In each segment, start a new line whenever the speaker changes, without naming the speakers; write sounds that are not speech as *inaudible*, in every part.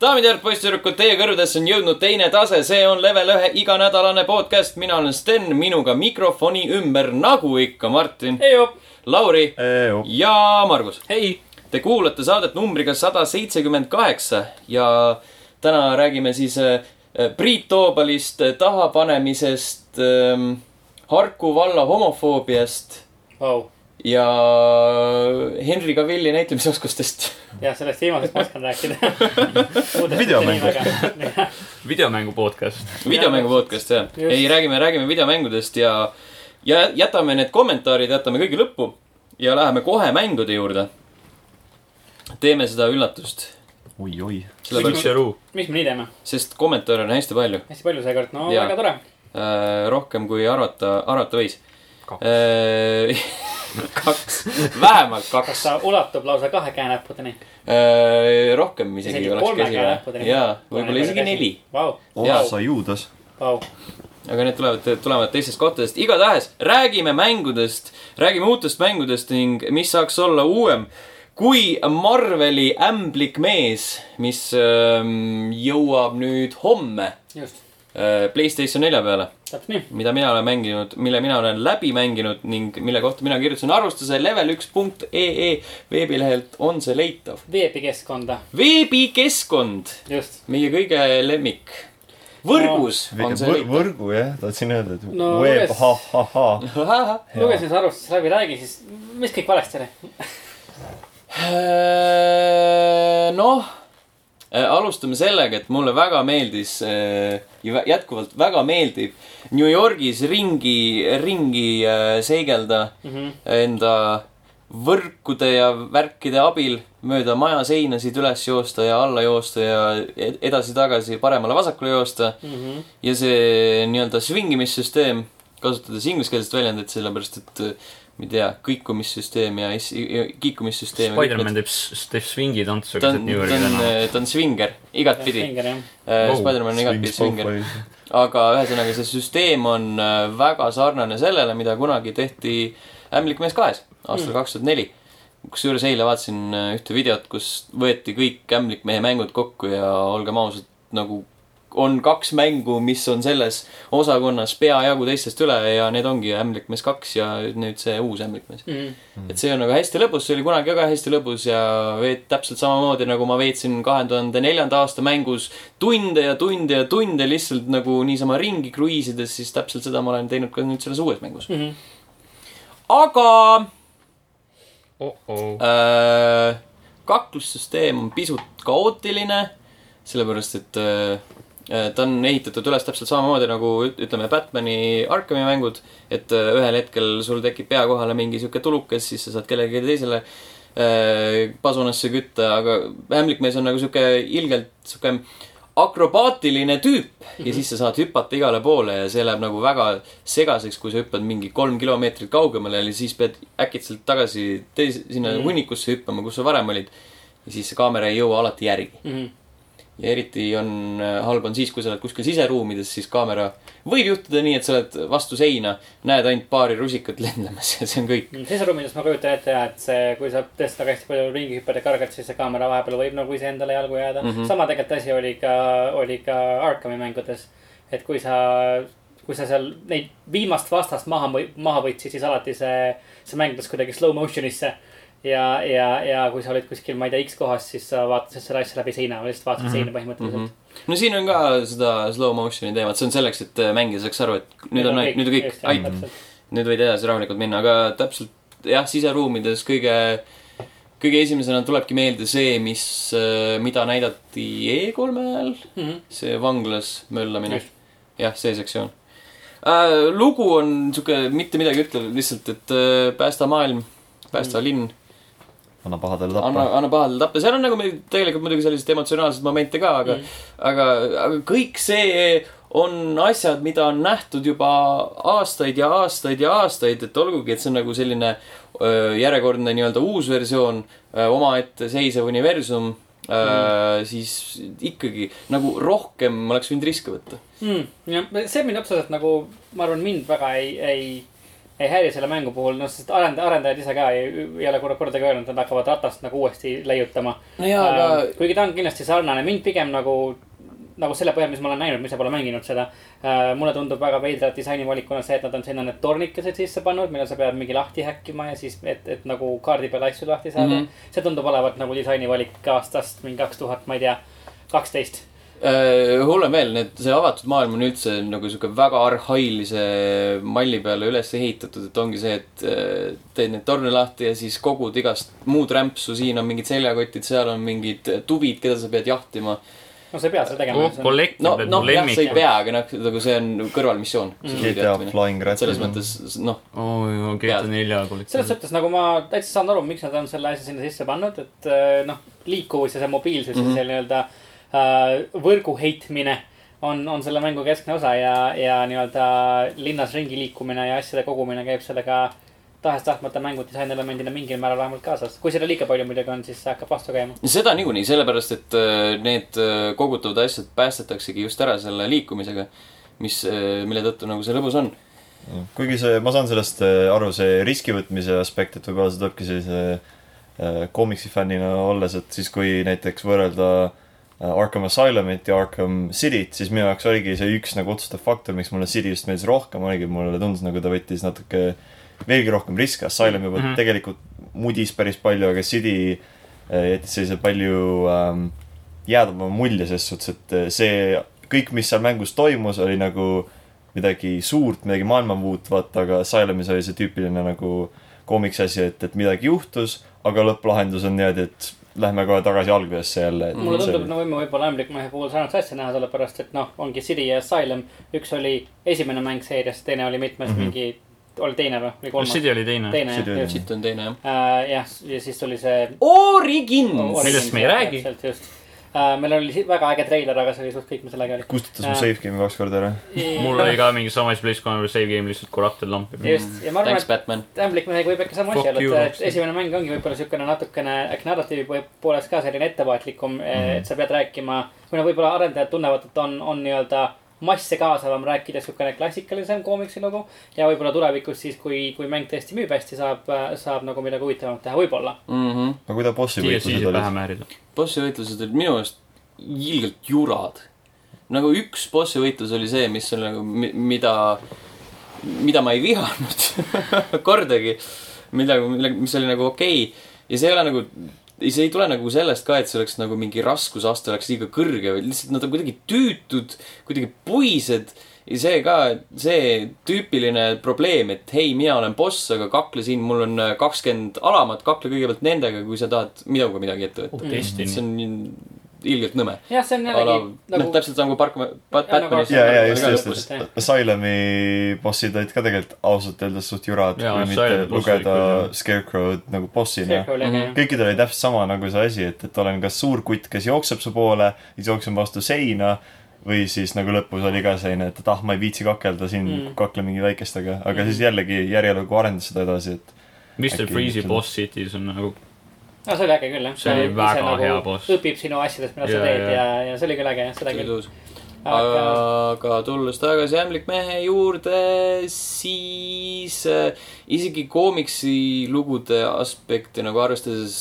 daamid ja härrad , poisssüdrukud , teie kõrvadesse on jõudnud teine tase , see on level ühe iganädalane podcast , mina olen Sten , minuga mikrofoni ümber , nagu ikka Martin ,
ei op ,
Lauri
Ei, .
ja Margus .
ei .
Te kuulate saadet numbriga sada seitsekümmend kaheksa ja täna räägime siis äh, Priit Toobalist , tahapanemisest , Harku valla homofoobiast
Vau ,
ja Henri Cavilli *laughs* näitlemisoskustest .
jah , sellest viimasest ma oskan
*laughs*
rääkida
Videomängu. .
videomängu podcast .
videomängu podcast jah ,
Just.
ei räägime , räägime videomängudest ja , ja jätame need kommentaarid , jätame kõigi lõppu ja läheme kohe mängude juurde . teeme seda üllatust ,
oi-oi .
sellepärast ,
mis me nii teeme ?
sest kommentaare on hästi palju ,
hästi palju seekord , no
Jaa.
väga tore .
rohkem kui arvata , arvata võis .
Kaks.
*laughs* kaks , vähemalt
kas
kaks ,
ta ulatub lausa kahe käe näppudeni ?
Äh, rohkem isegi
Isegi
oleks
kolme
käsi
käe
vaja
näppudeni.
ja võib-olla isegi neli ,
Vau ,
Jaa.
oh sa juudas .
vau ,
aga need tulevad , tulevad teistest kohtadest . igatahes räägime mängudest , räägime uutest mängudest ning mis saaks olla uuem kui Marveli ämblik mees , mis ähm, jõuab nüüd homme
just ,
äh, Playstation nelja peale ,
täpselt nii .
mida mina olen mänginud , mille mina olen läbi mänginud ning mille kohta mina kirjutasin arvustuse level1.ee veebilehelt on see leitav .
veebikeskkonda ,
veebikeskkond ,
E just .
meie kõige lemmik . võrgus on see
Võr,
leitav .
võrgu jah , tahtsin öelda , et
No,
web
luges- ,
ha-ha-ha .
*laughs*
lugesin see arvustus läbi , räägi siis , mis kõik valesti oli ?
Äh, noh , alustame sellega , et mulle väga meeldis äh, ja vä- jätkuvalt väga meeldib New Yorgis ringi , ringi äh, seigelda mm -hmm. enda võrkude ja värkide abil mööda maja seinasid üles joosta ja alla joosta ja ed- edasi-tagasi paremale-vasakule joosta
Mhm.
mm . -hmm. ja see nii-öelda svingimissüsteem , kasutades ingliskeelset väljendit , sellepärast et äh, ma ei tea , kõikumissüsteem ja is- ja kiikumissüsteem .
Spider-man teeb , teeb svingi tantsu
ta
keset
on ,
New
ta
Yorki
on äh,
tänaval .,
ta on svinger , igatpidi .
Finger jah ,
Wow,
Spider-man on igatpidi svinger . aga ühesõnaga , see süsteem on äh, väga sarnane sellele , mida kunagi tehti Ämblik mees kahes aastal kaks tuhat neli . kusjuures eile vaatasin äh, ühte videot , kus võeti kõik Ämblik mehe mängud kokku ja olgem ausad , nagu on kaks mängu , mis on selles osakonnas peajagu teistest üle ja need ongi Ämblik mees kaks ja nüüd see uus Ämblik mees .
mm, .
et see on nagu hästi lõbus , see oli kunagi väga hästi lõbus ja veet- , täpselt samamoodi nagu ma veetsin kahe tuhande neljanda aasta mängus tunde ja tunde ja tunde lihtsalt nagu niisama ringi kruiisides , siis täpselt seda ma olen teinud ka nüüd selles uues mängus .
Mm -hmm.
aga oh,
oh-oh .
äh, kaklussüsteem on pisut kaootiline , sellepärast et äh, äh, ta on ehitatud üles täpselt samamoodi nagu üt- ütleme Batman'i Arkham'i mängud , et äh, ühel hetkel sul tekib pea kohale mingi sihuke tulukas , siis sa saad kellelegi teisele äh, pasunasse kütta , aga ämblikmees on nagu sihuke ilgelt sihuke akrobaatiline tüüp ja siis sa saad hüpata igale poole ja see läheb nagu väga segaseks , kui sa hüppad mingi kolm kilomeetrit kaugemale ja siis pead äkitselt tagasi teise , sinna
Mhm.
hunnikusse hüppama , kus sa varem olid . ja siis see kaamera ei jõua alati järgi .
Mm -hmm.
ja eriti on , halb on siis , kui sa oled kuskil siseruumides , siis kaamera võib juhtuda nii , et sa oled vastu seina , näed ainult paari rusikat lendamas ja see on kõik .
Mm, siseruumides ma kujutan ette ja , et see , kui sa tõstad väga hästi palju ringi hüppad ja kargad , siis see kaamera vahepeal võib nagu iseendale jalgu jääda mm .
Mhm.
-hmm. sama tegelikult asi oli ka , oli ka Arkhami mängudes . et kui sa , kui sa seal neid viimast vastast maha , maha võtsid , siis alati see , see mäng läks kuidagi slow motion'isse . ja , ja , ja kui sa olid kuskil , ma ei tea , X kohas , siis sa vaatasid selle asja läbi seina , lihtsalt vaatasid mm
Mhm.
-hmm. seina põhimõtteliselt mm .
no siin on ka seda slow motion'i teemat , see on selleks , et äh, mängija saaks aru , et nüüd on , nüüd on kõik , aitäh . nüüd võid edasi rahulikult minna , aga täpselt jah , siseruumides kõige , kõige esimesena tulebki meelde see , mis , mida näidati E3-e ajal ,
-hmm.
see vanglas möllamine
Just. .
jah , see sektsioon äh, . lugu on sihuke mitte midagi ütlev , lihtsalt , et äh, päästa maailm , päästa mm. linn ,
anna pahadele
anna
tappa .,
anna pahadele tappa , seal on nagu meil- tegelikult muidugi selliseid emotsionaalseid momente ka , aga mm. , aga , aga kõik see on asjad , mida on nähtud juba aastaid ja aastaid ja aastaid , et olgugi , et see on nagu selline öö, järjekordne nii-öelda uus versioon , omaette seisev universum mm. , siis ikkagi nagu rohkem
Hmm,
oleks võinud riske võtta .
mm, . jah , see mind otseselt nagu , ma arvan , mind väga ei , ei ei häiri selle mängu puhul , noh , sest arenda- , arendajad ise ka ei, ei ole korra- kordagi öelnud , et nad hakkavad ratast nagu uuesti leiutama .
no jaa , aga
kuigi ta on kindlasti sarnane , mind pigem nagu , nagu selle põhjal , mis ma olen näinud , ma ise pole mänginud seda . mulle tundub väga veidra disainivalikuna see , et nad on sinna need tornikesed sisse pannud , mille sa pead mingi lahti häkkima ja siis , et , et nagu kaardi peal asju lahti saada mm .
Mhm.
-hmm. see tundub olevat nagu disainivalik aastast mingi kaks tuhat , ma ei tea , kaksteist .
äh, hullem veel , need , see avatud maailm on üldse nagu sihuke väga arhailise malli peale üles ehitatud , et ongi see , et äh, teed neid torne lahti ja siis kogud igast muud rämpsu , siin on mingid seljakotid , seal on mingid tuvid , keda sa pead jahtima .
no sa ei pea seda tegema
oh, . kollekt
no ,
on mu
noh , jah , sa ei
lemmik .
pea , aga noh , nagu see on kõrvalmissioon .
GTA Flying Rat .
selles . mõttes , noh ,
oo , GTA nelja kollekt .
Mhm.
selles suhtes nagu ma täitsa saan aru , miks nad on selle asja sinna sisse pannud , et äh, noh , liikuvus ja see mobiilsus mm -hmm. ja
Mhm.
see nii-öelda äh, võrgu heitmine on , on selle mängu keskne osa ja , ja nii-öelda linnas ringi liikumine ja asjade kogumine käib sellega tahes-tahtmata mängu disainelemendina mingil määral vähemalt kaasas . kui seda liiga palju muidugi on , siis see hakkab vastu käima .
seda niikuinii , sellepärast et äh, need äh, kogutavad asjad päästetaksegi just ära selle liikumisega , mis , mille tõttu nagu see lõbus on .
kuigi see , ma saan sellest äh, aru , see riski võtmise aspekt , et võib-olla see tulebki sellise äh, komiksi fännina olles , et siis kui näiteks võrrelda äh, Arkham Asylumit ja Arkham Cityt , siis minu jaoks oligi see üks nagu otsustav faktor , miks mulle City just meeldis rohkem , oligi mulle tundus nagu ta võttis natuke veelgi rohkem riske , Asylum juba mm
Mhm.
-hmm. tegelikult mudis päris palju , aga City äh, jättis sellise palju ähm, jäädavama mulje , selles suhtes , et äh, see kõik , mis seal mängus toimus , oli nagu midagi suurt , midagi maailmamuut , vaata , aga Asylumis oli see tüüpiline nagu koomiks asi , et , et midagi juhtus , aga lõpplahendus on niimoodi , et lähme kohe tagasi algusesse jälle .
mulle tundub , noh, no võime võib-olla ämblik mehe puhul sarnast asja näha , sellepärast et noh , ongi City ja Asylum . üks oli esimene mäng seerias , teine oli mitmes mm -hmm. mingi , oli teine või , või kolmas ?
City oli teine .
teine
Mhm. City oli
jah ,
teine.
siit on teine jah .
Äh, jah , ja siis tuli see .
Origins .
Hmm, Millest me ei räägi.
täpselt , just . meil oli si- väga äge treiler , aga see oli suht kõik , mis sellega oli .
kustutas mu save game'i kaks korda ära .
mul oli ka mingi samas PlayStation save game lihtsalt korrupted lamp .
just , ja ma arvan ,
Thanks ,
et
Batman .
ämblik mehega võib ikka sama
Fuck
asi
you,
olla , et
Rockstar.
esimene mäng ongi võib-olla siukene natukene , äkki narratiivi po- poolest ka selline ettevaatlikum ,
Mhm.
et sa pead rääkima . või no võib-olla arendajad tunnevad , et on , on nii-öelda masse kaasavam rääkida , siukene klassikalisem koomiksi lugu . ja võib-olla tulevikus siis , kui , kui mäng tõesti müüb hästi , saab , saab nagu midagi huvitavamat teha , võib-olla .
Mhm.
Mm-hmm.
aga kui ta bossi
DLC-d
võitlused
võib
olid
pähe , määrida .
bossi võitlused olid minu meelest ilgelt jurad . nagu üks bossi võitlus oli see , mis on nagu , mida , mida ma ei vihanud *laughs* kordagi . mida , mis oli nagu okei okay. ja see ei ole nagu , see ei tule nagu sellest ka , et see oleks nagu mingi raskusaste oleks liiga kõrge , vaid lihtsalt nad on kuidagi tüütud , kuidagi puised ja see ka , see tüüpiline probleem , et hei , mina olen boss , aga kakle siin , mul on kakskümmend alamat , kakle kõigepealt nendega , kui sa tahad minuga midagi ette võtta . Oh, see
Destiny .
on ilgelt nõme .
jah , see on
Ala,
jällegi
nagu... noh , täpselt sama kui Parkman , Batmanis .
ja , ja
Aga
just ,
lõpus,
just , just
jah. .
Asylumi bossid olid ka tegelikult ausalt öeldes suht jurad ,
Jaa,
kui mitte
Asylumi boss oli
lugeda
küll, jah.
Scarecrow'd nagu bossina
Scarecrow oli äge
Mhm.
jah .
kõikidel oli täpselt sama nagu see asi , et , et olen kas suur kutt , kes jookseb su poole , siis jooksen vastu seina või siis nagu lõpus oli ka selline , et , et ah , ma ei viitsi kakelda siin
Mm.
mm. , kakle mingi väikestega , aga
Mm.
mm. siis jällegi järjelugu arendas seda edasi , et
Mr
Äkki
Freeze'i
ütleme.
boss City's on nagu ,
no see oli äge küll jah .
See oli väga hea boss.
õpib sinu asjadest , mida sa
Jaa,
teed
jaa.
ja , ja see oli küll äge jah , seda küll . aga
aga tulles tagasi ämblik mehe juurde , siis äh, isegi koomiksi lugude aspekti nagu arvestades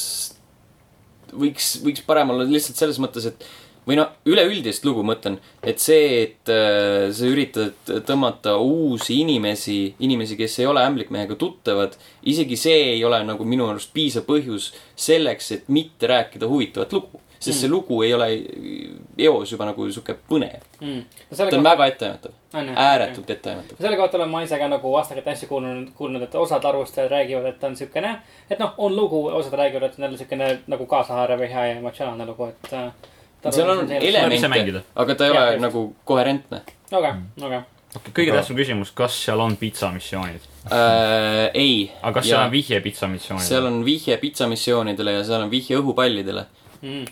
võiks , võiks parem olla lihtsalt selles mõttes , et või noh , üleüldist lugu mõtlen , et see , et äh, sa üritad tõmmata uusi inimesi , inimesi , kes ei ole ämblikmehega tuttavad , isegi see ei ole nagu minu arust piisav põhjus selleks , et mitte rääkida huvitavat lugu . sest see lugu ei ole eos juba nagu sihuke põnev .
mm, .
ta on väga etteaimatav ,
on jah ?
ääretult etteaimatav .
selle kohta olen ma ise ka nagu vastakaid asju kuulnud , kuulnud , et osad arvustajad räägivad , et ta on siukene , et noh , on lugu , osad räägivad , et on jälle siukene nagu kaasahaarav ja hea ja emotsionaalne lugu , et . äh,
seal on
Tuleb ise
elemente ,
mängida.
aga ta ei
Jah,
ole
just.
nagu
*laughs*
koherentne .
aga ,
Mm.
aga
kõige tähtsam küsimus , kas seal on pitsa-missioonid ?
Äh, ei .
aga kas seal on vihje pitsa-missioonidele ?
seal on vihje pitsamissioonidele ja seal on vihje õhupallidele .
mm, .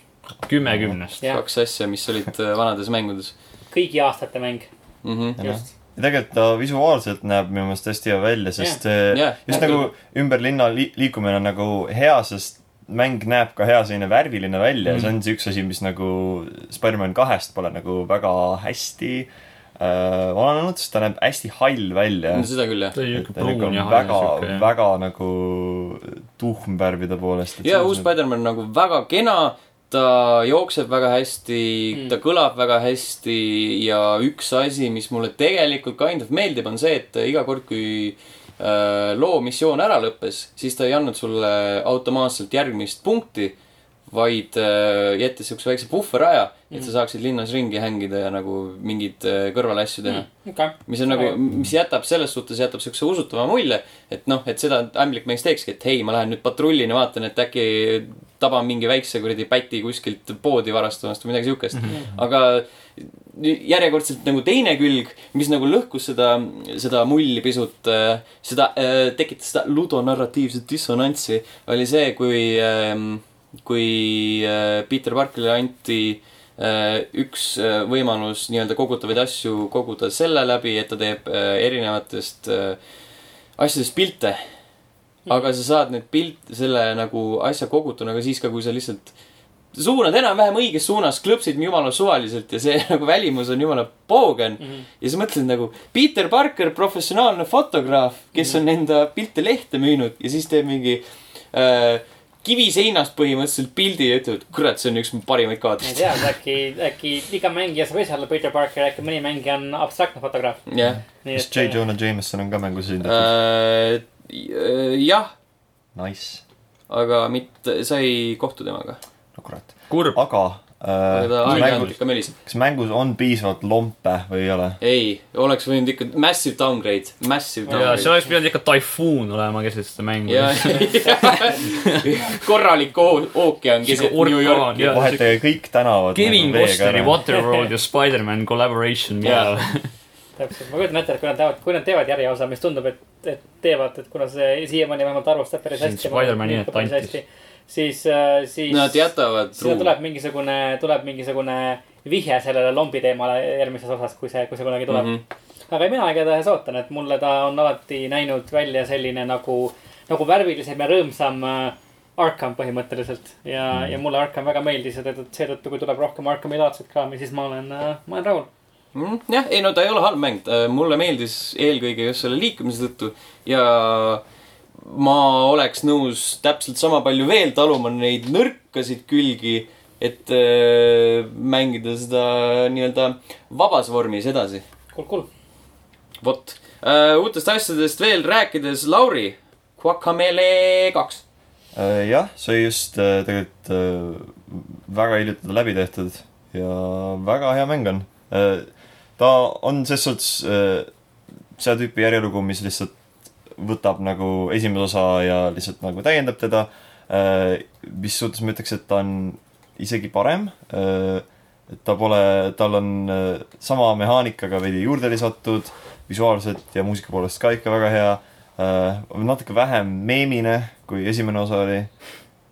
kümme kümnest .
jah ,
kaks asja , mis olid äh, vanades mängudes
kõigi aastate mäng ,
mm . -hmm.
Jah.
just .
ja tegelikult ta visuaalselt näeb minu meelest hästi hea välja , sest yeah.
Jah,
Yeah, just
jah,
yeah, nagu ümber linna li liikumine on nagu hea , sest mäng näeb ka hea selline värviline välja mm. , see on see üks asi , mis nagu Spider-man kahest pole nagu väga hästi olenenud , sest ta näeb hästi hall välja .
seda küll jah .
ta oli
ta
niuke
nagu
pruun
on
ja
väga
siuke ,.
väga nagu tuhm värvide poolest .
ja uus Spider-man on nagu väga kena , ta jookseb väga hästi mm. ,
Mm.
ta kõlab väga hästi ja üks asi , mis mulle tegelikult kind of meeldib , on see , et iga kord , kui äh, loo missioon ära lõppes , siis ta ei andnud sulle automaatselt järgmist punkti , vaid äh, jättis siukse väikse puhveraja , et sa saaksid linnas ringi hängida ja nagu mingeid äh, kõrvalasju teha mm. .
okei ,
mis on nagu , mis jätab selles suhtes , jätab siukse usutava mulje , et noh , et seda ämblik mees teekski , et hei , ma lähen nüüd patrullini , vaatan , et äkki taban mingi väikse kuradi päti kuskilt poodi varastamast või midagi siukest mm . -hmm. aga nüüd järjekordselt nagu teine külg , mis nagu lõhkus seda , seda mulli pisut , seda , tekitas seda ludonarratiivset dissonantsi , oli see , kui , kui äh, Peter Parkerile anti Äh, üks äh, võimalus nii-öelda kogutavaid asju koguda selle läbi , et ta teeb äh, erinevatest äh, asjadest pilte . aga sa saad need pilt , selle nagu asja kogutuna ka siis ka , kui sa lihtsalt suunad enam-vähem õiges suunas , klõpsid jumala suvaliselt ja see *laughs* nagu välimus on jumala poogen mm .
Mhm.
-hmm. ja sa mõtled nagu Peter Parker , professionaalne fotograaf , kes mm -hmm. on enda pilte lehte müünud ja siis teeb mingi äh, kiviseinast põhimõtteliselt pildi ja ütleb , et kurat , see on üks mu parimaid
ma ei
kaadreid .
tea , äkki , äkki iga mängija saab ise olla Peter Parker , äkki mõni mängija on abstraktne fotograaf .
jah ,
kas J . Jonah Jameson on ka mängus esindatud ?
Äh, jah , Äh.
Nice ,
aga mitte , sa ei kohtu temaga .
no kurat ,
kurb .
aga
aga ta
äh,
aeg-ajalt
mängus ,
ikka möliseb .
kas mängus on piisavalt lompe või ei ole ?
ei , oleks võinud ikka massive downgrade , massive
ja see
downgrade .
oleks pidanud ikka taifuun olema keset seda mängu .
*laughs*
ja , *laughs* korralik oo- ookean keset New Yorki .
vahet ei ole , kõik tänavad . nagu
Kevin Costneri . Waterworld ja Spider-man collaboration
Jaa.
peal . *laughs*
täpselt , ma kujutan ette , et kui nad teevad , kui nad teevad järjeosa , mis tundub , et , et teevad , et kuna see siiamaani vähemalt arvustab päris
See on
hästi .
Spider-mani nii, et antis. .
siis , siis .
Nad jätavad
sinna
truu .
tuleb mingisugune , tuleb mingisugune vihje sellele lombi teemale järgmises osas , kui see , kui see kunagi
Mhm.
tuleb mm . -hmm. aga mina igatahes ootan , et mulle ta on alati näinud välja selline nagu , nagu värvilisem ja rõõmsam äh, Arkham põhimõtteliselt ja mm , -hmm. ja mulle Arkham väga meeldis ja teda- seetõttu , kui tuleb rohkem Arkhami laadset kraami , siis ma olen , ma olen rahul .
Mm, jah , ei no ta ei ole halb mäng , mulle meeldis eelkõige just selle liikumise tõttu ja ma oleks nõus täpselt sama palju veel taluma neid nõrkasid külgi , et äh, mängida seda nii-öelda vabas vormis edasi .
kuul , kuul .
vot , uutest asjadest veel rääkides , Lauri , Guacamele kaks .
jah , see just äh, tegelikult äh, väga hiljuti läbi tehtud ja väga hea mäng on . ta on ses suhtes äh, seda tüüpi järjelugu , mis lihtsalt võtab nagu esimese osa ja lihtsalt nagu täiendab teda . mis suhtes ma ütleks , et ta on isegi parem . et ta pole , tal on äh, sama mehaanikaga veidi juurde lisatud , visuaalselt ja muusika poolest ka ikka väga hea . Äh, natuke vähem meemine , kui esimene osa oli .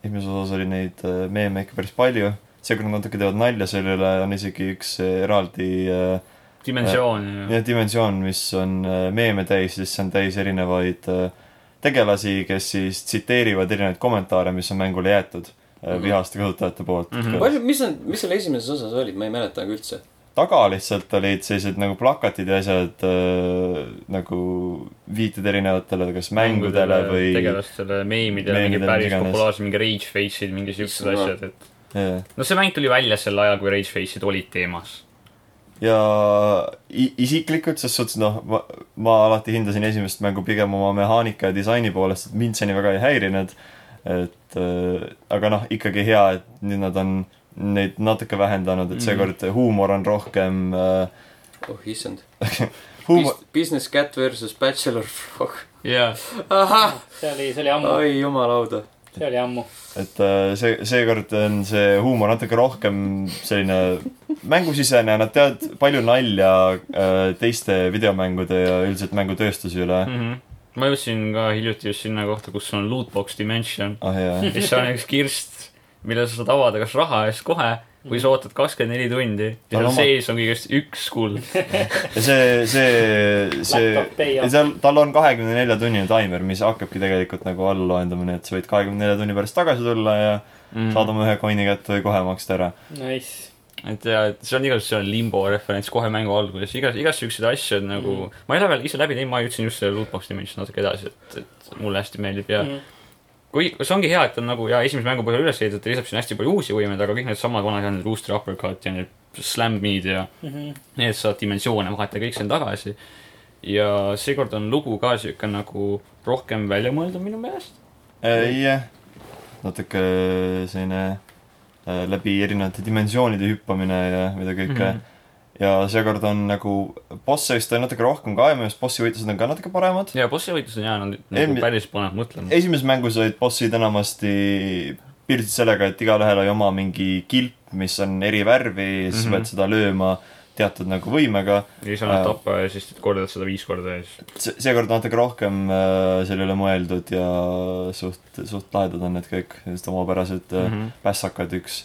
esimeses osas oli neid äh, meeme ikka päris palju . see , kui nad natuke teevad nalja selle üle , on isegi üks äh, eraldi äh,
dimensioon .
jah , dimensioon , mis on äh, meeme täis , siis see on täis erinevaid äh, tegelasi , kes siis tsiteerivad erinevaid kommentaare , mis on mängule jäetud äh, vihaste kasutajate poolt mm .
palju , mis on , mis seal esimeses osas olid , ma ei mäleta aga üldse .
taga lihtsalt olid sellised nagu plakatid ja asjad äh, nagu viited erinevatele , kas mängudele või
tegelastele , meemidele , mingi
meemidele,
päris
mis iganes.
populaarsed , mingi rage face'id , mingi siuksed
Issand
asjad , et .
Jah.
no see mäng tuli välja sel ajal , kui rage face'id olid teemas .
ja i- isiklikult , ses suhtes noh , ma , ma alati hindasin esimest mängu pigem oma mehaanika ja disaini poolest , et mind see nii väga ei häirinud . et äh, aga noh , ikkagi hea , et nüüd nad on neid natuke vähendanud , et seekord huumor on rohkem äh, ,
oh issand .
huumor ,
Business Cat versus Bachelor Frog . *laughs*
jaa .
ahah ,
see oli , see oli ammu ,
oi jumalauda .
see oli ammu .
et äh, see , seekord on see huumor natuke rohkem selline mängusisene , nad teevad palju nalja äh, teiste videomängude ja üldiselt mängutööstuse üle .
Mhm. ma jõudsin ka hiljuti just sinna kohta , kus on lootbox
*laughs*
dimension ,
ah jaa ,
mis on üks kirst , mille sa saad avada kas raha eest kohe või sa ootad kakskümmend neli tundi ja seal
Tal oma-
sees on kõigest üks kuld .
ja see , see , see
Laptop ei
ja
ole .
seal , tal on kahekümne nelja tunnine taimer , mis hakkabki tegelikult nagu alla loendama , nii et sa võid kahekümne nelja tunni pärast tagasi tulla ja mm. saad oma ühe coin'i kätte või kohe maksta ära .
Nice .
et ja , et see on igas , see on limbo referents kohe mängu alguses , igas , igas siukseid asju on nagu mm. , ma ei ole veel ise läbi teinud , ma jõudsin just selle lootbox'i minnes natuke edasi , et , et mulle hästi meeldib ja
Mhm,
mm. kui , see ongi hea , et on nagu ja esimese mängu põhjal üles ehitatud , lisab sinna hästi palju uusi võimeid , aga kõik need samad vanad ja need rooster uppercut ja need slam'id ja mm
mhm.
-hmm. need saad dimensioone vahetada , kõik see on tagasi . ja seekord on lugu ka siuke nagu rohkem välja mõeldud minu meelest .
jah , natuke selline äh, läbi erinevate dimensioonide hüppamine ja mida kõike mm . -hmm. ja seekord on nagu bosse vist on natuke rohkem ka ja minu arust bossi võitlused on ka natuke paremad .
ja bossi võitlused on jaa , nad nagu
Eelmi-
päris panevad mõtlema .
esimeses mängus olid bossid enamasti piirdusid sellega , et igalühel oli oma mingi kilp , mis on eri värvi ,
Mhm.
siis mm -hmm. pead seda lööma teatud nagu võimega
ja siis annad
Jaa.
tappa ja siis kordad seda viis korda ja siis
see , seekord natuke rohkem äh, selle üle mõeldud ja suht , suht lahedad on need kõik , sellised omapärased
Mhm.
mm -hmm. pässakad , üks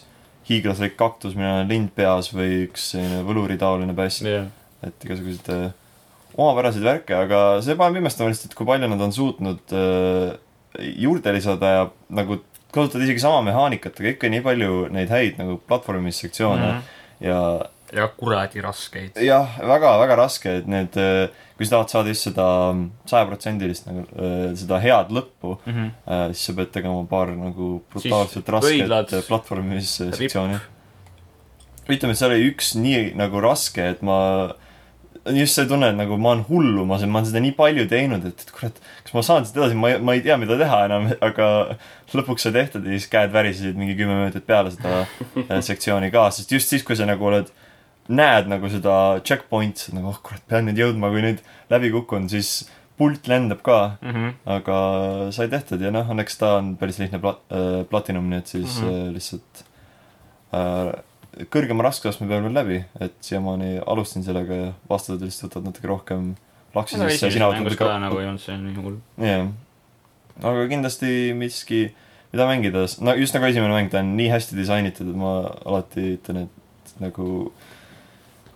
hiiglaslik kaktus , millel on lind peas või üks selline võluritaoline päss ,
jah .
et igasuguseid äh, omapäraseid värke , aga see paneb imestama lihtsalt , et kui palju nad on suutnud äh, juurde lisada ja nagu kasutad isegi sama mehaanikat , aga ikka nii palju neid häid nagu platvormissektsioone mm
Mhm.
-hmm. ja
ja kuradi raskeid .
jah , väga-väga raske , et need , kui sa tahad saada just seda sajaprotsendilist nagu äh, seda head lõppu ,
Mhm,
Äh, siis sa pead tegema paar nagu brutaalselt
Siis
rasket
pöidlad-
platvormis sektsiooni . ütleme , et seal oli üks nii nagu raske , et ma , on just see tunne , et nagu ma olen hullumas ja ma olen seda nii palju teinud , et , et kurat , kas ma saan seda edasi , ma , ma ei tea , mida teha enam , *laughs* aga lõpuks sai tehtud ja siis käed värisesid mingi kümme minutit peale seda äh, sektsiooni ka , sest just siis , kui sa nagu oled näed nagu seda checkpoint'i , nagu oh kurat , pean nüüd jõudma , kui nüüd läbi kukun , siis pult lendab ka .
mhm.
aga sai tehtud ja noh , õnneks ta on päris lihtne plat- , äh, platinum , nii et siis mm -hmm. äh, lihtsalt äh, kõrgema raskusastme peal veel läbi , et siiamaani alustasin sellega ja vastased lihtsalt võtavad natuke rohkem laksi sisse ja sina võtad natuke
nagu ei olnud see nii hull .
jah . aga kindlasti miski , mida mängida , no just nagu esimene mäng , ta on nii hästi disainitud , et ma alati ütlen , et nagu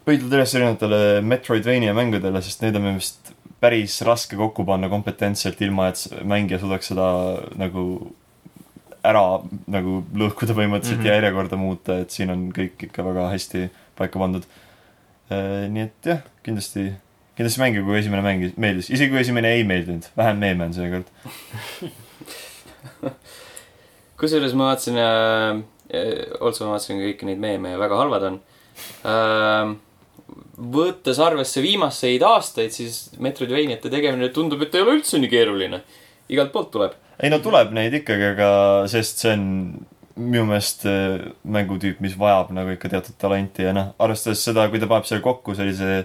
pöidlad üles erinevatele Metroidvania mängudele , sest neid on minu meelest päris raske kokku panna kompetentselt , ilma et s- mängija suudaks seda nagu ära nagu lõhkuda põhimõtteliselt mm
Mhm.
-hmm. ja järjekorda muuta , et siin on kõik ikka väga hästi paika pandud . nii et jah , kindlasti , kindlasti mängige , kui esimene mäng meeldis , isegi kui esimene ei meeldinud , vähem meeme on seekord .
kusjuures ma vaatasin äh, , otsa ma vaatasin kõiki neid meeme ja väga halvad on äh, . võttes arvesse viimaseid aastaid , siis Metroidvaniate tegemine tundub , et ei ole üldse nii keeruline . igalt poolt tuleb .
ei no tuleb neid ikkagi , aga sest see on minu meelest äh, mängutüüp , mis vajab nagu ikka teatud talenti ja noh , arvestades seda , kui ta paneb selle kokku sellise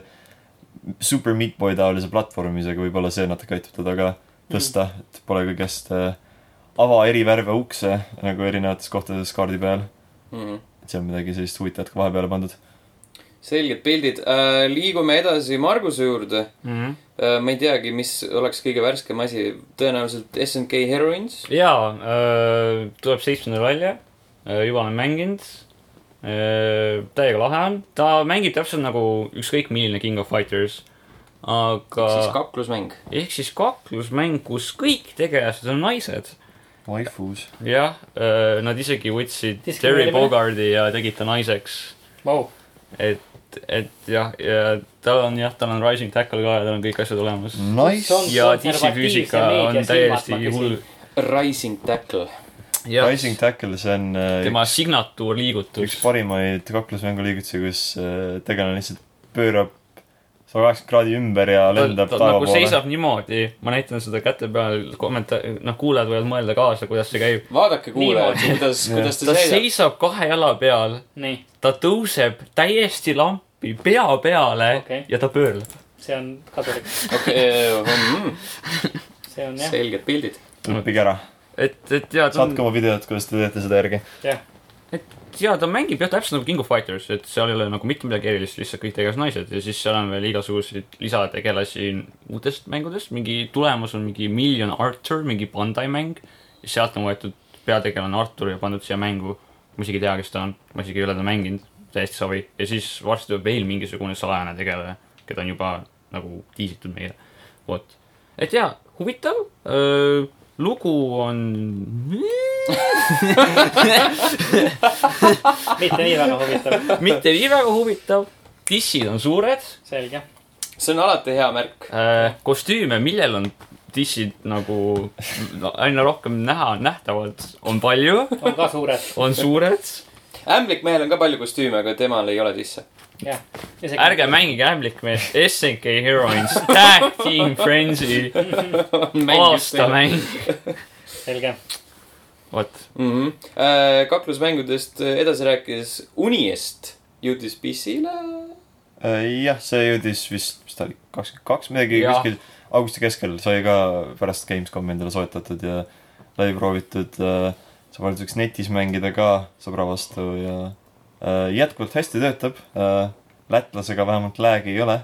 Super Meat Boy taolise platvormisega , võib-olla see natuke aitab teda ka tõsta , et pole kõigest äh, ava eri värve ukse nagu erinevates kohtades kaardi peal .
Mm -hmm.
et seal on midagi sellist huvitavat ka vahepeale pandud .
selged pildid äh, . liigume edasi Marguse juurde äh, . ma ei teagi , mis oleks kõige värskem asi , tõenäoliselt SNK Heroines .
jaa , tuleb seitsmendal välja , juba olen mänginud . täiega lahe on , ta mängib täpselt nagu ükskõik milline King of Fighters , aga
siis kaklusmäng .
ehk siis kaklusmäng , kus kõik tegelased on naised .
Waifus .
jah , nad isegi võtsid Terry
Diskrimineerimine.
Bogardi ja tegid ta naiseks
Vau ,
et , et jah , ja tal on jah , tal on Rising Tackle ka ja tal on kõik asjad olemas mm. .
Nice
See on- .
ja
konservatiivse
dissifüüsika on
meedia
täiesti
silmad, ma
hull .
Rising Tackle .
jah ,
Rising Tackle , see on äh,
tema
üks
signatuurliigutus .
parimaid kaklusmänguliigutusi , kus äh, tegelane lihtsalt pöörab sada kaheksakümmend kraadi ümber ja
ta, ta,
lendab
ta
taeva
nagu
poole .
seisab niimoodi , ma näitan seda käte peal , kommenta- , noh , kuulajad võivad mõelda kaasa , kuidas see käib .
vaadake kuulajad , kuidas ,
Jah.
kuidas ta
ta
seisab .
seisab kahe jala peal ,
nii ,
ta tõuseb täiesti lampi pea peale
Okei.
okay. ja ta pöörleb .
see on kasulik ,
okei ,
see on
Mhm.
jah ,
selged pildid .
õppige ära ,
et , et ja ta
saatke
on ,
oma videot , kuidas te teete seda järgi .
jah ,
ja ta mängib jah , täpselt nagu King of Fighters , et seal ei ole nagu mitte midagi erilist , lihtsalt kõik tegelased naised ja siis seal on veel igasuguseid lisategelasi uutest mängudest , mingi tulemus on mingi Million Arthur , mingi Bandai mäng . sealt on võetud peategelane Artur ja pandud siia mängu . ma isegi ei tea , kes ta on , ma isegi ei ole teda mänginud , täiesti savi . ja siis varsti tuleb veel mingisugune salajane tegelane , keda on juba nagu tiisitud meile . vot , et jaa , huvitav . lugu on
mitte nii väga huvitav ,
mitte nii väga huvitav . dissid on suured
selge .
see on alati hea märk .
äh, , kostüüme , millel on dissid nagu no, aina rohkem näha , nähtavad , on palju ,
on ka suured ,
on suured .
ämblik mehel on ka palju kostüüme , aga temal ei ole disse .
jah .
ärge . mängige ämblikmeest , SNK Heroines , Tag Team Frenzy , aastamäng .
selge ,
vot ,
mm . -hmm. kaklusmängudest edasi rääkides , Uniest jõudis PC-le .
Äh, jah , see jõudis vist , mis ta oli , kakskümmend kaks midagi
Jah.
kuskil augusti keskel sai ka pärast Gamescomi endale soetatud ja läbi proovitud . äh, sa paned siukest netis mängida ka sõbra vastu ja äh, jätkuvalt hästi töötab . lätlasega vähemalt lag'i ei ole .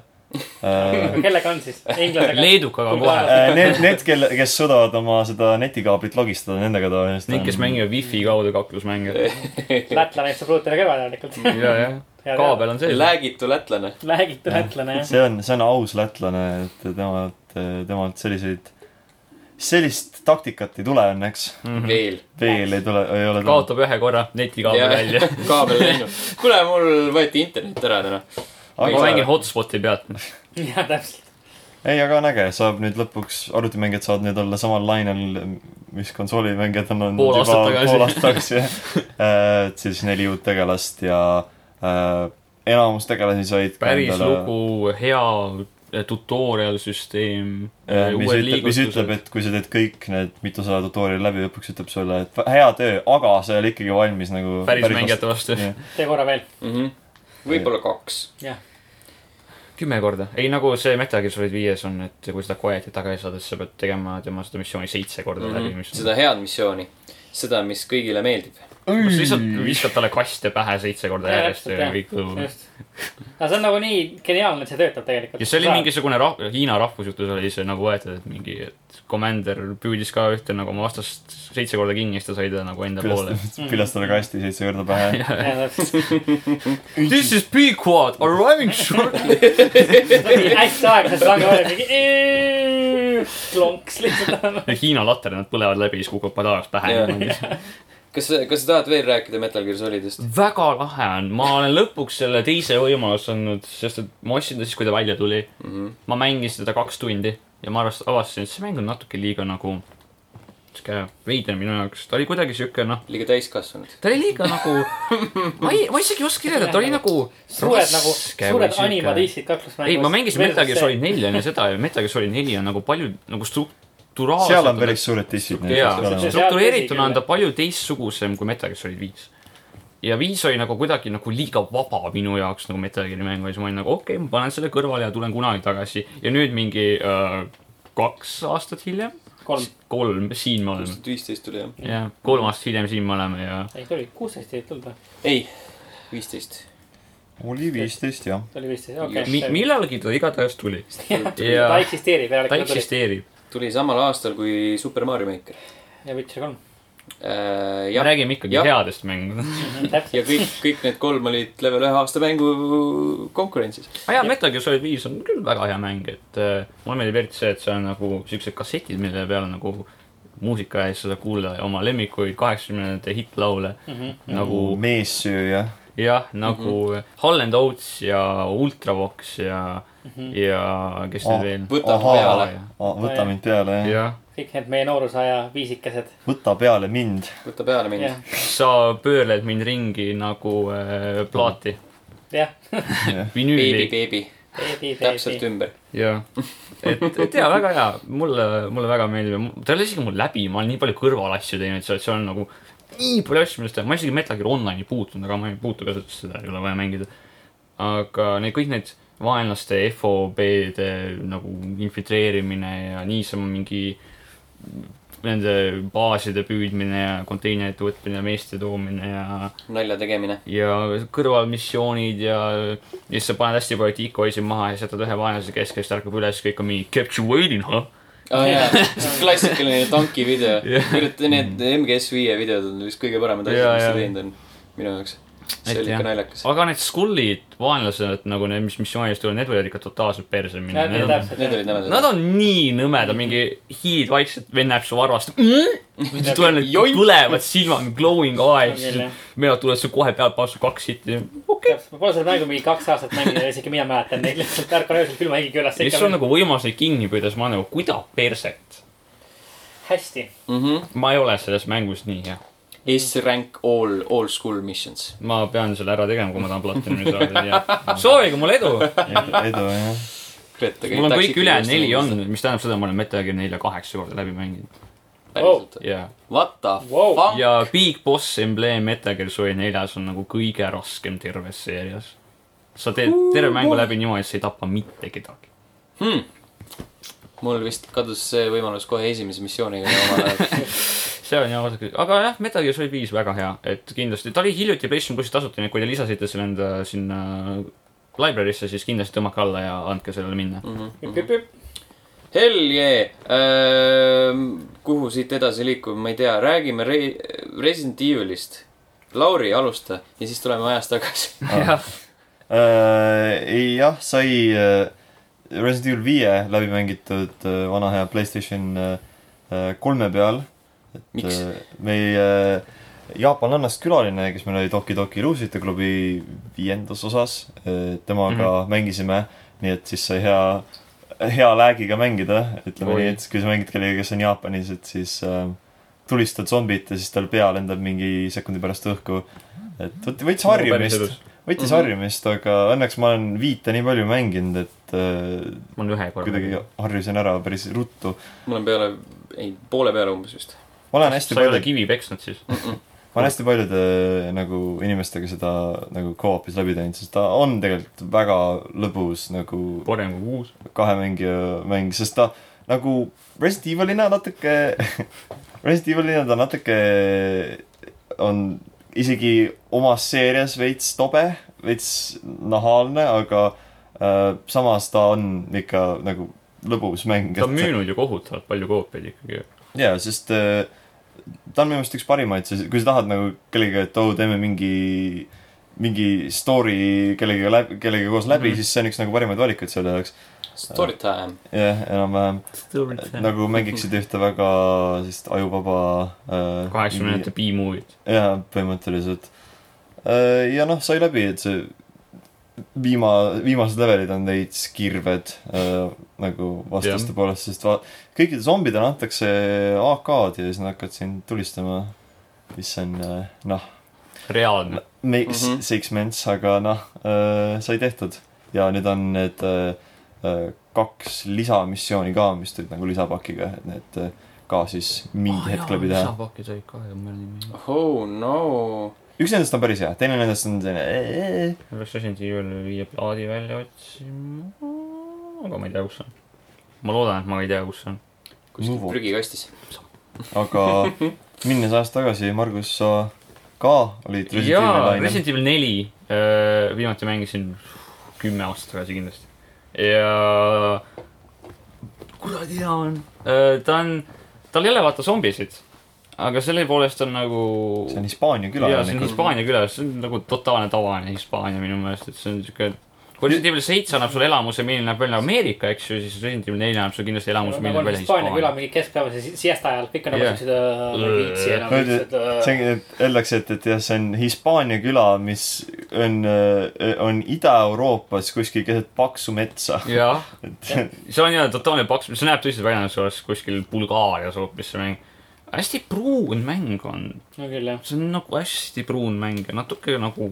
Äh,
*laughs*
kellega on siis ? inglasega ?
leedukaga on kohe . *laughs*
Need , need , kelle , kes suudavad oma seda netikaablit logistada , nendega ta
Need , kes . mängivad wifi kaudu kaklusmänge .
lätlane istub ruuteri kõrval järelikult .
ja , jah , kaabel on sees .
läägitu lätlane .
räägitud lätlane jah .
see on , see on aus lätlane , et temalt , temalt selliseid , sellist taktikat ei tule õnneks .
Mhm.
veel .
veel ei tule , ei ole tulnud .
kaotab ühe korra netikaabel välja .
*laughs* kaabel läinud . kuule , mul võeti internet ära täna .
ma mängin
aga ,
hotspot'i pealt .
jah , täpselt .
ei , aga on äge , saab nüüd lõpuks , arvutimängijad saavad nüüd olla samal lainel , mis konsoolimängijad on olnud
Pool aastat tagasi.
pool aastat tagasi ,
*laughs*
jah . et siis neli uut tegelast ja äh, enamus tegelasi said
päris lugu , hea tutorial süsteem .
Äh, mis ütleb , mis ütleb , et kui sa teed kõik need mitusada tutorial'i läbi , lõpuks ütleb sulle , et hea töö , aga sa ei ole ikkagi valmis nagu
päris mängijate vastu .
Jah.
tee korra veel .
võib-olla kaks .
jah ,
kümme korda . ei , nagu see Metal Gear Solid viies on , et kui seda quiet'i tagasi saada , siis sa pead tegema tema seda missiooni seitse korda
Mhm.
läbi , mis on
Mhm. seda head missiooni . seda , mis kõigile meeldib .
kas lihtsalt viskad talle kaste pähe seitse korda
Jah,
järjest ja
täpselt,
kõik õudne .
just . aga see on nagu nii geniaalne , et see töötab tegelikult .
ja see oli . mingisugune rah- , Hiina rahvusjutus oli see nagu võetud , et mingi , et komander püüdis ka ühte nagu oma vastast seitse korda kinni ja siis ta sai ta nagu enda poole .
*laughs* pilastada kasti seitse
*laughs*
korda pähe .
jah , täpselt .
This is Pequod arriving shortly .
hästi aeglaselt lange välja , mingi klonks lihtsalt .
Hiina laternad põlevad läbi , siis kukub padaras pähe .
kas , kas sa tahad veel rääkida Metal Gear Solidist ?
väga lahe on , ma olen lõpuks selle teise võimaluse andnud , sest et ma ostsin ta siis , kui ta välja tuli mm . -hmm. ma mängisin seda kaks tundi ja ma arvast- , avastasin , et see mäng on natuke liiga nagu sihuke veider minu jaoks , ta oli kuidagi sihuke noh ,
liiga täiskasvanud .
ta oli liiga nagu , ma ei , ma isegi ei oska kirjeldada , ta oli nagu
suured nagu ,
raske või
suured
sihuke-
animadiissid kaklusmängus .
ei , ma mängisin Metal Gear Solid neli enne seda ja Metal Gear Solid neli on nagu palju nagu strukturaalselt
seal on päris suured dissid .
jaa ,
olema.
struktureerituna
Seal
on ta palju teistsugusem kui Metal Gear Solid viis . ja viis oli nagu kuidagi nagu liiga vaba minu jaoks nagu Metal Gear'i mängu ja siis ma olin nagu okei okay, , ma panen selle kõrvale ja tulen kunagi tagasi ja nüüd mingi äh, kaks aastat hiljem ,
kolm ,
kolm , siin me oleme .
kuusteist , viisteist tuli jah ?
jah , kolm aastat hiljem siin me oleme ja
ei tuli , kuusteist ei tulnud või ?
ei , viisteist .
oli viisteist jah .
tuli viisteist , okei
mi
okay, .
millalgi ta igatahes tuli .
ta
ja
eksisteerib
ta
järelikult .
eksisteerib .
tuli samal aastal kui Super Mario Maker .
ja Witcher kolm ,
ja
me räägime ikkagi
Äh, Jah.
ja. headest mängudest .
ja
täpselt .
kõik , kõik need kolm olid level ühe aasta mängu konkurentsis .
aga jaa , Metal Gear Solid viis on küll väga hea mäng , et äh, mulle meeldib eriti see , et see on nagu siuksed kassetid , mille peal on nagu muusika ja siis saad kuulda oma lemmikuid kaheksakümnendate hittlaule mm -hmm.
mhm.
nagu
meessööja .
jah , nagu mm -hmm. Holland Oates ja Ultravox ja mm , -hmm. ja kes
Oh.
need veel ,
võtab
Ahaa.
peale ,
võta mind peale jah .
jah ,
kõik need meie nooruse aja viisikesed .
võta peale mind .
võta peale mind
jah .,
sa pöörled mind ringi nagu äh, plaati ,
jah .
beebi ,
vinüüli
beebi , täpselt . ümber .
ja et , et jaa , väga hea , mulle , mulle väga meeldib , ta ei ole isegi mul läbi , ma olen nii palju kõrvalasju teinud seal , et seal on nagu nii palju asju , millest ma isegi Metal Gear Online'i ei puutunud , aga ma ei puutu ka seda , sest seda ei ole vaja mängida . aga need kõik need vaenlaste FOB-de nagu infiltreerimine ja niisama mingi nende baaside püüdmine ja konteinerite võtmine ja meeste toomine ja
nalja tegemine .
ja kõrvalmissioonid ja , ja siis sa paned hästi palju tiikoisi maha ja jätad ühe vaenlase keske , siis ta ärkab üles , kõik on mingi kept you waiting , huh ?
aa jaa , klassikaline tanki video .
*laughs* Jah.
kurat , need MGS viie videod on vist kõige paremad asjad ,
Jaa,
mis ta
jaa.
teinud on minu jaoks . see
Et
oli
jah.
ikka naljakas .
aga need skullid , vaenlased nagu need , mis missioonidest tulevad , need võivad ikka totaalselt perse minna .
Nad- täpselt,
Need
jah.
olid nõmedad .
Nad on nii nõmedad , mingi hiid vaikselt vend näeb su varvast mm? . siis tulevad
Joi.
need põlevad silmad , glowing
On
eyes
küll, jah. .
mina tulen sulle kohe peale , panen sulle kaks hitti . okei .
ma pole seda mängu mingi kaks aastat mänginud ja isegi mina mäletan neid lihtsalt ärkan öösel külma hingi üles .
ja siis sul on nagu võimalus neid kinni püüda , siis ma olen nagu , kuida perset .
hästi .
mhmh ,
ma ei ole selles mängus nii hea .
S-rank all , all school missions .
ma pean selle ära tegema , kui ma tahan platinumi *laughs* saada . soovige mulle edu .
edu jah .
mul on kõik ülejäänud neli .
nagu
on , mis tähendab seda , et ma olen Metal Gear nelja kaheksa korda läbi mänginud .
päriselt või ?
jaa .
What the
Wow.
fuck ?
ja Big Boss Emblem Metal Gear Solid neljas on nagu kõige raskem terves seerias . sa teed terve mängu läbi niimoodi , et sa ei tapa mitte kedagi .
hmm. . mul vist kadus see võimalus kohe esimese missiooniga omal
*laughs*
ajal .
see on jah , aga jah , Metal Gear Solid viis väga hea , et kindlasti , ta oli hiljuti PlayStation plussis tasuta , nii et kui te lisasite selle enda sinna library'sse , siis kindlasti tõmmake alla ja andke sellele minna .
Hell yeah . kuhu siit edasi liikuda , ma ei tea , räägime Re- , Resident Evilist . Lauri , alusta ja siis tuleme ajas tagasi .
jah ,
Äh, ei jah , sai äh, Resident Evil viie läbi mängitud äh, vana hea Playstation äh, äh, kolme peal . et
Miks?
äh, meie äh, jaapanlannast külaline , kes meil oli Toki Toki Luusite klubi viiendas osas äh, , temaga mm -hmm. mängisime , nii et siis sai hea , hea läägiga mängida , ütleme
Oi.
nii , et kui sa mängid kellegagi , kes on Jaapanis , et siis äh, tulistad zombit ja siis tal pea lendab mingi sekundi pärast õhku . et võt- võttis harjumist , võttis mm
Mhm.
-hmm. harjumist , aga õnneks ma olen viite nii palju mänginud , et äh,
ma olen ühe korra .
kuidagi harjusin ära päris ruttu .
mul on peale , ei , poole peale umbes vist .
ma olen hästi
sa ei ole
palju ,
kivi peksnud siis ?
ma olen hästi paljude äh, nagu inimestega seda nagu co-op'is läbi teinud , sest ta on tegelikult väga lõbus nagu
parem kui kuus .
kahe mängija mäng , sest ta nagu Resident Evilina natuke , *laughs* Resident Evilina ta natuke on isegi omas seerias veits tobe , veits nahaalne , aga äh, samas ta on ikka nagu lõbus mäng .
ta on müünud ju kohutavalt palju koopiaid ikkagi .
jaa , sest äh, ta on minu meelest üks parimaid , kui sa tahad nagu kellegagi , et oo , teeme mingi , mingi story kellegagi läbi , kellegagi koos läbi
Mhm.
mm , -hmm. siis see on üks nagu parimaid valikuid selle jaoks .
Story time .
jah , enam-vähem . Et nagu mängiksid ühte väga sellist ajuvaba äh,
kaheksakümnendate B-movie'd .
mingi- jaa , põhimõtteliselt äh, . ja noh , sai läbi , et see viima- , viimased levelid on veits kirved äh, nagu vastaste
Jah.
yeah. poolest , sest va- kõikidele zombidele antakse AK-d ja siis nad hakkavad sind tulistama . mis on äh, noh ,
reaalne .
makes mm
Mhm.
-hmm. six months , aga noh äh, , sai tehtud . ja nüüd on need äh, äh, kaks lisamissiooni ka , mis tulid nagu lisapakiga , et need äh, ka siis mingi oh, hetk läbi teha .
lisapaki sai ka ja mõni nimi .
Oh no .
üks nendest on päris hea , teine nendest on selline .
oleks Resident Evil viie plaadi välja otsima , aga ma ei tea , kus see on . ma loodan , et ma ei tea , kus see on .
kuskil
Nuvo.
prügikastis .
aga
*laughs*
minnes aasta tagasi , Margus , sa ka olid
jaa ,
resident Evil'i lainel .
Resident Evil neli , viimati mängisin kümme aastat tagasi kindlasti . ja kuradi hea on , ta on , tal ei ole vaata zombisid , aga selle poolest on nagu
see on
jaa ,
Hispaania
see on
külaelanikud .
Hispaania külas , see on nagu totaalne tavaline Hispaania minu meelest , et see on siuke . kui Resident Evil seitse annab sulle elamuse , milline näeb välja Ameerika , eks ju , siis Resident Evil neli annab sulle kindlasti elamuse ,
nagu on
milline näeb välja
Hispaania küla
Hispaania .
mingi keskpäevase si- siesta ajal , kõik on nagu
Jah.
siuksed äh, ma ei viitsi enam
Öeldi ,
lihtsalt
et see , et öeldakse , et , et jah , see on Hispaania küla , mis on , on Ida-Euroopas kuskil keset paksu metsa .
jah ,
et *laughs*
see on jah totaalne paks , see näeb tõesti välja , nagu see oleks kuskil Bulgaarias hoopis see mäng . hästi pruun mäng on ,
äh, no küll jah .
see on nagu hästi pruun mäng ja natuke nagu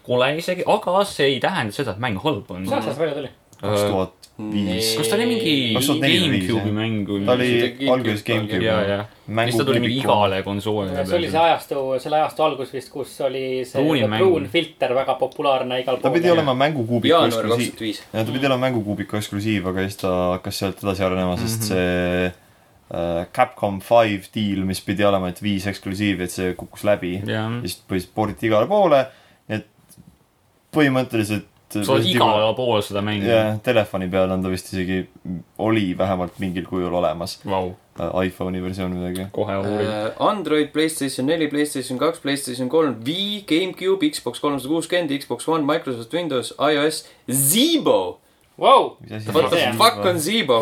kole isegi , aga see ei tähenda seda , et mäng halb on Äh,
mis . aastast välja tuli ?
kaks tuhat viis .
kas ta oli mingi
2004 või
GameCube'i
viis, jah?
mäng või ?
ta oli
Gamecube-
alguses GameCube'i
ja , ja , siis ta tuli mingi igale konsoolile .
see oli see ajastu , selle ajastu algus vist , kus oli see
Pruuni
nii-öelda
mäng.
pruun filter väga populaarne igal
ta
pool .
pidi olema mängukuubiku
jaanuar kaks
eksklusiiv
tuhat . viis .
ja ta pidi olema mängukuubiku eksklusiiv , aga siis ta hakkas sealt edasi arenema ,
Mhm.
sest see äh, Capcom Five deal , mis pidi olema , et viis eksklusiivi , et see kukkus läbi .
jah
ja siis põhimõtteliselt portiti igale poole , et põhimõtteliselt et
sa oled igal pool seda mängu .
jah , telefoni peal on ta vist isegi , oli vähemalt mingil kujul olemas ,
Vau ,
iPhone'i versioon midagi .
kohe uurin .
Äh, Android , Playstation neli , Playstation kaks , Playstation kolm , Wii , GameCube , Xbox kolmsada kuuskümmend , Xbox One , Microsoft Windows , iOS , Zibo .
Vau ,
What the
See on
fuck on Zibo ?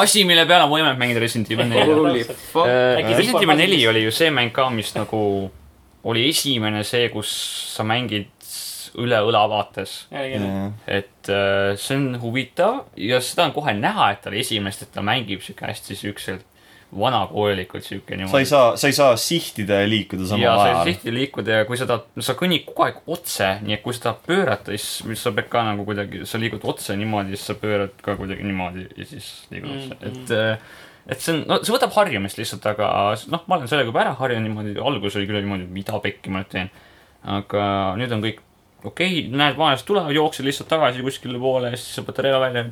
asi , mille peale on võimalik mängida Resident Evil neli .
Holy
täpselt.
fuck .
Äkki
Resident Evil
Zipo
neli
passis?
oli ju see mäng ka , mis nagu oli esimene see , kus sa mängid üle õla vaates .
jällegi mm. .
jah ,
et äh, see on huvitav ja seda on kohe näha , et ta oli esimest , et ta mängib sihuke hästi siukselt vanakoolikult sihuke
sa ei
niimoodi .
saa , sa ei saa sihtida ja liikuda
ja
samal
sa ei saa
ajal .
tihti liikuda ja kui sa tahad , sa kõnnid kogu aeg otse , nii et kui sa tahad pöörata , siis sa pead ka nagu kuidagi , sa liigud otse niimoodi , siis sa pöörad ka kuidagi niimoodi ja siis liigud otse
Mm, mm.
mm , -hmm. et et see on , no see võtab harjumist lihtsalt , aga noh , ma olen sellega juba ära harjunud niimoodi , alguses oli küll niimoodi , mida pekki ma nüüd teen . aga nüüd on kõik okei okay, , näed vaenlast tulevad , jookse lihtsalt tagasi kuskile poole ja siis sa võtad relva välja .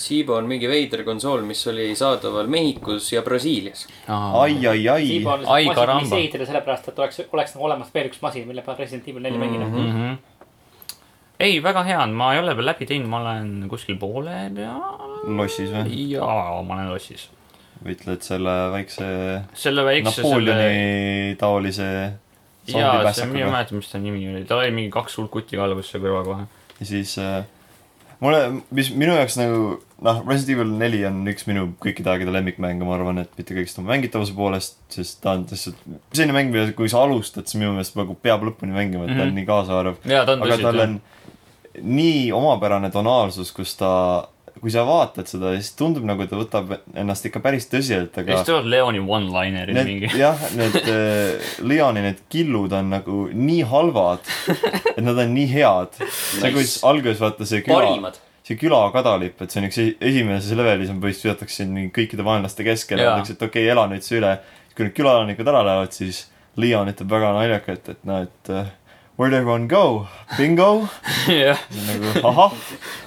Zibo on mingi veider konsool , mis oli saadaval Mehhikos ja Brasiilias .
ai , ai , ai
Tiiba on
Ai,
lihtsalt masin , mis
karamba.
ehitada sellepärast , et oleks , oleks nagu olemas veel üks masin , mille peal Resident Evil neli mängida mm .
mm . -hmm. ei , väga hea on , ma ei ole veel läbi teinud , ma olen kuskil poole peal .
lossis või ?
jaa , ma olen lossis .
ütled selle väikse
nagu selle väikse selle
Napoleoni taolise
jaa , see , ma ei
zombipässakuga
mäleta , mis ta nimi oli , tal oli mingi kaks suurt kutti alguses seal kõrval kohe .
ja siis äh, mulle , mis minu jaoks nagu noh , Resident Evil neli on üks minu kõikide aegade lemmikmänge , ma arvan , et mitte kõigest oma mängitavuse poolest , sest ta on lihtsalt selline mäng , mida kui sa alustad , siis minu meelest nagu peab lõpuni mängima , et ta on
Mhm.
nii kaasaarv .
jaa , ta on
aga tal
tõsi
on . nii omapärane tonaalsus , kus ta , kui sa vaatad seda , siis tundub nagu ta võtab ennast ikka päris tõsiselt ,
ja
aga
siis tulevad Leoni one-linerid
Need,
mingi .
*laughs* jah , need äh, Leoni need killud on nagu nii halvad , et nad on nii head . see , kui
Nice.
alguses vaata see küla ,
parimad .
see külakadalipp , et see on üks esi- esimeses levelis on põhimõtteliselt visatakse sind mingi kõikide vaenlaste keskele ,
Jaa.
öeldakse , et okei okay, , ela nüüd see üle . kui need külaelanikud ära lähevad , siis Leon ütleb väga naljakalt , et noh , et äh, where'd everyone go , bingo .
*laughs* jah ,
nagu ahah ,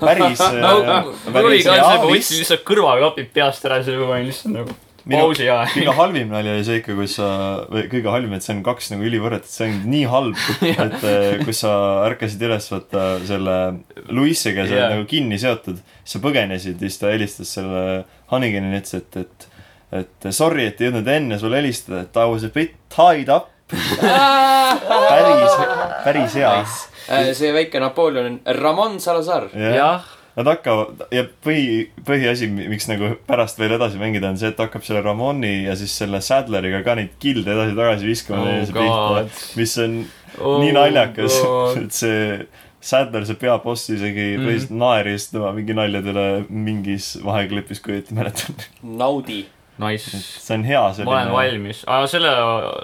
päris
Nagu-
äh, päris
Luriga on see , ma
hea
võtsin
vist .
nagu lihtsalt kõrvaklapid peast ära , siis ma olin lihtsalt nagu
Minu-
pausi ja .
kõige halvim nali oli see ikka , kus sa , või kõige halvim , et see on kaks nagu ülivõrret , et see on nii halb , et äh, kus sa ärkasid üles , vaata selle Luisega , sa
Jaa.
olid nagu kinni seotud , sa põgenesid ja siis ta helistas selle Hanigenile , ütles , et , et et sorry , et ei jõudnud enne sulle helistada , et I was a bit tied up . päris , päris hea .
see väike Napoleon on Ramon Salazar .
jah ,
Nad hakkavad ja põhi , põhiasi , miks nagu pärast veel edasi mängida , on see , et hakkab selle Ramoni ja siis selle Sadleriga ka neid kilde edasi-tagasi viskama
Oh
teineteise
God.
pihta . mis on
Oh
nii naljakas
God. ,
et see Sadler , see peaboss isegi
Mhm.
põhiliselt naeris tema mingi naljade üle mingis vaheklipis , kui õieti mäletan .
naudi .
*laughs* nice .
see on hea
ma olen
selline .
valmis , aga selle ,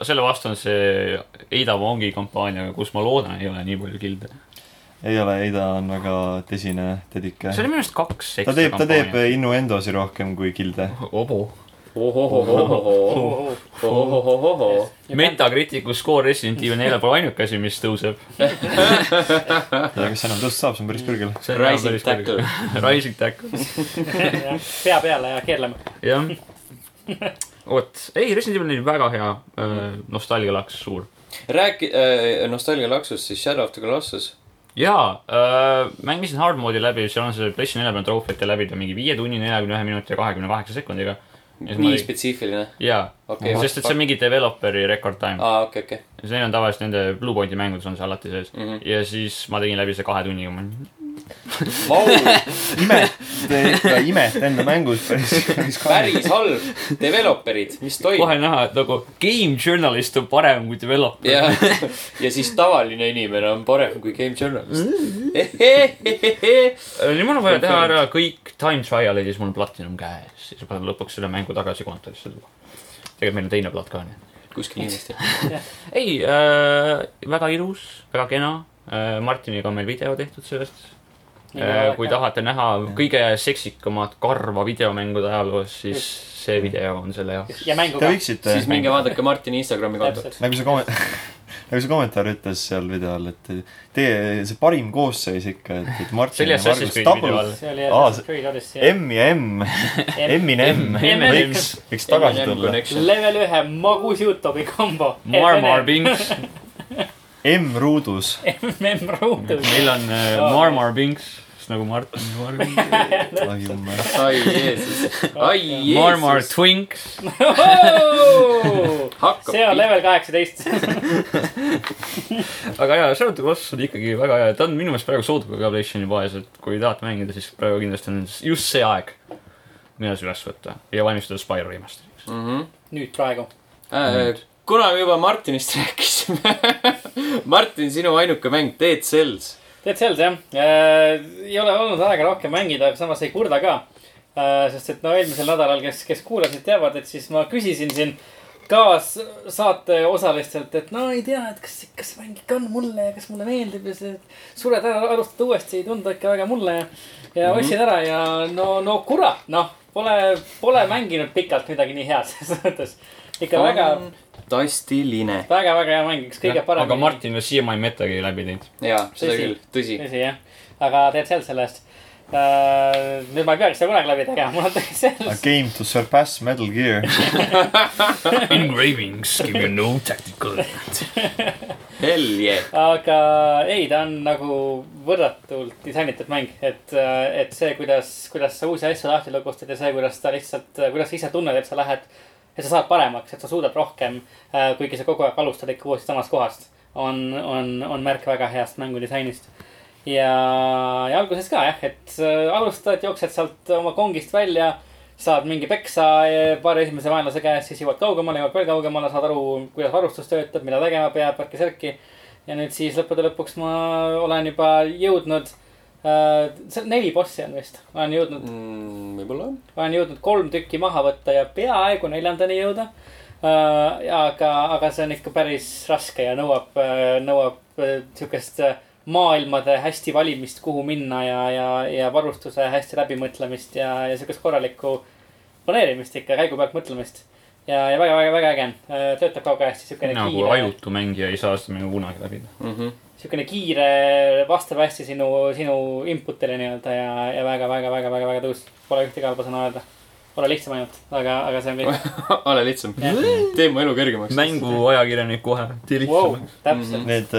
selle vastu on see Ada Wongi kampaania , kus ma loodan , ei ole nii palju kilde .
ei ole , ei ta on väga tõsine tädike
see . oli minu arust kaks
ta teeb , ta teeb . innuendosi rohkem kui kilde .
Obo .
-hmm.
Metacriticu skoor Resident Evil neljal pole ainuke asi , mis tõuseb .
kas see enam tõusta saab , see on päris kõrgel .
Rising Tackle .
*laughs* Rising Tackle ,
pea peale ja keerlema .
jah . vot , ei , Resident Evil neli väga hea äh, nostalgialaks , suur .
rääki- äh, , nostalgia laksust , siis Shadow of the Colossus .
jaa äh, , mängisin hard mode'i läbi , seal on see PlayStation nelja peal trofeete läbida mingi viie tunni , neljakümne ühe minuti ja kahekümne kaheksa sekundiga .
nii spetsiifiline .
jaa
Okei, Ah.
okay, , sest et see on mingi developeri record time .
aa , okei , okei .
see on tavaliselt nende Blue Pointi mängudes on see alati sees mm .
Mhm.
-hmm. ja siis ma tegin läbi see kahe tunniga , ma olin ,
Vau ,
imet , ikka imet enda mängus *laughs* päris , päris
päris halb . Developerid , mis
kohe
toimub ?
näha , et nagu game journalist on parem kui developer .
ja , ja siis tavaline inimene on parem kui game journalist .
Äh, nüüd mul on vaja teha ära kõik time trial'id ja siis mul on platinum käes . siis ma panen lõpuks selle mängu tagasi kontorisse tuua . tegelikult meil on teine plat ka , nii et .
kuskil kindlasti .
ei äh, , väga ilus , väga kena äh, . Martiniga on meil video tehtud sellest . Äh, kui . tahate näha kõige seksikamat karva videomängude ajaloos , siis see video on selle jaoks .
ja mängu
Te
ka .
võiksite ,
siis minge vaadake Martini Instagrami kontot .
täpselt .
nagu see komment- , *laughs* nagu see kommentaar ütles seal video all , et teie , see parim koosseis ikka , et , et
see
Martin
oli
ja
Assassin's Creed'i
Margus
video
Double ,
all .
see oli
Aa,
Assassin's Creed Odyssey .
M ja M , M-ine M ,
M&M's.
võiks , võiks tagasi tulla .
level ühe magus Youtube'i kombo .
Marmar . Pinks .
M-ruudus .
*laughs* MM ruudus .
meil on äh,
Aa.
Marmar Pinks , siis nagu Martin Marmar .
ai jumal .
ai
*laughs*
Jeesus , ai
Marmar
Jeesus .
Twinks . *laughs*
hakkab
see on
pihta .
level kaheksateist . *laughs*
aga jaa , Shadow Colossus on ikkagi väga hea , ta on minu meelest praegu sooduga ka PlayStationi poes , et kui tahad mängida , siis praegu kindlasti on just see aeg , millal see üles võtta ja valmistada Spyro remaster'iks .
nüüd praegu .
Mhm. Äh, kuna me juba Martinist *laughs* rääkisime . Martin , sinu ainuke mäng , Dead Cells .
Dead Cells jah äh, , ei ole olnud aega rohkem mängida , aga samas ei kurda ka äh, . sest et no eelmisel nädalal , kes , kes kuulasid , teavad , et siis ma küsisin siin kaassaate osalistelt , et no ei tea , et kas , kas mäng ikka on mulle ja kas mulle meeldib ja see , et sured ära , alustad uuesti , ei tundu ikka väga mulle ja . ja mm -hmm. ostsid ära ja no , no kurat , noh , pole , pole mänginud pikalt midagi nii head *laughs* selles mõttes . ikka väga ,
fantastiline .
väga-väga hea mäng , üks kõige parem .
aga Martin veel siiamaani metagi läbi teinud .
jaa , seda
Tõsi.
küll , tõsi .
tõsi jah , aga teed seal sellest uh, . nüüd ma ei peaks seda kunagi läbi tegema , mul on tegelikult
A
selles .
game to surpass Metal Gear .
Engravings give you no tactical advantage .
Hell yeah .
aga ei , ta on nagu võrratult disainitud mäng , et , et see , kuidas , kuidas sa uusi asju lahti lukustad ja see , kuidas ta lihtsalt , kuidas sa ise tunned , et sa lähed , et sa saad paremaks , et sa suudad rohkem uh, . kuigi sa kogu aeg alustad ikka uuesti samast kohast , on , on , on märk väga heast mängudisainist ja , ja alguses ka jah , et äh, alustad , jooksed sealt oma kongist välja , saad mingi peksa eh, paari esimese vaenlase käest , siis jõuad kaugemale , jõuad veel kaugemale , saad aru , kuidas varustus töötab , mida tegema peab , värki särki . ja nüüd siis lõppude lõpuks ma olen juba jõudnud äh, , seal neli bossi on vist , olen jõudnud
võib-olla .
olen jõudnud kolm tükki maha võtta ja peaaegu neljandani jõuda . aga , aga see on ikka päris raske ja nõuab , nõuab äh, sihukest äh, maailmade hästi valimist , kuhu minna ja , ja , ja varustuse hästi läbimõtlemist ja , ja sihukest korralikku planeerimist ikka , käigu pealt mõtlemist . ja , ja väga , väga , väga äge on , töötab ka väga hästi siukene
nagu
kiire ,
ajutu mängija ei saa seda minu kunagi läbi .
Mhm. *laughs*
siukene kiire , vastab hästi sinu , sinu input'ile nii-öelda ja , ja väga , väga , väga , väga , väga tõus . Pole ühtegi halba sõna öelda , ole lihtsam ainult , aga , aga see on kõik .
ole lihtsam . tee mu elu kergemaks .
mänguajakirjanik kohe .
wow, . täpselt mm ,
Need ,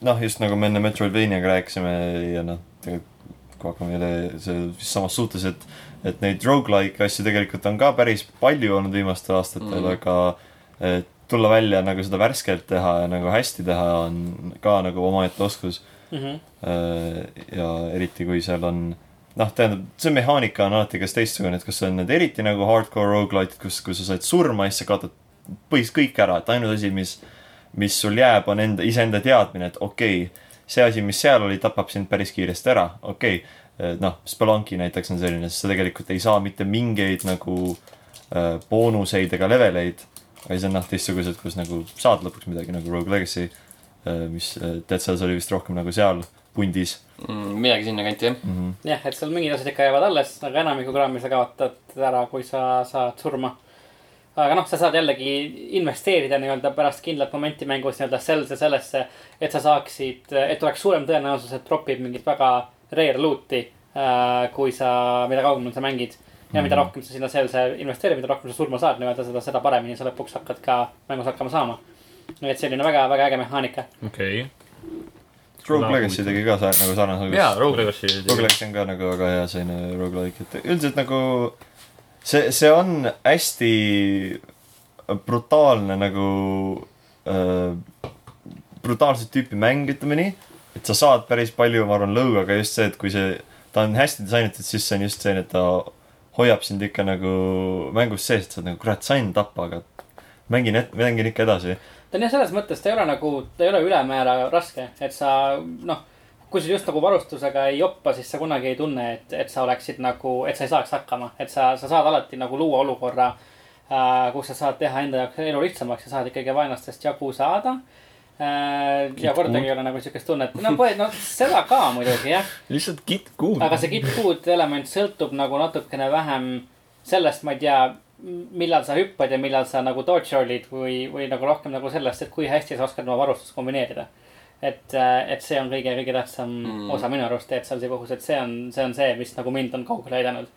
noh , just nagu me enne Metroidvaniaga rääkisime ja noh , tegelikult kui hakkame jälle selles vist samas suhtes , et , et neid rogu-like asju tegelikult on ka päris palju olnud viimastel aastatel
Mhm.
mm. , aga et tulla välja nagu seda värskelt teha ja nagu hästi teha on ka nagu omaette oskus .
-hmm. Mm -hmm.
Äh, ja eriti , kui seal on noh , tähendab , see mehaanika on alati kas teistsugune , et kas on need eriti nagu hardcore rogu-lite'id , kus , kui sa said surma , siis sa kaotad põhiliselt kõik ära , et ainus asi , mis , mis sul jääb , on enda , iseenda teadmine , et okei okay, , see asi , mis seal oli , tapab sind päris kiiresti ära , okei okay. . noh , Spelunki näiteks on selline , sest sa tegelikult ei saa mitte mingeid nagu äh, boonuseid ega leveleid . aga siis on noh , teistsugused , kus nagu saad lõpuks midagi nagu Rogue Legacy , mis äh, Dead Cells oli vist rohkem nagu seal pundis
midagi sinnakanti , jah .
mm . -hmm.
jah , et seal mingid asjad ikka jäävad alles , aga enamiku kraami sa kaotad ära , kui sa saad surma . aga noh , sa saad jällegi investeerida nii-öelda pärast kindlat momenti mängus nii-öelda sellesse , sellesse , et sa saaksid , et oleks suurem tõenäosus , et tropib mingit väga rare loot'i , kui sa , mida kaugemale sa mängid . ja mida rohkem sa sinna sellesse investeerid , mida rohkem sa surma saad nii-öelda seda , seda paremini sa lõpuks hakkad ka mängus hakkama saama . nii et selline väga , väga äge mehaanika .
okei .
Rogue Legacy tegi ka sa- nagu sarnase .
jaa , Rogue Legacy .
Rogue Legacy on ka nagu väga hea selline rogu-like , et üldiselt nagu see , see on hästi brutaalne nagu äh, , brutaalset tüüpi mäng , ütleme nii . et sa saad päris palju , ma arvan , lõuga , aga just see , et kui see , ta on hästi disainitud , siis see on just see , et ta hoiab sind ikka nagu mängus sees , et sa oled nagu kurat , sain tappa , aga mängin , mängin ikka edasi .
ta on jah , selles mõttes ta ei ole nagu , ta ei ole ülemäära raske , et sa noh , kui sa just nagu varustusega ei joppa , siis sa kunagi ei tunne , et , et sa oleksid nagu , et sa ei saaks hakkama , et sa , sa saad alati nagu luua olukorra äh, , kus sa saad teha enda jaoks elu lihtsamaks ja saad ikkagi vaenlastest jagu saada äh, . ja kordagi ei ole nagu siukest tunnet , no , no seda ka muidugi jah ,
lihtsalt kitt kuum .
aga see kitkud element sõltub nagu natukene vähem sellest , ma ei tea , millal sa hüppad ja millal sa nagu dodge roll'id või , või nagu rohkem nagu sellest , et kui hästi sa oskad oma varustust kombineerida . et , et see on kõige-kõige tähtsam mm.
Mm.
osa minu arust Dead Cellsi puhul , et see on , see on see , mis nagu mind on kaugele aidanud .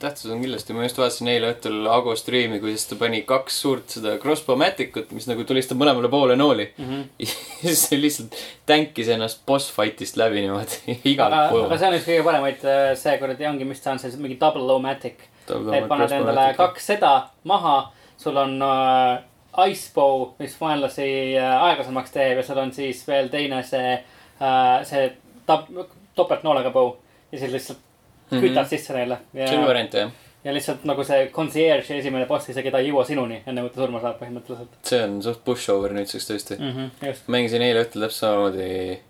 tähtis Mm, on kindlasti , ma just vaatasin eile õhtul Ago striimi , kuidas ta pani kaks suurt seda crossbowmatic'ut , mis nagu tulistab mõlemale poole nooli .
Mhm.
*laughs* ja siis see lihtsalt tänkis ennast boss fight'ist läbi niimoodi *laughs*
aga
igalt ,
aga
poolt .
see on üks kõige paremaid , see kuradi ongi , mis ta on , see mingi double-o-matic . et paned endale kaks seda maha , sul on äh, icebow , mis vaenlasi äh, aeglasemaks teeb ja sul on siis veel teine see äh, , see tap- , topeltnoolega bow . ja siis lihtsalt
Mhm.
kütad sisse neile
see on
ja ,
variant jah ,
ja lihtsalt nagu see concierge esimene boss isegi ta ei jõua sinuni , enne kui ta surma saab põhimõtteliselt
see on suht pushover nüüdseks tõesti .
mm . -hmm, just ,
mängisin eile õhtul täpselt samamoodi .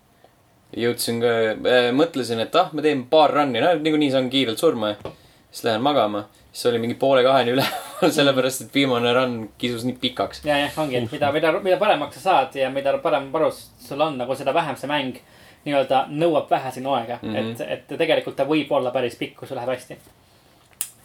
jõudsin ka äh, , mõtlesin , et ah , ma teen paar run'i , no niikuinii saan kiirelt surma . siis lähen magama , siis oli mingi poole kaheni üleval , *laughs* sellepärast et viimane run kisus nii pikaks .
ja , jah , ongi , et mida , mida , mida paremaks sa saad ja mida parem varus sul on , nagu seda vähem see mäng nii-öelda nõuab vähe sinu aega mm ,
Mhm.
-hmm. et , et tegelikult ta võib olla päris pikk , kui sul läheb hästi .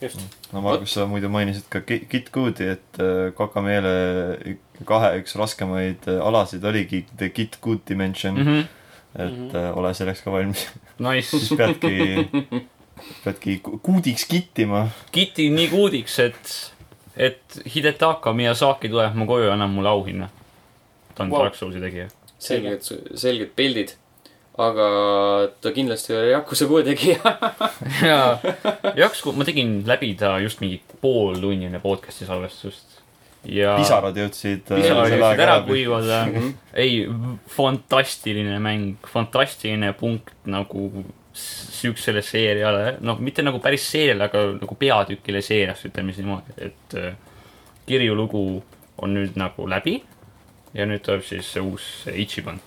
just ,
no Margus , sa muidu mainisid ka Ki- Git Good'i , et äh, Kokameele ük- kahe üks raskemaid äh, alasid oligi The Git Good Dimension mm ,
-hmm.
-hmm. et äh, ole selleks ka valmis , *laughs*
Nice ,
siis peadki , peadki ku- kuudiks kittima .
kiti nii kuudiks , et , et Hidetaka Miyazaki tuleb mu koju ja annab mulle auhinna . ta on
Wow.
Dark Soulsi tegija .
selged , selged pildid . aga ta kindlasti ei ole Yakuza kuue tegija .
*laughs* ja , jaks , ma tegin läbi ta just mingi pooltunnine podcast'i salvestust . ja .
pisarad jõudsid . äh,
pisarad jõudsid ära kuivada . ei , fantastiline mäng , fantastiline punkt nagu s- siuksele seeriale , noh , mitte nagu päris seeriale , aga nagu peatükile seeriast , ütleme siis niimoodi , et äh, kirju lugu on nüüd nagu läbi ja nüüd tuleb siis see uus Ichiban .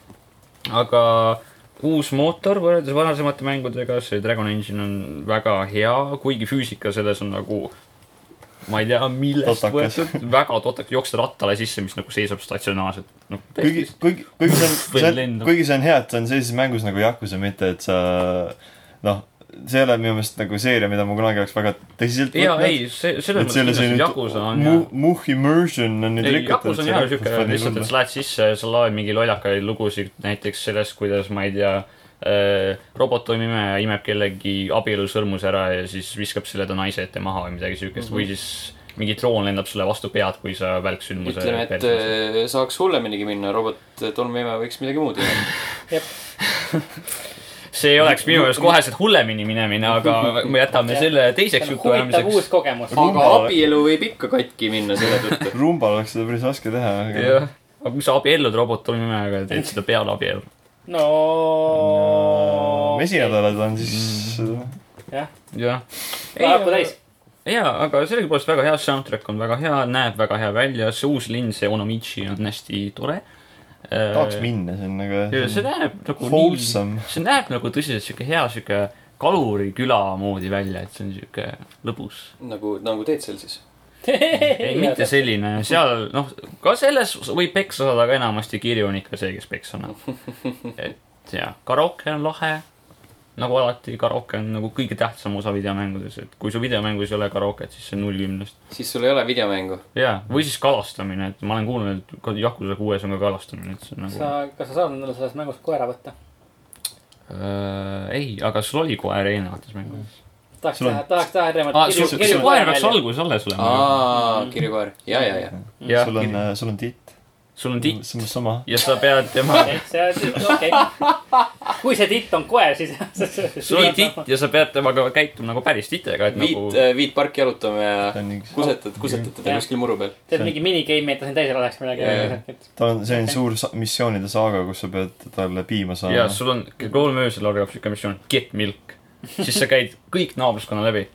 aga uus mootor võrreldes varasemate mängudega , see Dragon Engine on väga hea , kuigi füüsika selles on nagu ma ei tea , millest
Totakas.
võetud , väga totak , jooksed rattale sisse , mis nagu seisab statsionaarselt . noh ,
kuigi , kuigi , kuigi see on ,
*laughs* Või
see on ,
lendab.
kuigi see on hea , et see on sellises mängus nagu Yakuza , mitte et sa noh , see ei ole minu meelest nagu seeria , mida ma kunagi oleks väga tõsiselt
jaa , ei , see , selles
et
mõttes
selle
kindlasti
selline
Yakuza on
mu-
hea .
muh immersion on nüüd
ei ,
rikutud .
Yakuza on hea siuke , lihtsalt , et sa lähed sisse ja sa loed mingi lollakaid lugusid , näiteks sellest , kuidas , ma ei tea , robot on ime , imeb kellegi abielusõrmuse ära ja siis viskab selle ta naise ette maha või midagi siukest mm -hmm. või siis mingi droon lendab sulle vastu pead , kui sa välksündmuse
ütleme , et äh, saaks hulleminigi minna , robot tolmuime võiks midagi muud teha .
see ei oleks minu meelest koheselt hullemini minemine , aga me jätame selle teiseks
see on
jutu
huvitav uus
ajamiseks .
kogemus .
aga
Rumba-
abielu võib ikka katki minna selle tõttu . *laughs*
rumbal oleks seda päris raske teha , aga
jah , aga kui sa abiellud robot tolmuimega , teed seda peale abielu .
no .
mesinädalad on siis
Mm.
jah ,
jah .
paraku täis .
jaa , aga sellegipoolest väga hea , soundtrack on väga hea , näeb väga hea välja , see uus linn , see Onomichi on hästi tore .
tahaks . minna , see on
see
nagu
näeb nagu nii ,
wholesome .
see näeb nagu tõsiselt sihuke hea sihuke kaluriküla moodi välja , et see on sihuke lõbus .
nagu , nagu teed seal siis ?
*laughs* ei ,
*laughs*
mitte selline , seal noh , ka selles võib peksa saada , aga enamasti kiri on ikka see , kes peksa annab . et jaa , karaoke on lahe . nagu alati , karaoke on nagu kõige tähtsam osa videomängudes , et kui su videomängus ei ole karaoket , siis see on null kümnest .
siis sul ei ole videomängu .
jaa , või siis kalastamine , et ma olen kuulnud , et ka Yakuza kuues on ka kalastamine , et see on nagu
sa , kas sa saad endale selles mängus koera võtta ?
äh, . ei , aga sul oli koer eelnevates mängudes .
tahaks
Sul on-
teha , tahaks teha erinevat
aa , Ah, sul , sul koer peaks .
*laughs*
alguses alles olema .
aa , kirjukoer , ja , ja , ja .
jah
sul , on , sul on titt ,
sul on titt
sul on sama .
ja sa pead tema ,
*laughs* see on , okei . kui see titt on koer , siis . *laughs*
sul on titt ja sa pead temaga käituma nagu päris titega , et nagu
viit , viit parki jalutame ja
ta on üks ,
kusetad , kusetad teda
Jah.
kuskil muru *laughs* peal .
teed mingi minigame'i , et ta siin teisel oleks
Jaa, jaa.
midagi .
ta on , see on suur sa- missioonide saaga , kus sa pead talle piima
ja
saama .
sul on , kolm öösel algab siuke missioon , get milk . siis sa käid kõik naabruskonna läbi .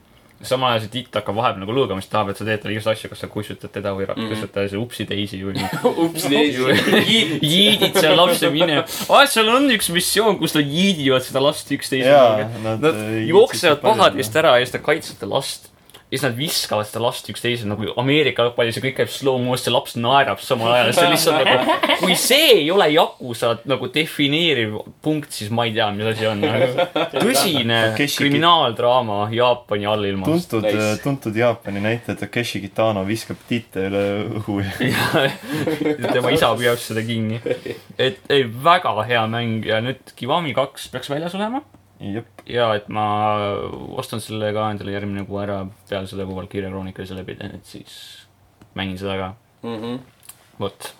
samal ajal see titt hakkab vahepeal nagu lõõgama , siis tahab , et sa teed talle igast asju , kas sa kussutad teda või mm -hmm. kussutad seda upsi-teisi või
ups , teisi .
jiidid seal lapse minema . aa , seal on üks missioon , kus nad jiidivad seda last üksteise
Jaa,
peale.
nad,
Nad
äh,
jooksevad
jiidsid
pahadest ära ja siis te kaitsete last . ja siis nad viskavad seda last üksteisele nagu Ameerika jalgpallis ja kõik käib slow motion , laps naerab samal ajal ja see on lihtsalt nagu , kui see ei ole Yakuza nagu defineeriv punkt , siis ma ei tea , mis asi on nagu, . tõsine
Takeshi-
kriminaaldraama Jaapani allilmas .
tuntud
Nice. ,
tuntud Jaapani näitleja Takeshi Kitano viskab tiite üle õhu ja
tema isa püüab seda kinni . et ei , väga hea mäng ja nüüd Kiwami kaks peaks väljas olema *laughs*
jep ,
ja et ma ostan selle ka endale järgmine kuu ära peale seda , kui Valkyria Chronicle'i selle pidin , et siis mängin seda ka ,
mm . -hmm.
vot .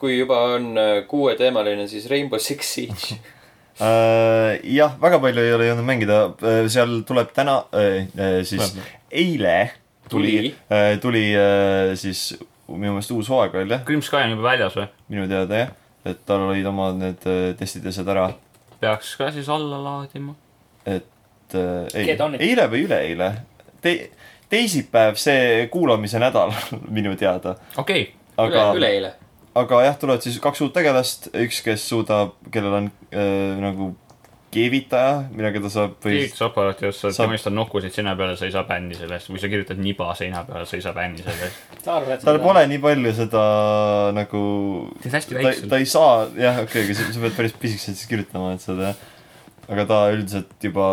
kui juba on äh, kuueteemaline , siis Rainbow Six Siege .
Äh, jah , väga palju ei ole jõudnud mängida , seal tuleb täna äh, , äh, siis eile tuli,
Tuli.
tuli. , tuli äh, siis minu meelest uus hooaeg veel jah ,
Grim Sky on juba väljas või ?
minu teada jah , et tal olid omad need äh, testid ja asjad ära ,
peaks ka siis alla laadima .
et äh, ei
Get on , it.
eile või üleeile Te, , teisipäev , see kuulamise nädal *laughs* minu teada ,
okei okay. ,
üle
aga ,,
üleeile .
aga jah , tulevad siis kaks uut tegelast , üks , kes suudab , kellel on äh, nagu keevitaja , millega ta saab või
kiiritusaparaati osta ,
Saab-
tema istub nokkusid seina peale , sa ei saa bänni selle eest , kui sa kirjutad niba seina peale , sa ei saa bänni selle
*laughs*
eest .
sa arvad , et
tal pole nii palju seda nagu
see on hästi
ta, ta
väiksel .
ei saa , jah , okei okay, , aga sa- sa pead päris pisikeseks siis kirjutama , et seda aga ta üldiselt juba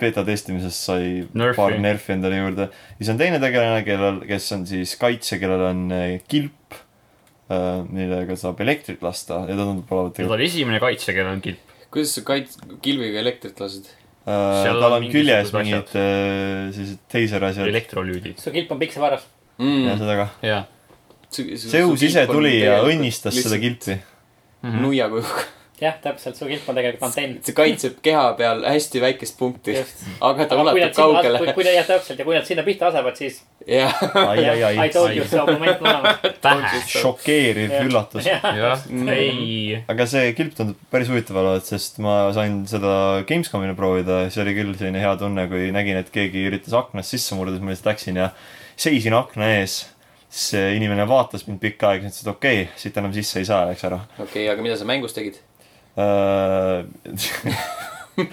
beeta testimisest sai
Nerfi.
paar nerfi endale juurde . ja siis on teine tegelane , kellel , kes on siis kaitse , kellel on eh, kilp , millega saab elektrit lasta ja ta tundub olevat
ta oli esimene kaitse , kellel on kilp .
kuidas sa kait- , kilviga elektrit lased ?
Äh,
Seal
tal
on
on küljes
mingisugused
mingid äh, sellised teiserasjad ja
elektrolüüdid .
su kilp on piksevarras .
see
seda ka .
jaa .
see uus ise tuli ja Mhm. õnnistas seda . kilpi .
*laughs*
Mhm.
nuia kujuga .
jah , täpselt , su kilp on tegelikult antenn .
see kaitseb keha peal hästi väikest punkti ,
just .
aga ta
kui nad
ulatub
sinna , kui,
kaugele .
kui nad jah , täpselt ja kui nad sinna pihta asevad , siis
jah ,
*laughs* ai , ai ,
I
ai .
told you so moment on olemas .
pähe .
*laughs* šokeeriv
Jah.
üllatus .
jah , ei .
aga see kilp tundub päris huvitav olevat , sest ma sain seda Gamescomina proovida ja see oli küll selline hea tunne , kui nägin , et keegi üritas aknast sisse murda , siis ma lihtsalt läksin ja seisin akna ees . siis see inimene vaatas mind pikka aega , siis ütles , et okei okay, , siit enam sisse ei saa , läks ära .
okei , aga mida sa mängus tegid ?
ai ,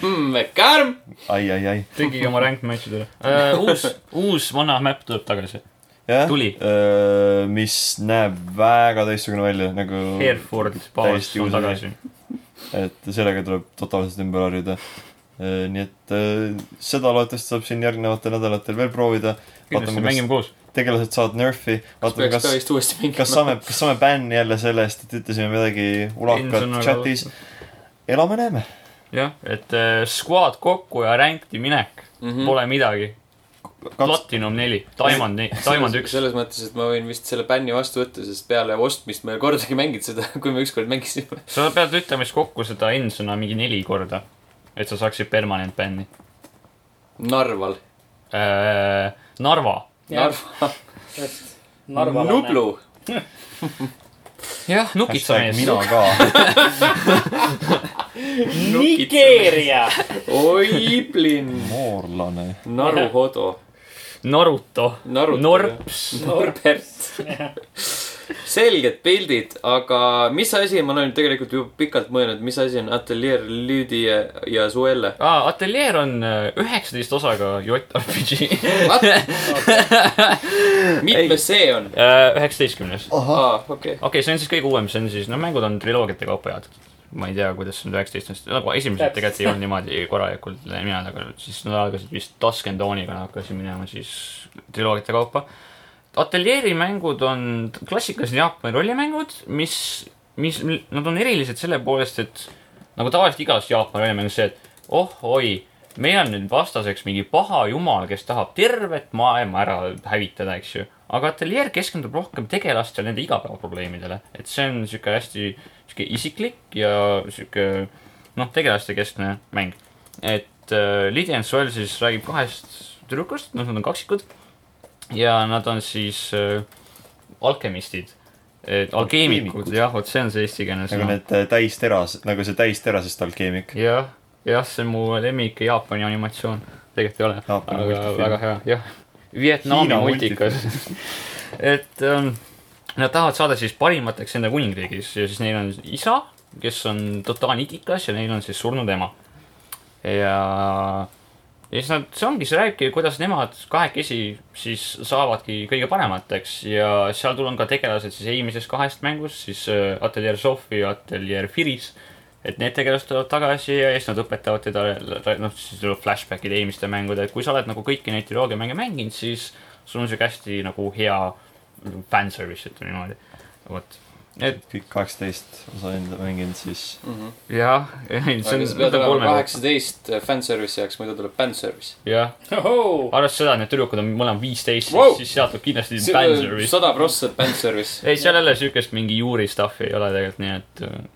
Mm, Kärm .
*laughs* ai , ai .
tegi oma ränk match'id ära . uus , uus vana map tuleb tagasi .
jah äh,
Tuli. ,
mis näeb väga teistsugune välja nagu .
Hereford baas
Täiesti
on
uus
tagasi .
et sellega tuleb totaalselt ümber harjuda . nii et äh, seda loodetavasti saab siin järgnevatel nädalatel veel proovida .
kindlasti
vaatame ,
mängime koos .
kas tegelased saavad nörfi ,
kas
vaatame ,
peaks
kas
ka , vist uuesti mingi
kas saame , kas saame bänni jälle selle eest , et ütlesime midagi
nagu-
ulakat chatis . elame-näeme .
jah , et äh, squad kokku ja ränkti minek mm ,
Mhm.
-hmm. pole midagi . Platinum neli , Diamond neli , Diamond üks .
selles mõttes , et ma võin vist selle bänni vastu võtta , sest peale ostmist ma ei ole kordagi mänginud seda , *laughs* kui me ükskord mängisime .
sa pead ütlema siis kokku seda N-sõna mingi neli korda , et sa saaksid permanent bänni
Narval .
äh, . Narva .
Narva .
Narva .
Nublu .
jah , nukitsamees .
mina
*laughs*
ka .
Nigeeria .
oi , plinn .
moorlane .
Naruhodo .
Naruto .
Naruto,
Norps .
Norbert . selged pildid , aga mis asi , ma olen tegelikult ju pikalt mõelnud , mis asi on Atelier Lüüdi ja, ja Suelle ?
aa , Ateljeer on äh, üheksateist osaga JRPG .
mitmes see on ?
Äh, üheksateistkümnes .
aa , okei .
okei okay, , see on siis kõige uuem , see on siis , no mängud on triloogiate kaupa jaotatud . ma ei tea , kuidas nüüd üheksateistkümnest , nagu esimesed
Täpselt.
tegelikult ei olnud niimoodi korralikult nimel , aga siis nad algasid vist Duskendoniga nad hakkasid minema siis triloogiate kaupa . ateljeeri mängud on klassikalised Jaapani rollimängud , mis , mis , nad on erilised selle poolest , et nagu tavaliselt igas Jaapani rollimängus see , et oh oi , meil on nüüd vastaseks mingi paha jumal , kes tahab tervet maailma ära hävitada , eks ju . aga ateljeer keskendub rohkem tegelastele , nende igapäevaprobleemidele , et see on niisugune hästi sihuke isiklik ja sihuke noh , tegelaste keskne mäng . et äh, Lydia and Soil siis räägib kahest tüdrukust , noh , nad on kaksikud ja nad on siis äh, alkemistid , alkeemikud , jah , vot see noh. on see eestikeelne
nagu
sõna .
need äh, täisteras , nagu see täisterasest alkeemik .
jah , jah , see on mu lemmik Jaapani animatsioon , tegelikult ei ole ,
Jaapani
aga
multifilm.
väga hea , jah . Vietnami
Hiina
multikas , *laughs* et um, nad tahavad saada siis parimateks enda kuningriigis ja siis neil on isa , kes on totaalne itikas ja neil on siis surnud ema . ja ja siis nad , see ongi , see räägibki , kuidas nemad kahekesi siis saavadki kõige paremateks ja seal tul on ka tegelased siis eelmises kahest mängus , siis äh, Atelier Sofi ja Atelier Firis . et need tegelased tulevad tagasi ja siis nad õpetavad teda , noh , siis tuleb flashback'id eelmiste mängude , et kui sa oled nagu kõiki neid triloogiamänge mänginud , siis sul on siuke hästi nagu hea fanservice , ütleme niimoodi . vot , et
kõik kaheksateist osa enda mänginud , siis
jah , see
aga
on
sa pead olema
kolme ,
kaheksateist fanservice'i jaoks , muidu tuleb fanservice .
jah arvestades seda , et need tüdrukud on mõlemad viisteist wow.
Wow! ,
siis sealt tuleb kindlasti fanservice .
sada prossa fanservice .
*laughs* ei , seal jälle siukest mingi juuri stuff'i ei ole tegelikult , nii et äh,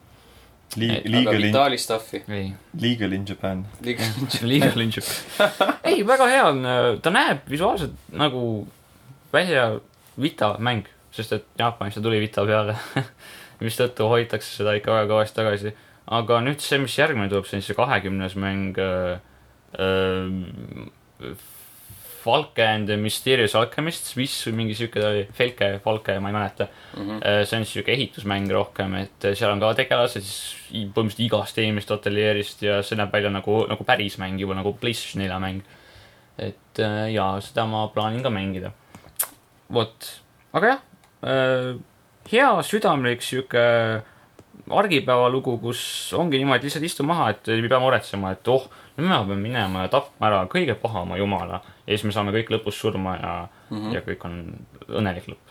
Li- ,
aga
legal in ,
Vitali stuff'i .
ei ,
legal in Japan .
liiga lindšib . ei , väga hea on , ta näeb visuaalselt nagu välja Vita mäng , sest et Jaapanis ta tuli Vita peale , *laughs* mistõttu hoitakse seda ikka väga kõvasti tagasi . aga nüüd see , mis järgmine tuleb , see on siis see kahekümnes mäng äh, . Äh, Falke and the Mysterious Alchemists , mis või mingi siuke ta oli , Felke , Falke , ma ei mäleta .
Mhm.
Äh, see on siis siuke ehitusmäng rohkem , et äh, seal on ka tegelased siis i- põhimõtteliselt igast eelmist ateljeerist ja see näeb välja nagu , nagu päris mäng juba nagu PlayStation 4 mäng . et äh, jaa , seda ma plaanin ka mängida . vot , aga jah äh, , hea südamlik siuke argipäevalugu , kus ongi niimoodi , lihtsalt istu maha , et ei pea muretsema , et oh , nüüd ma pean minema ja tapma ära kõige pahama jumala ja siis me saame kõik lõpus surma ja mm , -hmm. ja kõik on õnnelik lõpp .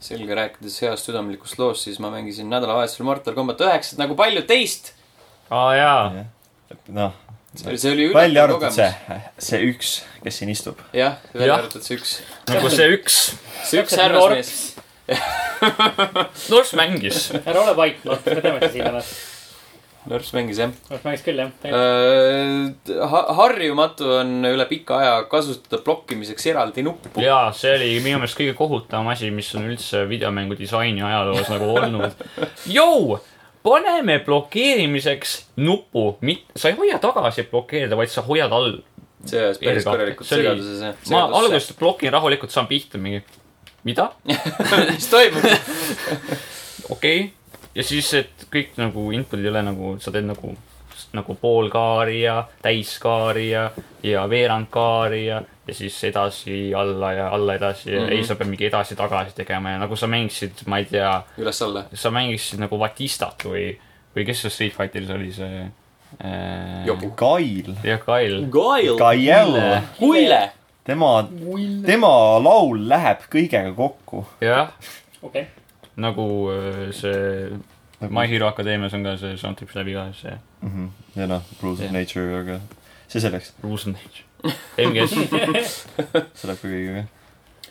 selge , rääkides heast südamlikust loost , siis ma mängisin nädalavahetusel Mortal Combat üheksat nagu paljud teist .
aa jaa
noh ,
see oli
välja
üllatav
arvatud
Ah. kogemus .
see , see üks , kes siin istub .
jah , välja
Jah.
arvatud see üks ,
nagu see üks
see üks
See
härrasmees .
Norse mängis .
ära ole vait , noh , me teeme seda siin alles .
Nörss mängis jah .
noh , mängiks küll
Äh,
jah .
Ha- , harjumatu on üle pika aja kasutada blokkimiseks eraldi nuppu .
jaa , see oli minu meelest kõige kohutavam asi , mis on üldse videomängu disaini ajaloos nagu olnud . Jou , paneme blokeerimiseks nupu , mitte , sa ei hoia tagasi , et blokeerida , vaid sa hoiad all .
see ajas päris
Erga.
korralikult
See oli-
segaduses jah .
ma alguses blokin rahulikult , saan pihta mingi , mida ?
*laughs* mis toimub ?
okei okay. . ja siis , et kõik nagu input'id ei ole nagu , sa teed nagu , nagu poolkaari ja täiskaari ja , ja veerandkaari ja , ja siis edasi , alla ja alla edasi mm . -hmm. ei , sa pead mingi edasi-tagasi tegema ja nagu sa mängiksid , ma ei tea ,
üles-alla .
sa mängiksid nagu Batistat või , või kes see Street Fighteris oli see äh, ?
Jobu.
Kail ,
jah , Kail .
Gail .
Kaiel ,
Kuile .
tema , tema laul läheb kõigega kokku .
jah ,
okei ,
nagu äh, see My Hero Akadeemias on ka see soundtrack läbi ka see
ja noh , Rules of
Jah.
Nature , aga see selleks ,
Rules and Age . MGS ,
see läheb ka kõigega .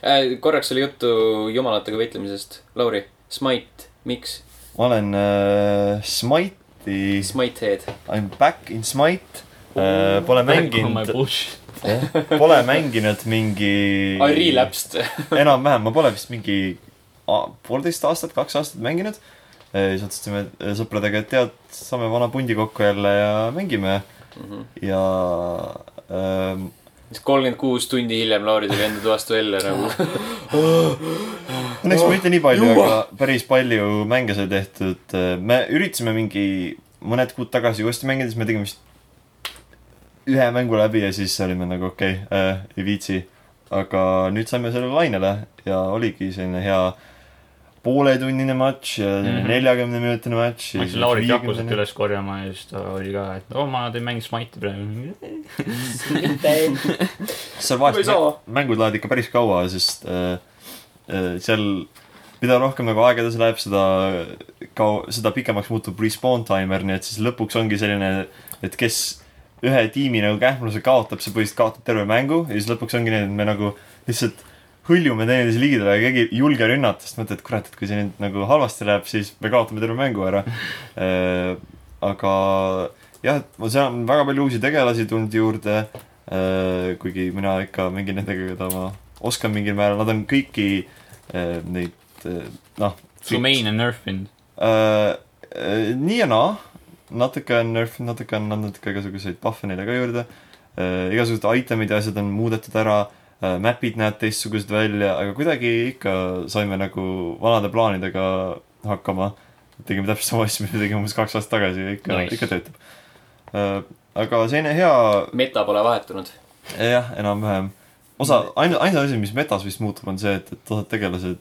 Äh, korraks oli juttu jumalatega võitlemisest . Lauri , Smite , miks ?
ma olen äh, Smite'i ,
Smite head .
I m back in Smite äh, . Pole
Oh
mänginud , pole mänginud mingi .
I relapsed . *laughs*
*laughs* enam-vähem , ma pole vist mingi a- poolteist aastat , kaks aastat mänginud . siis otsustasime e, sõpradega , et tead , saame vana pundi kokku jälle ja mängime ja ähm,
siis kolmkümmend kuus tundi hiljem Lauri tuli enda toast välja
*laughs*
nagu .
õnneks oh, mitte nii palju , aga päris palju mänge sai tehtud . me üritasime mingi mõned kuud tagasi uuesti mängida , siis me tegime vist ühe mängu läbi ja siis olime nagu okei okay, äh, , ei viitsi . aga nüüd saime sellele lainele ja oligi selline hea pooletunnine matš ja
Mhm.
neljakümne mm -hmm. minutine matš .
ma hakkasin Laurit Jakuselt . üles korjama ja siis ta oli ka , et oo , ma teen mängi Smite'i praegu .
mitte ,
seal
Või
vahest
sama.
mängud lähevad ikka päris kaua , sest äh, äh, seal , mida rohkem nagu aeg edasi läheb , seda kau- , seda pikemaks muutub respawn timer , nii et siis lõpuks ongi selline , et kes ühe tiimi nagu kähmluse kaotab , see põhiliselt kaotab terve mängu ja siis lõpuks ongi nii , et me nagu lihtsalt hõljume teineteise ligidale , aga keegi ei julge rünnata , sest mõtled , et kurat , et kui see nüüd nagu halvasti läheb , siis me kaotame terve mängu ära äh, . aga jah , seal on väga palju uusi tegelasi tulnud juurde äh, . kuigi mina ikka mängin nendega , keda ma oskan mingil määral , nad on kõiki äh, neid äh, noh .
su main on Nerfind .
Äh, äh, nii ja naa , natuke on nerf , natuke on andnud ka igasuguseid buff'e neile ka juurde äh, . igasugused itemid ja asjad on muudetud ära äh, , map'id näevad teistsugused välja , aga kuidagi ikka saime nagu vanade plaanidega hakkama . tegime täpselt sama asja , mis me tegime umbes kaks aastat tagasi ja ikka nice. ,
Nice.
ikka töötab äh, . aga selline hea ,
meta pole vahetunud .
jah , enam-vähem . osa , ainult , ainus asi , mis metas vist muutub , on see , et , et osad tegelased ,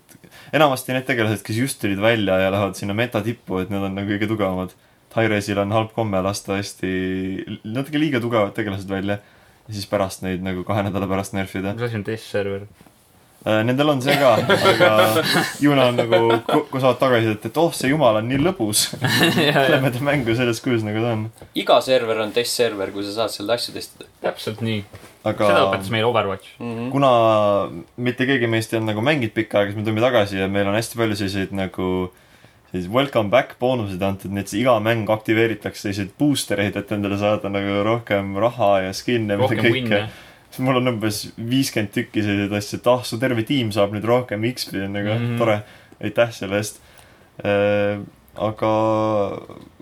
enamasti need tegelased , kes just tulid välja ja lähevad sinna meta tippu , et need on nagu kõige tugevamad . Tyresil on halb komme lasta hästi , natuke liiga tugevad tegelased välja ja siis pärast neid nagu kahe nädala pärast nerfida .
mis asi on test
*laughs*
server ?
Nendel on see ka , aga ju nad nagu ko- ko- saavad tagasisidet , et oh , see jumal on nii lõbus . Lähme ta mängu selles kujus , nagu ta on .
iga server on test server , kui sa saad seal asju testida
täpselt nii aga... .
aga
seda õpetas meile Overwatch .
mm . -hmm.
kuna mitte keegi meist ei olnud nagu mänginud pikka aega , siis me tulime tagasi ja meil on hästi palju selliseid nagu selliseid welcome back boonuseid antud , nii et see iga mäng aktiveeritakse selliseid booster eid , et endale saada nagu rohkem raha ja skin'e , mida
rohkem
kõike
win'e ..
siis mul on umbes viiskümmend tükki selliseid asju , et ah , su terve tiim saab nüüd rohkem XP , nagu mm
Mhm.
-hmm. tore , aitäh selle eest . aga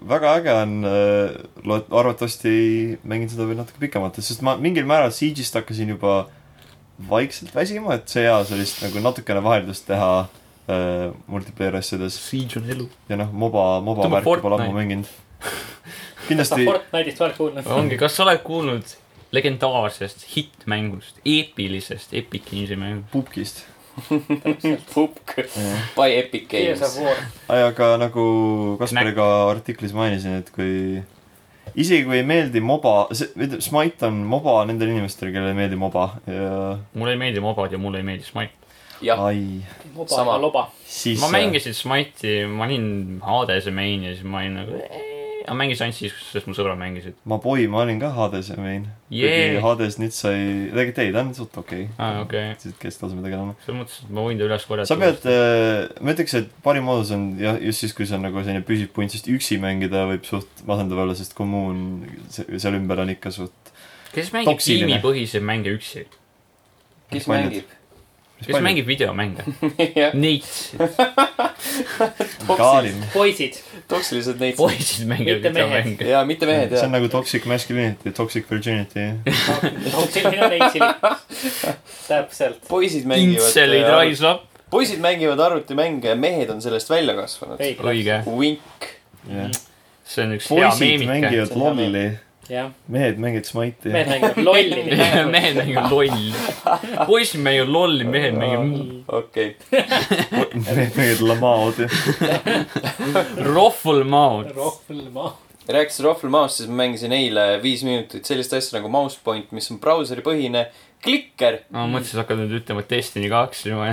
väga äge on , lood- , arvatavasti mängin seda veel natuke pikemalt , sest ma mingil määral Siege'ist hakkasin juba vaikselt väsima , et see hea sellist nagu natukene vaheldust teha äh, multiplayer asjades
Siege on elu .
ja noh , moba , moba
Tõmba
värki pole ammu
Fortnite.
mänginud .
seda
kindlasti
Fortnite'ist oled kuulnud .
ongi , kas sa oled kuulnud legendaarsest hittmängust , eepilisest Epic Games'i mängust ?
pubgist .
Pupk by Epic
Gears of
Games .
War .
ei , aga nagu Kaspari
Knack.
ka artiklis mainisin , et kui isegi kui ei meeldi moba , see , ütleme , Smite on moba nendele inimestele , kellele ei meeldi moba ja
mulle ei meeldi mobad ja mulle ei meeldi Smite .
jah ,
ai ,
moba
Sama.
ja loba .
siis
ma . mängisin Smite'i , ma olin Hadese main ja siis ma olin nagu , ma mängisin ainult siis , sest mu sõbrad mängisid .
ma boi , ma olin ka Hadese main . kuigi
Jee.
Hades nüüd sai , tegelikult ei , ta on suht okei okay. .
aa , okei okay. .
siit kesktaseme tegelema .
selles mõttes , et ma võin ta üles korjata .
sa pead , ma ütleks , et parim moodus on jah , just siis , kui see on nagu selline püsiv punt , sest üksi mängida võib suht masendav olla , sest kommuun se- seal ümber on ikka suht .
kes mängib
toksiline.
tiimipõhiseid mänge üksi ?
kes
paljud?
mängib ?
kes ? mängib videomänge ?
*laughs*
*laughs* jah ,
Neid
Kaalim .
poisid ,
toksilised neid .
poisid mängivad
Mitte mehed.
videomänge .
ja mitte mehed
see on
ja .
nagu toxic masculinity , toxic virginity .
selline on neitsil . täpselt ,
poisid
Intselid
mängivad , äh,
rise up .
poisid mängivad arvutimänge ja mehed on sellest välja kasvanud .
õige . Mm.
õige ,
Wink .
see on üks hea
poisid
meemike .
mängivad
See on hea
lolli ,
jah ,
mehed mängivad smite'i .
mehed mängivad
*laughs*
lolli , mitte ainult .
*laughs* mehed mängivad lolli . poisid mängivad lolli , mehed mängivad .
okei ,
*laughs* mehed mängivad lamaodi .
Ruffle mouth .
rohma ,
rääkides Rohvel Mouse'ist , siis ma mängisin eile viis minutit sellist asja nagu Mouse Point , mis on brauseripõhine klikker .
ma mõtlesin , sa hakkad nüüd ütlema et Destiny kaks juba .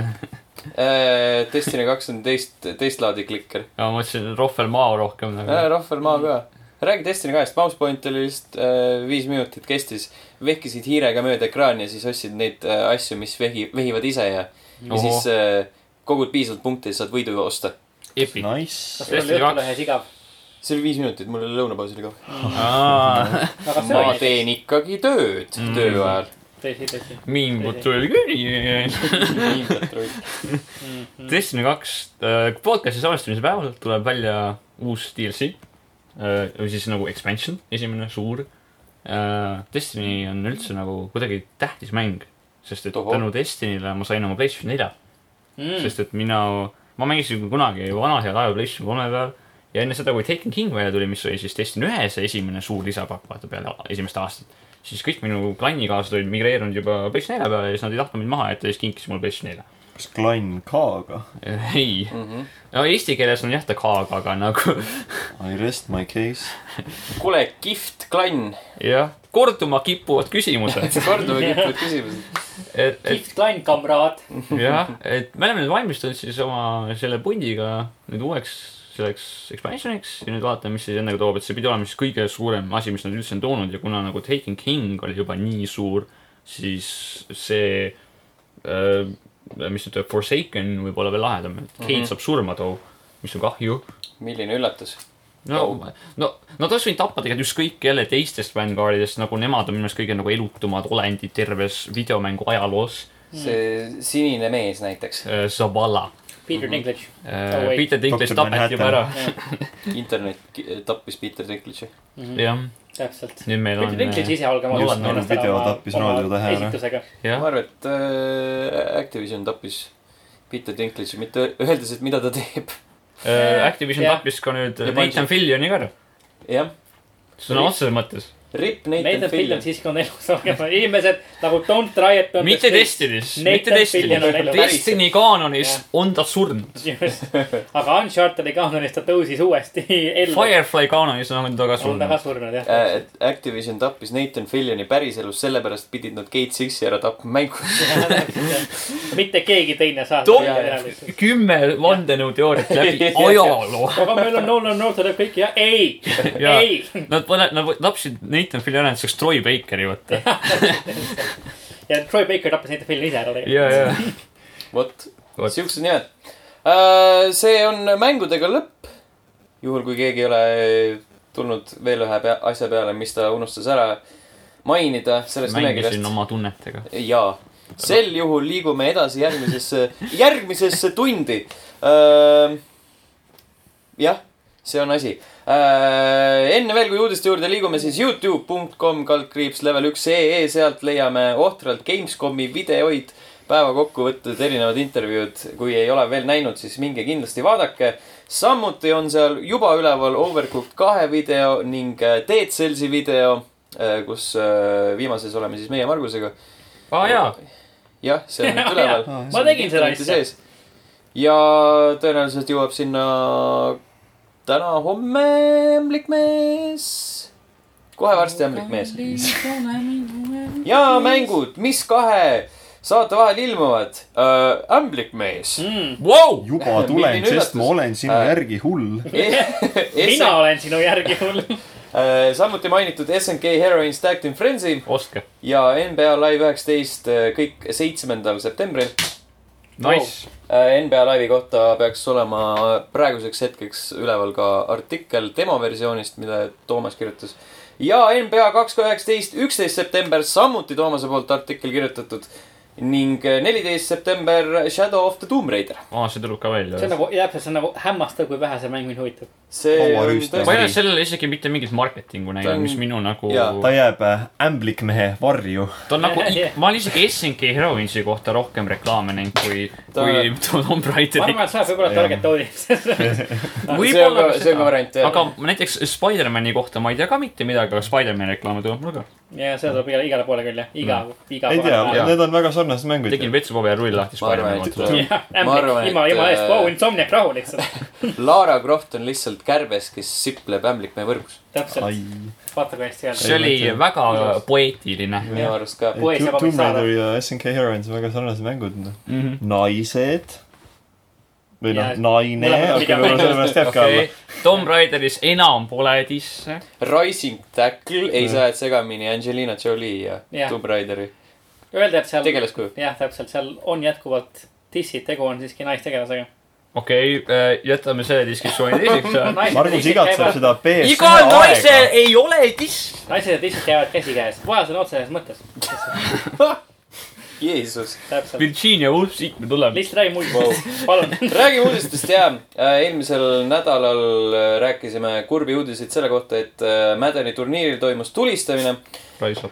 Äh, Destiny kaks on teist , teist laadi klikker .
*laughs* ma mõtlesin et Ruffle mao rohkem nagu .
Rohvel Maa ka . räägi Destiny kahest , Mouse Point oli lihtsalt äh, viis minutit kestis . vehkisid hiirega mööda ekraani ja siis ostsid neid äh, asju , mis vehi , vehivad ise ja , ja
Oho.
siis äh, kogud piisavalt punkte ja saad võidu osta .
Epic .
kas
Nice .
sul oli
Destiny kaks.
jutulehes igav ?
see oli viis minutit , mul oli lõunapausil ka .
*laughs*
Mm. aga see
ma
oli ,
teen ikkagi tööd mm.
Mm.
töö ajal .
tõsi , tõsi
miin patrull küll .
mm . -hmm.
Mhm. Destiny kaks , podcast'i salvestamise päeval tuleb välja uus DLC äh, või siis nagu expansion , esimene suur . Destiny on üldse nagu kuidagi tähtis mäng , sest et
Oho.
tänu Destiny'le ma sain oma PlayStation nelja mm. ,
Mm.
sest et mina , ma mängisin kunagi vanad head ajal PlayStation kolme peal ja enne seda , kui Taken King välja tuli , mis oli siis Destiny ühe see esimene suur lisapakk vaata peale esimest aastat , siis kõik minu klannikaaslased olid migreerunud juba PlayStation nelja peale ja siis nad ei tahtnud mind maha jätta ja siis kinkisid mulle PlayStation nelja .
kas klann K-ga ?
*laughs* ei , no eesti keeles on jah ta K-ga , aga nagu *laughs*
I rest my case .
kuule , kihvt klann .
jah , korduma kippuvad küsimused ,
*laughs*
korduvad kippuvad küsimused .
et , et
kihvt klann , kamraad .
jah , et me oleme nüüd valmistunud siis oma selle pundiga nüüd uueks selleks expansioniks ja nüüd vaatame , mis siis endaga toob , et see pidi olema siis kõige suurem asi , mis nad üldse on toonud ja kuna nagu Taken King oli juba nii suur , siis see äh, , mis nüüd tuleb , Forsaken võib olla veel lahedam , et Kate mm
Mhm.
-hmm. saab surma too , mis on kahju
milline üllatus .
no , no nad oleks võinud tappa tegelikult ükskõik kelle teistest vanguardidest , nagu nemad on minu meelest kõige nagu elutumad olendid terves videomängu ajaloos .
Mm.
see sinine mees näiteks ,
Zavala . Mhm.
Peter
*laughs*
Dinklage . Mhm. Oh, wait.
Peter Dinklage
Dr.
tapeti juba ära .
internet ki- tappis Peter Dinklage'i .
jah ,
Mhm. täpselt .
nüüd meil
Peter
on .
Dinklage ise , olgem
Just
ausad ,
nagu
ennast ära
video
oma-
tappis
oma
Raadio Tähe ära.
esitusega .
ma
jah ,
arvan , et äh, Activision tappis Peter Dinklage'i , mitte öeldes , et mida ta teeb .
Äh, Activision
Jah.
tappis ka nüüd
Ja
Nathan Fillioni ka ära ,
jah ,
sõna otseses mõttes .
Rip
Nathan
Nathan
Fillion
Fillion .
siis , kui on elus olemas . inimesed nagu don't try it .
mitte .
*laughs*
testides ,
Nathan
mitte testides
Fillion on elus. .
Destiny kaanonis
Jah.
on ta surnud .
aga Uncharted'i kaamerast ta tõusis uuesti *laughs* ellu .
Firefly kaanonis on ta ka
on ta ka
surnud .
surnud jah .
Äh,
Äh,
Activision tappis Nathan Fillioni päriselus , sellepärast pidid nad Gate Sixi ära tapma mängus .
*laughs* mitte keegi teine saa
Top
seda teha lihtsalt .
kümme vandenõuteooriat
*laughs*
läbi ajaloo .
aga meil on Nolan North tuleb kõik ja ei ,
Jaa.
ei .
Nad pane- , nad tapsid Nathan Fillionit , saaks Troy Bakeri võtta .
ja Troy Baker tappas neid filme ise ära tegelikult .
ja , ja .
*laughs* vot ,
Vot.
siuksed nimed . see on mängudega lõpp . juhul , kui keegi ei ole tulnud veel ühe pea, asja peale , mis ta unustas ära mainida sellest
mängisin
nimekirjast .
oma tunnetega .
jaa , sel juhul liigume edasi järgmisesse , järgmisesse tundi . jah , see on asi . enne veel , kui uudiste juurde liigume , siis Youtube.com kaldkriips level üks ee , sealt leiame ohtralt Gamescomi videoid , päevakokkuvõtted , erinevad intervjuud . kui ei ole veel näinud , siis minge kindlasti vaadake . samuti on seal juba üleval Overcooked kahe video ning äh, Dead Cellsi video , kus äh, viimases oleme siis meie Margusega .
aa jaa ,
jah , see
*laughs*
on nüüd üleval .
ma tegin seda asja .
ja tõenäoliselt jõuab sinna täna-homme ämblik mees . kohe varsti ämblik mees . ja mängud , mis kahe saate vahel ilmuvad äh, ? ämblik mees .
Mm.
*laughs*
vau .
Milline
juba tulen ,
üllatus.
sest ma olen sinu
Äh.
järgi hull .
*laughs* mina olen sinu järgi mul . *laughs*
äh, samuti mainitud SNK Heroin Stacked in Frenzy
ostke .
ja NBA Live üheksateist äh, kõik seitsmendal septembril .
Nice .
Äh, NBA Live'i kohta peaks olema praeguseks hetkeks üleval ka artikkel demoversioonist , mille Toomas kirjutas . ja NBA kaks ka üheksateist , üksteist september samuti Toomase poolt artikkel kirjutatud ning neliteist september Shadow of the Tomb Raider .
aa , see tuleb ka välja
see on . nagu , täpselt , see on nagu hämmastav , kui vähe see mäng mind huvitab .
see on
Hauarüüstaja.
ma ei ole
tõesti ,
sellele isegi mitte mingit marketingu
Ta on-
näinud , mis minu nagu ,
jaa,
ta jääb äh, ämblikmehe varju .
ta on nagu
*laughs*
Jah. ,
ma olen isegi SNK Heroinsi kohta rohkem reklaame näinud kui ,
Ta-
kui Tom
ma
Raideri
arvan , et saab võib-olla target audience .
see on ka , see on ka variant jah .
aga näiteks Spider-man'i kohta ma ei tea ka mitte midagi , aga Spider-man'i reklaame tuleb mul ka .
ja er see tuleb igale , igale poole küll jah , iga , iga .
ei er tea ,
jaa.
need on väga sarnased mängud .
tegin vetsupaberi ja rulli lahti
Ma arvan,
Spider-man'i
et-
kohta .
Ma arvan, et,
jumala , jumala eest ,
äh,
Vau , Insomniac rahu lihtsalt .
Lara Croft on lihtsalt kärbes , kes sipleb ämblikmehe võrgus .
täpselt , vaata kui hästi
see
öelda .
oli
mõtle.
väga poeetiline .
minu arust ka .
Poes jääb
Tomb
abissaada.
Raider ja SNK Heroines on väga sarnased mängud .
Mhm.
naised . või noh
Jaa. ,
naine ,
Mõlemad on
aga
pigem
võib-olla
naised.
sellepärast jääbki alla
okei . Tom Raideris enam pole disse .
Rising Tackle ei saa , et segamini Angelina Jolie ja
Jah.
Tomb Raideri
Öelda , et seal ,
tegelaskuju .
jah , täpselt , seal on jätkuvalt dissid , tegu on siiski naistegelasega .
okei , jätame selle diskussiooni teiseks .
Margus igatseb seda
igal
BSN
naisel
aega .
ei ole diss .
naised ja dissid käivad käsikäes , vaja sõna otseses mõttes .
Jeesus .
täpselt ,
Virginia Woolf siit me tuleme .
lihtsalt räägi muid
Vau. ,
palun .
räägime uudistest ja eelmisel nädalal äh, rääkisime kurbi uudiseid selle kohta , et äh, Mädeni turniiril toimus tulistamine .
raisab .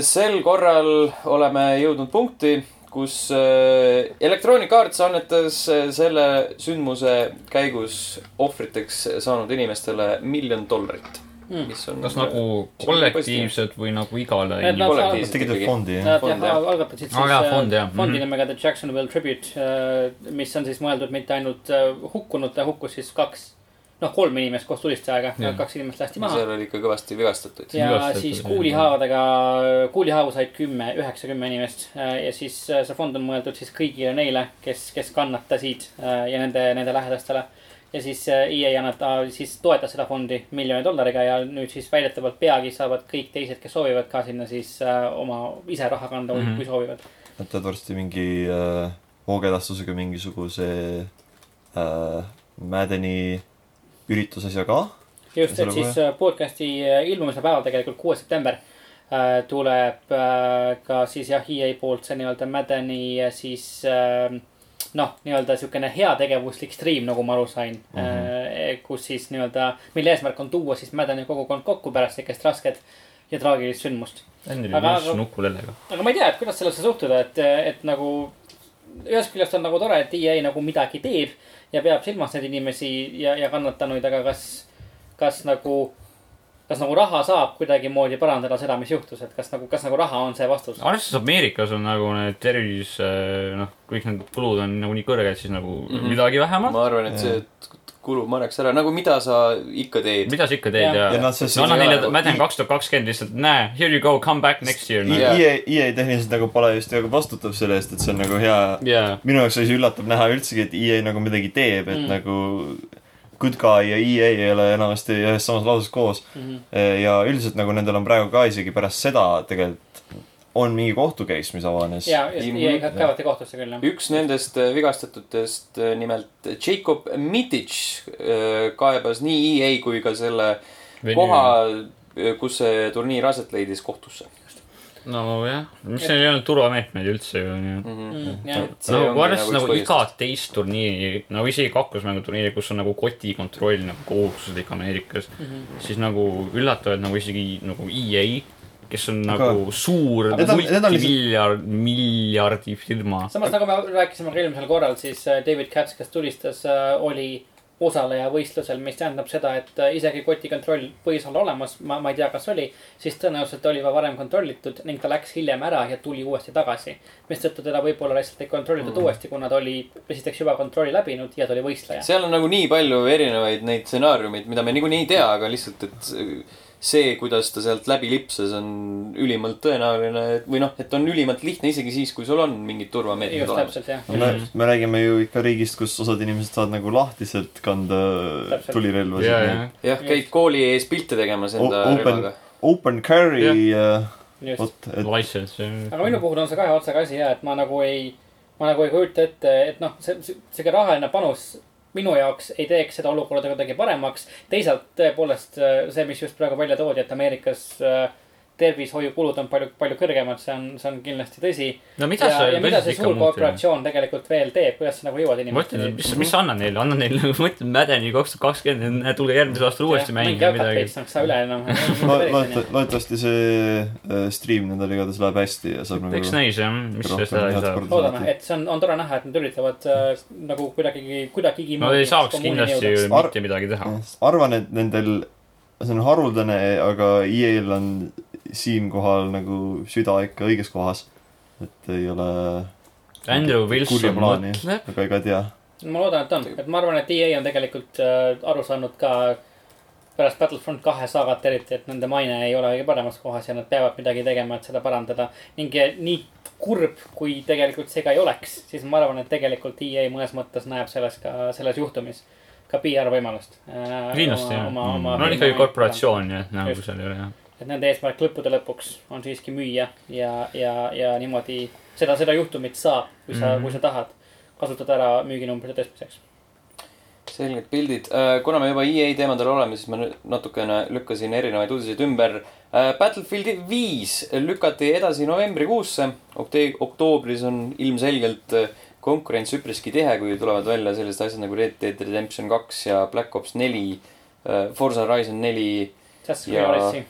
sel korral oleme jõudnud punkti , kus äh, Electronic Arts annetas äh, selle sündmuse käigus ohvriteks saanud inimestele miljon dollarit . mis on äh,
kas nagu kollektiivselt või nagu igale
Need
inimesele ?
kollektiivselt
tegid veel
ikkagi.
fondi , jah ?
Nad
Fond,
jah
jah.
algatasid siis
Aa, jaa,
äh,
fond, jah.
fondi
Mhm.
nimega The Jacksonville Tribute , mis on siis mõeldud mitte ainult äh, hukkunute , hukkus siis kaks , noh , kolm inimest koos tulistajaga
Jah. ,
kaks inimest lasti maha .
seal oli ikka kõvasti vigastatuid .
ja
Vigastatud
siis
oli.
kuulihaavadega , kuulihaavu said kümme , üheksa , kümme inimest äh, ja siis äh, see fond on mõeldud siis kõigile neile , kes , kes kannatasid äh, ja nende , nende lähedastele . ja siis äh, EA annab , siis toetas seda fondi miljoni dollariga ja nüüd siis väidetavalt peagi saavad kõik teised , kes soovivad ka sinna siis äh, oma ise raha kanda mm ,
Mhm.
-hmm. kui soovivad .
Nad teevad varsti mingi äh, hoogedastusega mingisuguse äh, Madeni üritusasja ka .
just ,
Selle
et siis äh, podcast'i äh, ilmumise päeval tegelikult kuues september äh, tuleb äh, ka siis jah , EA poolt see nii-öelda Maddeni äh, siis äh, noh , nii-öelda siukene heategevuslik stream , nagu ma aru sain mm . -hmm. kus siis nii-öelda , mille eesmärk on tuua siis Maddeni kogukond kokku pärast siukest rasket ja traagilist sündmust .
Endel
Aga-
ei
aga-
ole nukku lellega .
aga ma ei tea , et kuidas sellesse suhtuda , et , et nagu ühest küljest on nagu tore , et EA nagu midagi teeb ja peab silmas neid inimesi ja , ja kannatanuid , aga kas , kas nagu kas nagu raha saab kuidagimoodi parandada seda , mis juhtus , et kas nagu , kas nagu raha on see vastus ?
arvestades Ameerikas on nagu need tervis , noh , kõik need kulud on nagu nii kõrged , siis nagu mm
Mhm.
-hmm. midagi vähemalt .
ma arvan , et see kulub marjaks ära , nagu mida sa ikka teed .
mida sa ikka teed
Jah.
ja,
ja
ja.
nad sest
no anna
ei ole
neile
nagu- ,
ma tean kaks tuhat kakskümmend lihtsalt , näe , here you go , come back next year . noh.
Jah.
jaa ,
EA , EA tehniliselt nagu pole just nagu vastutab selle eest , et see on nagu hea ,
jaa ,
minu jaoks oli see üllatav näha üldsegi , et EA nagu midagi teeb , et
Mm.
mm. nagu Good Guy ja EA ei ole enamasti ühes samas lauses koos .
Mhm.
ja üldiselt nagu nendel on praegu ka isegi pärast seda tegelikult on mingi kohtu case , mis avanes .
ja , E ja kaevati kohtusse küll , jah .
üks nendest äh, vigastatutest , nimelt Jacob Mitic äh, kaebas nii EA kui ka selle koha , kus see turniir aset leidis , kohtusse
nojah , mis neil ei olnud turvameetmeid üldse ju , onju .
mm .
Mhm.
-hmm.
jah ,
See
no
ongi
kui arvestada
üks
nagu
põhjust.
iga teist turniiri , nagu isegi kaklusmänguturniiri , kus on nagu kotikontroll nagu kohustuslik Ameerikas mm ,
Mhm.
-hmm. siis nagu üllatavalt nagu isegi nagu EA , kes on
Aga-
Aga... nagu suur
Need on- need on lihtsalt-
multimiljard , miljardi firma .
samas nagu me rääkisime ka eelmisel korral , siis äh, David Katz , kes tulistas , oli osaleja võistlusel , mis tähendab seda , et äh, isegi kotikontroll võis olla olemas , ma , ma ei tea , kas oli , siis tõenäoliselt oli juba varem kontrollitud ning ta läks hiljem ära ja tuli uuesti tagasi . mistõttu teda võib-olla lihtsalt ei kontrollitud mm. uuesti , kuna ta oli esiteks juba kontrolli läbinud ja ta oli võistleja .
seal on nagu nii palju erinevaid neid stsenaariumeid , mida me niikuinii ei tea , aga lihtsalt , et äh, see , kuidas ta sealt läbi lipsas , on ülimalt tõenäoline või noh , et on ülimalt lihtne isegi siis , kui sul on mingid turvameetmed
just
olemas .
täpselt jah .
No me , me räägime ju ikka riigist , kus osad inimesed saavad nagu lahtiselt kanda
Täpselt.
tulirelvasid
ja ,
yeah, .
ja
Yeah. ,
jah , käid kooli ees pilte tegemas enda
O- open-
relvaga .
Open carry yeah. ,
just .
vot , et
license ja .
aga minu puhul on see kahe otsaga asi ja , et ma nagu ei , ma nagu ei kujuta ette , et noh , see , see , see rahaline panus minu jaoks ei teeks seda olukorda kuidagi paremaks . teisalt tõepoolest äh, see , mis just praegu välja toodi , et Ameerikas äh, tervishoiukulud on palju , palju kõrgemad , see on , see on kindlasti tõsi .
no mida
ja
sa ,
ja mida
mida sa
see
ikka
suur
muud ?
korporatsioon tegelikult veel teeb , kuidas sa nagu jõuad
ma ütlen , et
inimesteni ?
mis , mis sa annad neile , anna neile , *laughs* ma ütlen , Mädeni kaks tuhat kakskümmend , näe , tulge järgmisel aastal uuesti mängima midagi .
saaks sa noh, üle enam .
lo- loodeta- loodetavasti see äh, stream nendel igatahes läheb hästi ja saab
eks
nagu .
näis jah , mis
rohkem
sellest edasi
head
saab .
korda
loodame ,
saata.
et see on , on tore näha , et nad üritavad äh, nagu kuidagigi , kuidagigi .
Nad ei saaks kindlasti ju
Ar-
mitte midagi teha .
Jah, arvan , et nendel , see on haruldane , aga EA-l on siinkohal nagu süda ikka õiges kohas . et ei ole ,
Andrew
Kurja
Wilson
plaani.
mõtleb .
aga ega ei tea .
ma loodan , et on , et ma arvan , et EA on tegelikult äh, aru saanud ka pärast Battlefront kahe saagat eriti , et nende maine ei ole kõige paremas kohas ja nad peavad midagi tegema , et seda parandada . ning eh, nii kurb , kui tegelikult see ka ei oleks , siis ma arvan , et tegelikult EA mõnes mõttes näeb selles ka , selles juhtumis ka PR võimalust . äh,
kindlasti jah , no on ikkagi
ikkagi
korporatsioon jah , nagu
Just.
seal ei ole jah .
et nende eesmärk lõppude lõpuks on siiski müüa ja , ja , ja niimoodi seda , seda juhtumit saab , kui sa mm ,
Mhm.
-hmm. kui sa tahad kasutada ära müüginumbrite tõstmiseks .
selged pildid , kuna me juba EA teemadel oleme , siis ma nüüd natukene lükkasin erinevaid uudiseid ümber . Battlefield viis lükati edasi novembrikuusse , oktoobris on ilmselgelt äh, konkurents üpriski tihe , kui tulevad välja sellised asjad nagu Red Dead Redemption kaks ja Black Ops neli , Forza Horizon neli
Just
Ja-
Realisi .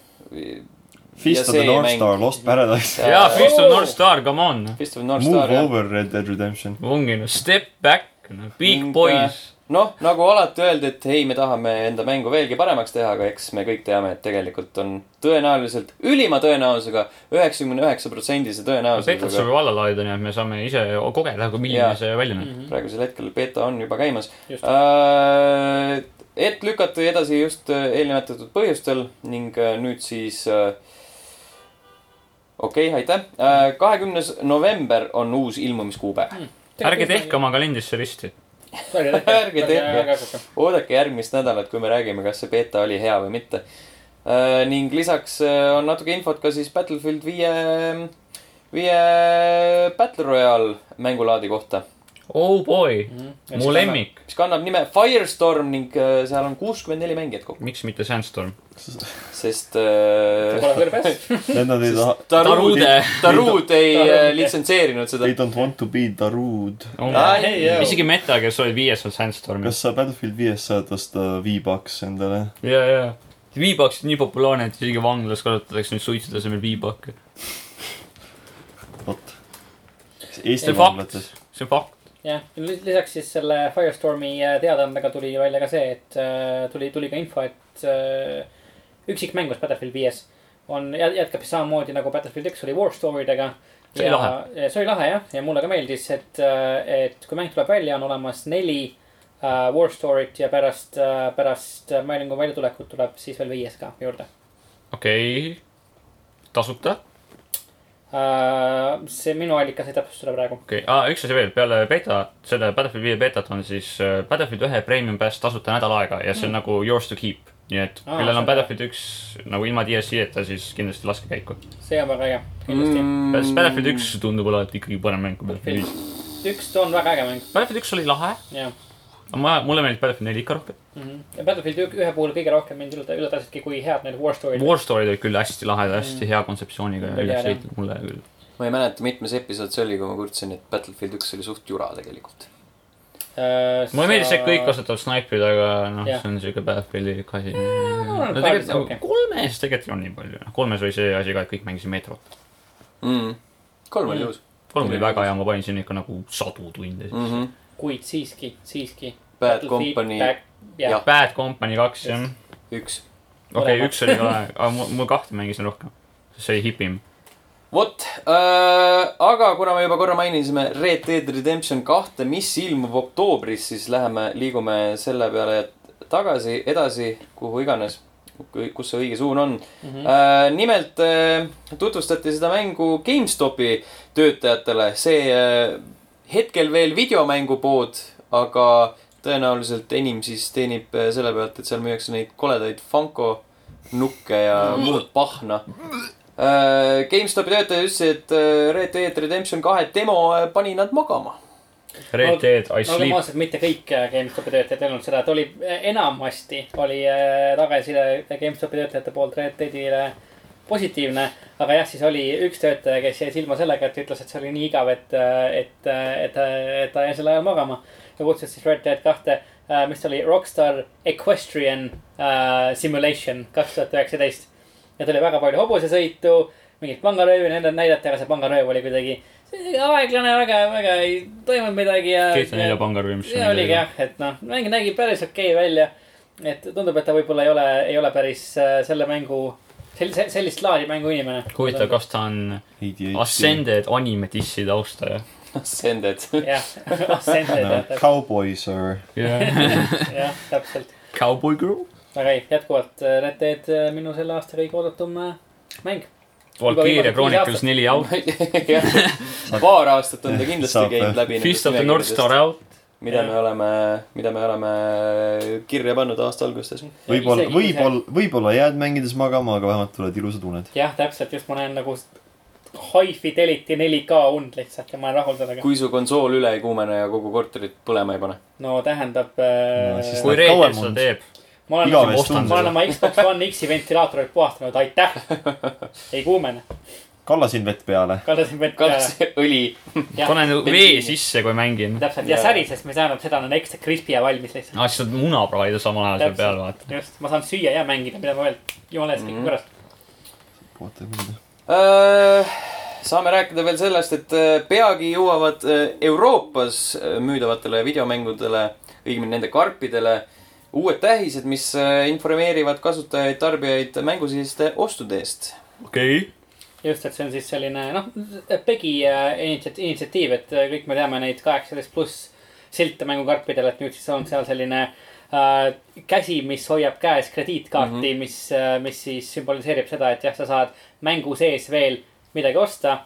Fist
Ja
of the
see
North
mäng-
Star , Lost Paradise ,
Jaa.
jaa , Fist of
Oo!
North Star , come on .
Fist of North Star
Move
jah .
Over , Red Dead Redemption .
ongi noh , step back , noh , big
Ning,
boys .
noh , nagu alati öeldi , et ei , me tahame enda mängu veelgi paremaks teha , aga eks me kõik teame , et tegelikult on tõenäoliselt , ülima tõenäosusega , üheksakümne üheksa protsendise
Peeter saab
tõenäosusega
ju alla laadida , nii et me saame ise kogeda , kui milline
Jaa.
see välja näeb .
Mhm.
Mhm.
praegusel hetkel beeta on juba käimas Äh,
Just. .
et lükati edasi just äh, eelnimetatud põhjustel ning äh, nüüd siis äh, okei okay, , aitäh . kahekümnes november on uus ilmumiskuupäev .
ärge tehke . oma kalendrisse risti .
ärge
*laughs* Ärge tehke.
tehke .
oodake järgmist nädalat , kui me räägime , kas see beeta oli hea või mitte . ning lisaks äh, on natuke infot ka siis Battlefield viie , viie Battle Royale mängulaadi kohta ,
Oh boy ,
Mhm.
mu . lemmik .
mis kannab nime Firestorm ning äh, seal on kuuskümmend neli mängijat kokku ,
miks mitte Sandstorm ?
sest äh,
Pole kõrbes .
Need nad ei
Sest
taha ,
Tarud ,
Tarude.
Tarud ei äh,
Tarude.
litsenseerinud seda
they . don't want to be Darude .
Ah,
ei, ei.
Oh isegi Meta , kes oli viies , on Sandstorm .
kas sa Battlefield viies saad osta V-Bucks endale ?
ja , ja . V-Bucks on nii populaarne , et isegi vanglas kasutatakse nüüd suitsude asemel V-Bucke .
vot .
see
Eesti
on fakt
vanglates .,
see on fakt .
*laughs* jah , lisaks siis selle Firestormi äh, teadaandega tuli välja ka see , et äh, tuli , tuli ka info , et äh, üksikmängus Battlefield viies on , jätkab siis samamoodi nagu Battlefield üks oli war story dega .
See oli
lahe . see oli lahe jah , ja mulle ka meeldis , et , et kui mäng tuleb välja , on olemas neli äh, war story't ja pärast , pärast mängu väljatulekut tuleb siis veel viies ka juurde .
okei okay. , tasuta ,
Äh, see minu allikas ei täpsusta seda praegu .
okei okay. ah, , üks asi veel , peale beta , selle Battlefield viie betat on siis äh, Battlefield ühe premium pass tasuta nädal aega ja see on mm. nagu yours to keep . nii et
Aa,
ah, kellel
see-
on Battlefield üks nagu ilma DLC-ta , siis kindlasti laske käiku mm. .
see on väga äge , kindlasti mm. .
Battlefield üks tundub olevat ikkagi parem mäng kui Battlefield viis .
üks on väga äge mäng ,
Battlefield üks oli lahe ,
jah
aga ma , mulle meeldib Battlefield neli ikka rohkem .
mm . -hmm. ja Battlefield ü- ühe puhul kõige rohkem mind üllata- üllatasidki , kui head need war story'd
War Story'd olid küll hästi lahedad , hästi hea kontseptsiooniga ja
Oli
üles
hea, jah.
ehitatud mulle küll .
ma ei mäleta , mitmes episood see oli , kui ma kurtsin , et Battlefield üks oli suht jura tegelikult .
uh, .
mulle meeldis , et kõik kasutavad snaiprid , aga noh
Jah.
yeah. , see on siuke Battlefieldi asi .
mul on ka
no tegelikult
vist
nagu
okei.
kolmes tegelikult ei olnud nii palju , noh kolmes oli see asi ka , et kõik mängisid meetrot .
kolm oli
Mm.
ilus .
kolm oli väga hea , ma panin sinna ikka nagu sadu tunde sisse mm. .
Mhm.
kuid siiski , siiski .
Bad Company ,
jah
jah. ,
Bad Company kaks jah ,
üks .
okei ,
Mõlemad.
üks oli ka , aga mul, mul kahte mängisin rohkem , sest see oli hipim .
vot äh, , aga kuna me juba korra mainisime Red Dead Redemption kahte , mis ilmub oktoobris , siis läheme , liigume selle peale tagasi , edasi , kuhu iganes , kus see õige suun on mm . -hmm. Äh, nimelt äh, tutvustati seda mängu GameStopi töötajatele , see äh, hetkel veel videomängupood , aga tõenäoliselt enim siis teenib äh, selle pealt , et seal müüakse neid koledaid Funko nukke ja muud pahna . GameStopi Äh, töötaja ütles , et äh, Red Dead Redemption kahe demo äh, pani nad magama . *laughs*
Red Dead ,
no
I Sleep ,
normaalselt mitte kõik äh, GameStopi töötajad ei olnud seda , et oli äh, enamasti oli äh, tagasiside GameStopi töötajate poolt Red Deadile positiivne . aga jah , siis oli üks töötaja , kes jäi silma sellega , et ütles , et see oli nii igav , et , et , et , et ta jäi sel ajal magama . ja kutsus siis Red Dead kahte , mis ta oli , Rockstar Equestrian äh, Simulation kaks tuhat üheksateist . ja tuli väga palju hobusesõitu , mingit pangaröövi , nende näidati , aga see pangarööv oli kuidagi see oli aeglane , väga , väga ei toimunud midagi ja .
GTA nelja pangarööv , mis
ja oligi jah , et noh , mäng nägi päris okei okay välja . et tundub , et ta võib-olla ei ole , ei ole päris äh, selle mängu , sellise , sellist laadi mängu inimene .
huvitav ,. kas ta on Ascended anime dissi taustaja
Noh,
*laughs*
Ascended .
jah , *laughs* Ascended jah ,
Cowboys are
yeah. ?
jah , täpselt .
*laughs* Cowboy girl ?
aga ei , jätkuvalt äh, Red Dead äh, minu selle aasta kõige oodatum äh, mäng .
Valkyria
viimased viis
Chronicles
aastat.
neli out ,
paar aastat on ta kindlasti
Saab,
käinud
jah.
läbi .
Fist of the North Star out .
mida me oleme , mida me oleme äh, kirja pannud aasta alguses .
võib-olla , võib-olla , võib-olla jääd mängides magama , aga vähemalt tulevad ilusad uned .
jah , täpselt , just ma näen nagu high fidelity 4K und lihtsalt ja ma olen rahul sellega .
kui su konsool üle ei kuumene ja kogu korterit põlema ei pane .
no tähendab
No
äh, .
siis
kui
Nad
Red
kauem
Dead seda
on.
teeb ,
ma olen ,
igavesti
ostan
on
ma olen
seda .
oma Xbox One X-i ventilaatorit puhastanud ,
*laughs*
aitäh . ei kuumene ,
kallasin vett peale .
kallasin vett peale .
kallas *laughs* õli .
äh, Jah,
panen vee
bensiini.
sisse , kui mängin .
täpselt ja
Jaa.
särises , mis tähendab seda , on ekstra krispi ja valmis lihtsalt .
aa , siis saad muna praadida samal ajal seal
Täpselt.
peal , vaata .
just , ma saan süüa ja mängida , mida ma veel , jumala eest kõik
Mhm.
korras .
Äh, saame rääkida veel sellest , et äh, peagi jõuavad äh, Euroopas äh, müüdavatele videomängudele , õigemini nende karpidele , uued tähised , mis äh, informeerivad kasutajaid , tarbijaid mängusiseste ostude eest .
okei .
just , et see on siis selline noh , PEGi äh, initsiat- initsiatiiv , et äh, kõik me teame neid kaheksateist pluss silte mängukarpidel , et nüüd siis on seal selline äh, käsi , mis hoiab käes krediitkaarti mm , -hmm.
Mhm.
mis äh, , mis siis sümboliseerib seda , et jah , sa saad mängu sees veel midagi osta .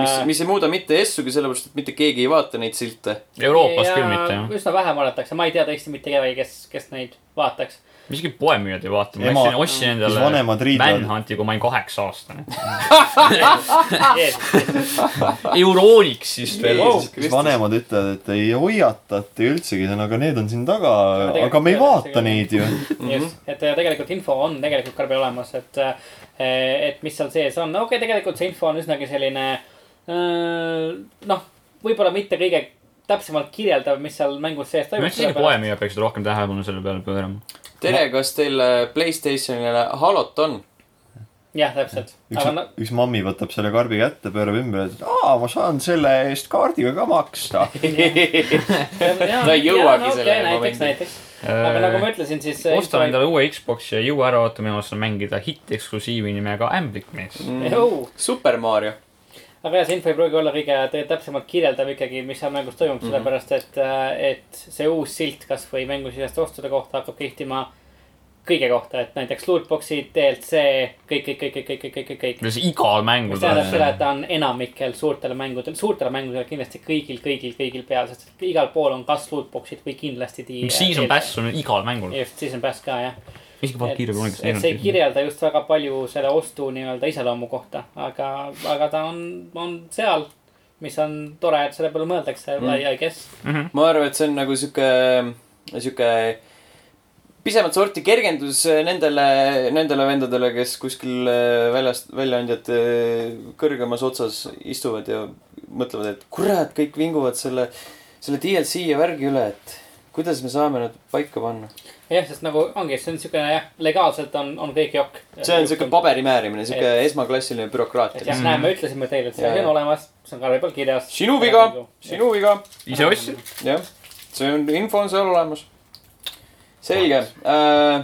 mis ,
Äh.
mis ei muuda mitte S-ugi , sellepärast et mitte keegi ei vaata neid silte .
Euroopas küll mitte , jah .
üsna vähe vaadatakse , ma ei tea tõesti mitte kedagi , kes , kes neid vaataks .
isegi poemüüjad ei vaata , ma
Ema-
läksin ja ostsin
siis
endale
vanemad riidavad .
Manhunti , kui ma olin kaheksa aastane . Euroniks siis veel .
Oh,
Wow.
siis vanemad ütlevad , et ei hoiatate üldsegi , aga need on siin taga ,
tegelikult
aga me ei
ei ole
vaata
isegi-
neid ju .
just ,
Mhm.
et äh, tegelikult info on tegelikult karbil olemas , et , et mis seal sees on , no okei okay, , tegelikult see info on üsnagi selline äh, noh , võib-olla mitte kõige täpsemalt kirjeldav , mis seal mängus sees
ma
toimub .
ütlesin , et poemüüjad peaksid rohkem tähelepanu selle peale pöörama .
tere , kas teil äh, Playstationile Halot on ?
jah , täpselt , aga no
üks , üks mammi võtab selle karbi kätte , pöörab ümber , et aa , ma saan selle
*laughs*
eest kaardiga ka maksta .
ta
Mm. Ta ei jõuagi selle
näiteks ,
momendini.
näiteks , aga nagu ma ütlesin , siis .
osta Äh, endale uue Xbox'i ja jõua ära ootama ja saan mängida hitt-eksklusiivi nimega Ämblik mees .
Mm. Jou.
Super Mario .
aga jah , see info ei pruugi olla kõige tõ- täpsemalt kirjeldav ikkagi , mis seal mängus toimub , sellepärast et , et see uus silt kasvõi mängu siseste ostude kohta hakkab kehtima kõige kohta , et näiteks lootbox'id , DLC , kõik , kõik , kõik , kõik , kõik , kõik , kõik , kõik .
kuidas igal mängul
mis tähendab seda , et ta on enamikel suurtel mängudel , suurtel mängudel kindlasti kõigil , kõigil , kõigil peal , sest igal pool on kas lootbox'id või kindlasti .
siis on päss , on igal mängul .
just , siis on pass ka jah .
isegi
et
Valkyria kunagi
et see ei . kirjelda just väga palju selle ostu nii-öelda iseloomu kohta , aga , aga ta on , on seal , mis on tore , et selle peale mõeldakse mm. , I guess .
Mhm.
ma arvan , et see on nagu sihuke , sihuke pisemat sorti kergendus nendele , nendele vendadele , kes kuskil äh, väljast , väljaandjate kõrgemas otsas istuvad ja mõtlevad , et kurat , kõik vinguvad selle , selle DLC ja värgi üle , et kuidas me saame nad paika panna .
jah , sest nagu ongi , see on siukene jah , legaalselt on , on kõik jokk .
see on sihuke . paberi määrimine , sihuke esmaklassiline
et
bürokraatia .
jah , näe , me ütlesime teile , et see
Jaa.
on olemas , see on karbi peal kirjas . Nagu,
sinu viga , sinu viga
ise ostsid ?
jah , see on , info on seal olemas . selge äh, .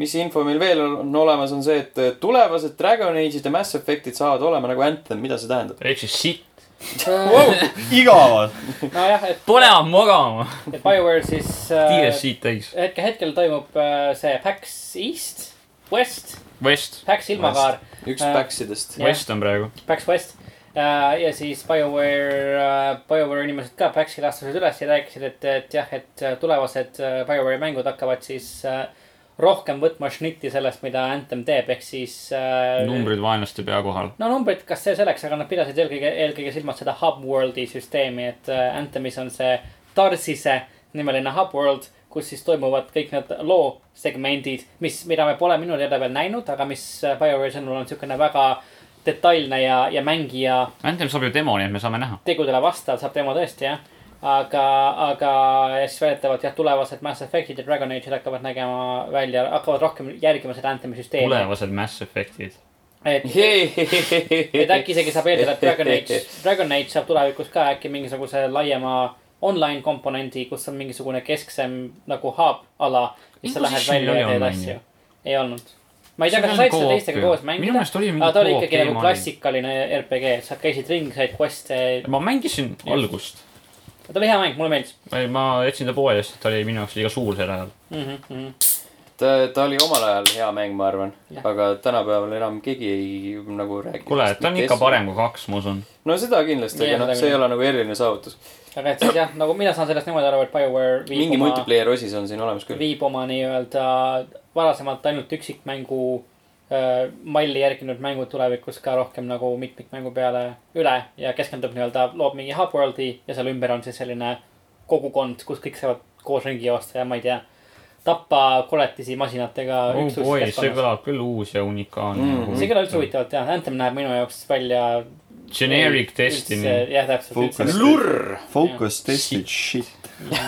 mis info meil veel on on olemas , on see , et äh, tulevased Dragon Age'id ja Mass Effect'id saavad olema nagu Anthem , mida see tähendab ?
ehk siis sitt .
wow, . igavad .
nojah , et ,
Pole enam magama .
et BioWare siis äh,
DLC-d täis .
hetke , hetkel toimub äh, see PAX East , West ,
West .
PAX ilmakaar .
üks
Äh,
päksidest .
Jah.
West on praegu .
Pax West Äh, ja siis BioWare , BioWare inimesed ka Paxile astusid üles ja rääkisid , et , et jah , et äh, tulevased äh, BioWare mängud hakkavad siis äh, rohkem võtma šnitti sellest , mida Anthem teeb , ehk siis . äh, no
numbrid vaenlaste pea kohal .
numbrid , kas see selleks , aga nad pidasid eelkõige , eelkõige silmas seda hub world'i süsteemi , et äh, Anthemis on see Tarsise nimeline hub world , kus siis toimuvad kõik need loo segmendid , mis , mida me pole minu teada veel näinud , aga mis äh, BioWare sõnul on niisugune väga detailne ja , ja mängija
Anthem saab ju demo , nii et me saame näha .
tegudele vastav saab tema tõesti jah . aga , aga ja siis väidetavalt jah , tulevased Mass Effect'id ja Dragon Age'id hakkavad nägema välja , hakkavad rohkem järgima seda Anthemi süsteemi .
tulevased Mass Effect'id .
et ,
*laughs*
et äkki isegi saab eeldada , et Dragon
*laughs*
Age , Dragon Age saab tulevikus ka äkki mingisuguse laiema online komponendi , kus on mingisugune kesksem nagu hub ala , mis sa lähed
Inquisitionil
välja ja
oli
teed
online ju.
asju . ei olnud . ma ei tea ,
See
kas
oli
sa said seda
co-op
teistega
ju.
koos
Minu
mängida
meest oli mingi
aga ta oli
co-op
ikkagi nagu
teema oli.
klassikaline RPG , sa käisid ringi , said quest'e ,
ma mängisin algust .
ta oli hea mäng , mulle meeldis
ma etsin ta poe eest , ta oli minu jaoks liiga suur sel ajal .
mm . -hmm, mm -hmm.
ta , ta oli omal ajal hea mäng , ma arvan
Jah. .
aga tänapäeval enam keegi ei nagu räägi .
kuule , ta on ikka . parem kui kaks , ma usun .
no seda kindlasti ,
Jah,
aga noh ,
seda
see ei
küll.
ole nagu eriline saavutus .
aga et siis jah , nagu mina saan sellest niimoodi aru , et BioWare viib
mingi
oma ,
multiplayer osis on siin olemas küll .
viib oma nii-öelda varasemalt ainult üksikmängu äh, malli järginud mängud tulevikus ka rohkem nagu mitmikmängu peale üle ja keskendub nii-öelda , loob mingi hub world'i ja seal ümber on siis selline kogukond , kus kõik saavad koos ringi joosta ja ma ei tea , tappa koletisi masinatega
oh
üksuses
boy , see
keskkonnas.
kõlab küll uus ja unikaalne
Mm.
mm, .
see kõlab üldse . huvitavalt jah , Anthem näeb minu jaoks välja .
Generic Destiny .
jah , täpselt .
Focus.
lurr .
Focus tested
*laughs*
shit . see ,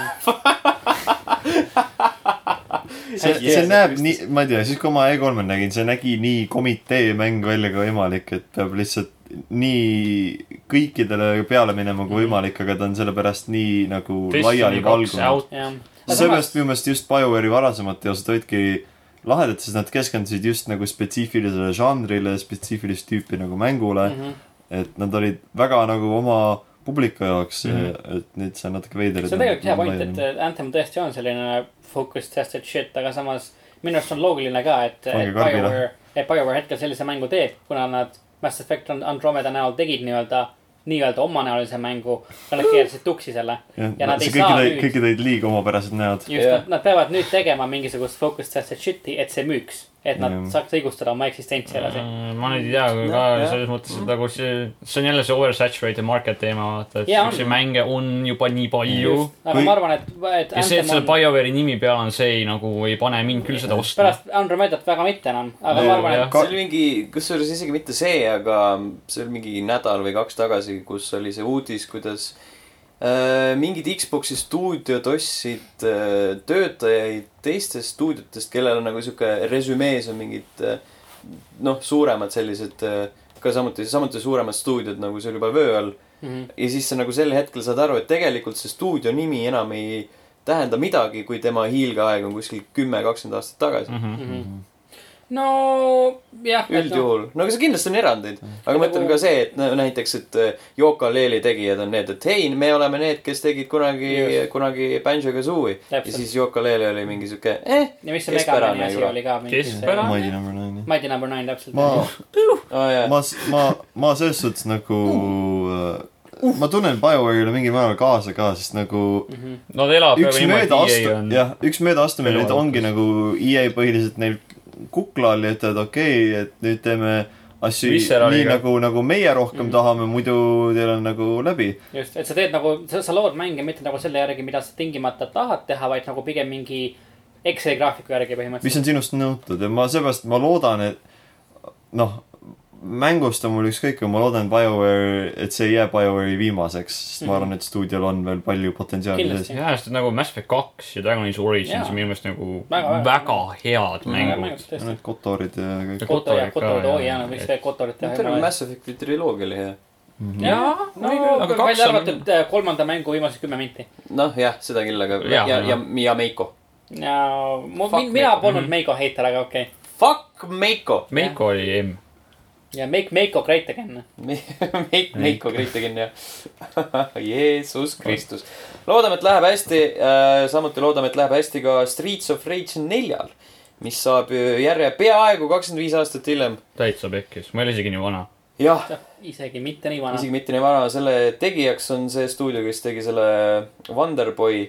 Hästi
see
hea
näeb
see
nii , ma ei tea , siis kui ma E3-l nägin , see nägi nii komitee mäng välja kui võimalik , et peab lihtsalt nii kõikidele peale minema
Mhm.
kui võimalik , aga ta on sellepärast nii nagu
Destiny kaks
laialivalgunud .
out .
jah .
seepärast minu meelest just BioWare'i varasemad teosed olidki lahedad , sest nad keskendusid just nagu spetsiifilisele žanrile , spetsiifilist tüüpi nagu mängule mm .
Mhm.
-hmm. et nad olid väga nagu oma publiku jaoks mm , -hmm. et nüüd see on natuke veider .
Mhm. see on tegelikult hea point , et äh, Anthem tõesti on selline focus tested shit , aga samas minu arust on loogiline ka , et , et
Pange karbile.
BioWare , et BioWare hetkel sellise mängu teeb , kuna nad Mass Effect and- Andromeda näol tegid nii-öelda , nii-öelda omanäolise mängu , aga nad keerasid tuksi selle . ja nad ei
see
saa
kõigil olid ,
nüüd-
kõigil olid liiga omapärased näod .
just
Jah.
yeah. , nad peavad nüüd tegema mingisugust focus tested shit'i , et see müüks , et nad
Jah.
saaks õigustada oma eksistentsi edasi .
Mm, ma nüüd ei tea
Jah,
ka
jah.
selles mõttes ,
Mhm.
et nagu see , see on jälle see oversaturated market teema , vaata , et
Jaa, on.
siukseid mänge on juba nii palju .
aga
Kui-
ma arvan , et , et
ja see , et
Anthem
selle
on
BioWare'i nimi peal on see ei, nagu ei pane mind küll seda ostma .
pärast Andromedat väga mitte enam , aga ma
Jaa,
arvan ,
jah.
et
see oli mingi , kusjuures isegi mitte see , aga see oli mingi nädal või kaks tagasi , kus oli see uudis , kuidas äh, mingid Xbox'i stuudiod ostsid äh, töötajaid teistest stuudiotest , kellel on nagu sihuke resümees on mingid äh, noh , suuremad sellised äh, ka samuti , samuti suuremad stuudiod nagu seal juba vöö all .
mm . -hmm.
ja siis sa nagu sel hetkel saad aru , et tegelikult see stuudio nimi enam ei tähenda midagi , kui tema hiilgeaeg on kuskil kümme , kakskümmend aastat tagasi .
mhm.
Mhm.
no jah . noh, Mm. Nagu
üldjuhul , no aga see kindlasti on erandeid , aga ma ütlen ka see , et no näiteks , et äh, Yoko Leeli tegijad on need , et hei , me oleme need , kes tegid kunagi
Just. ,
kunagi Banjo Kazooie . ja
Täpselt.
siis Yoko Leeli oli mingi siuke , eh ,
ja mis see
Keskpärane
Megamani asi
ju.
oli ka mingi see .
Keskpärane.
Mighty number nine ,
Mighty number nine täpselt .
ma ,
aa jaa .
ma , ma , ma selles suhtes nagu
Uh.
äh, ma tunnen BioWare'ile mingil määral kaasa ka , sest nagu
Mhm.
no ta elab
üks
jah .
möödaastu- , jah , üks möödaastumine nüüd
Elu
ongi nagu EA põhiliselt neil kukla all ja ütlevad okei okay, , et nüüd teeme asju
Visceraliga.
nii nagu , nagu meie rohkem mm
Mhm.
-hmm. tahame , muidu teil on nagu läbi .
just , et sa teed nagu , sa lood mänge mitte nagu selle järgi , mida sa tingimata tahad teha , vaid nagu pigem mingi Exceli graafiku järgi
mis
põhimõtteliselt .
on sinust nõutud ja ma seepärast , ma loodan , et noh , mängust on mul ükskõik , aga ma loodan , et BioWare , et see ei jää BioWare'i viimaseks , sest
Mhm.
ma arvan , et stuudiol on veel palju potentsiaali
Kindlasti.
sees .
jah , sest nagu Mass Effect kaks ja Dragon Age Origins
Jaa.
on minu meelest nagu
Väga-
väga,
väga-
väga head mängud .
tõesti .
Need Kotorid ja kõik .
Kotor ja
Kotorit ka,
Kotor ,
jah.
oi jaa , no võiks veel Kotorit
terve
teha .
Mass Effect'i triloogia oli hea .
jaa , no
Oli küll, aga
aga
kaks
välja
on-
arvatud äh, kolmanda mängu viimased kümme minti .
noh , jah , seda küll , aga ja
Jaa, ,
ja,
jah.
ja , ja Meiko .
ja mu
Fuck ,
mina
Meiko.
polnud Meiko heitar , aga okei okay. .
Fuck Meiko .
Meiko oli M .
ja Make , Meiko Great Again .
*laughs* Meik , Meiko Kritikin ja *laughs* Jeesus Kristus . loodame , et läheb hästi . samuti loodame , et läheb hästi ka Streets of Rage neljal , mis saab ju järje peaaegu kakskümmend viis aastat hiljem .
täitsa pekkis , ma ei ole isegi nii vana .
jah ,
isegi mitte nii vana .
isegi mitte nii vana , selle tegijaks on see stuudio , kes tegi selle Wonderboy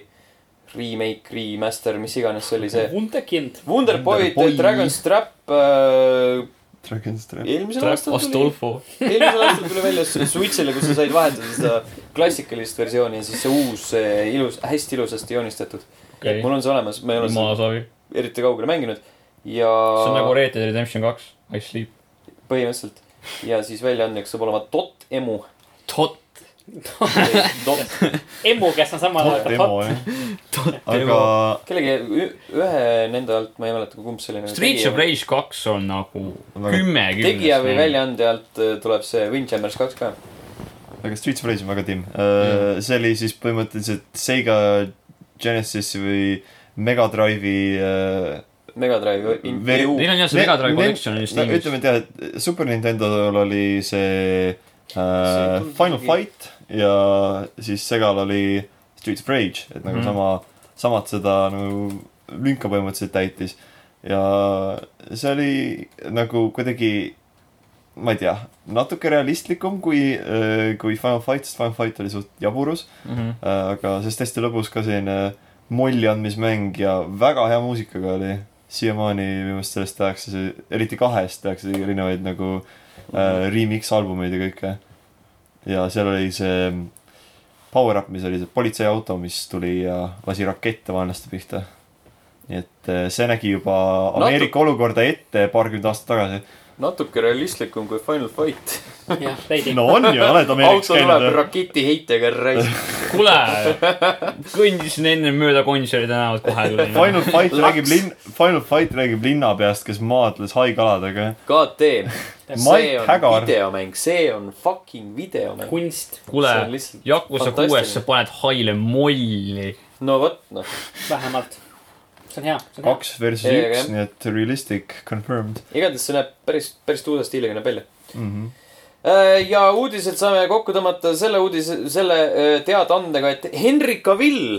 remake , remaster , mis iganes see oli see .
Wunderkind .
Wonderboy The
Wonderboy.
Dragon's Trap äh,
Dragon's Trap .
eelmisel aastal tuli .
Astolfo .
eelmisel aastal tuli välja Switch'ile , kus sa said vahetada seda klassikalist versiooni ja siis see uus see ilus , hästi ilusasti joonistatud
okei
okay. . mul , on see olemas , ma ei ole seda
jumala savi .
eriti kaugele mänginud ja
see on nagu Red Dead Redemption kaks , I sleep .
põhimõtteliselt ja siis väljaandeks saab olema Dot
*laughs*
Emu .
tot .
Dot ,
emu , kes on samal ajal ka
demo
hot .
*laughs*
jah .
demo.
aga
kellegi ü- ühe nende alt , ma ei mäleta , kumb see oli .
Streets of Rage kaks on nagu
Väga-
kümme
tegija või
kümnest .
väljaande alt äh, tuleb see Windjammers kaks ka .
aga Streets of Rage on väga timm . see oli siis põhimõtteliselt Sega Genesis'i või Mega Drive'i äh,
Mega Drive
Ver-
in- .
Neil on jah see Mega Drive
Ne- ne-
Collection on just
no
tiimis .
ütleme , tead , Super Nintendo'l oli see äh,
tundub
Final
mingi-
Fight ja siis Segal oli Streets of Rage , et nagu
Mhm.
mm. sama , samad seda nagu lünka põhimõtteliselt täitis . ja see oli nagu kuidagi , ma ei tea , natuke realistlikum kui äh, , kui Final Fight , sest Final Fight oli suht jaburus äh, . aga see oli hästi lõbus ka selline molli andmismäng ja väga hea muusikaga oli . siiamaani minu meelest sellest tehakse , eriti kahest tehakse erinevaid nagu äh, remix albumeid ja kõike . ja seal oli see Power Up , mis oli see politseiauto , mis tuli ja lasi rakette vaenlaste pihta . nii et äh, see nägi juba Ameerika olukorda ette paarkümmend aastat tagasi .
natuke realistlikum kui Final Fight .
jah , veidi .
no on ju , oled Ameerikas
auto tuleb
käinud .
raketiheitega raisk .
kuule , kõndisin enne mööda Gonsiori tänavat kohe tulin .
Final Fight
Laps.
räägib linn , Final Fight räägib linnapeast , kes maadles haikaladega
KT see
Mike
on
Hägar.
videomäng , see on fucking videomäng .
kunst
kuule
see on lihtsalt ,
Jakusa
fantastiline.
kuues sa paned haile molli .
no vot noh ,
vähemalt . see on hea , see on hea .
kaks versus
Ei, aga
üks
jah. ,
nii et realistic confirmed
igatahes see näeb päris , päris tuusa stiiliga näeb välja .
mm . -hmm.
ja uudised saame kokku tõmmata selle uudise , selle äh, teadaandega , et Henry Cavill ,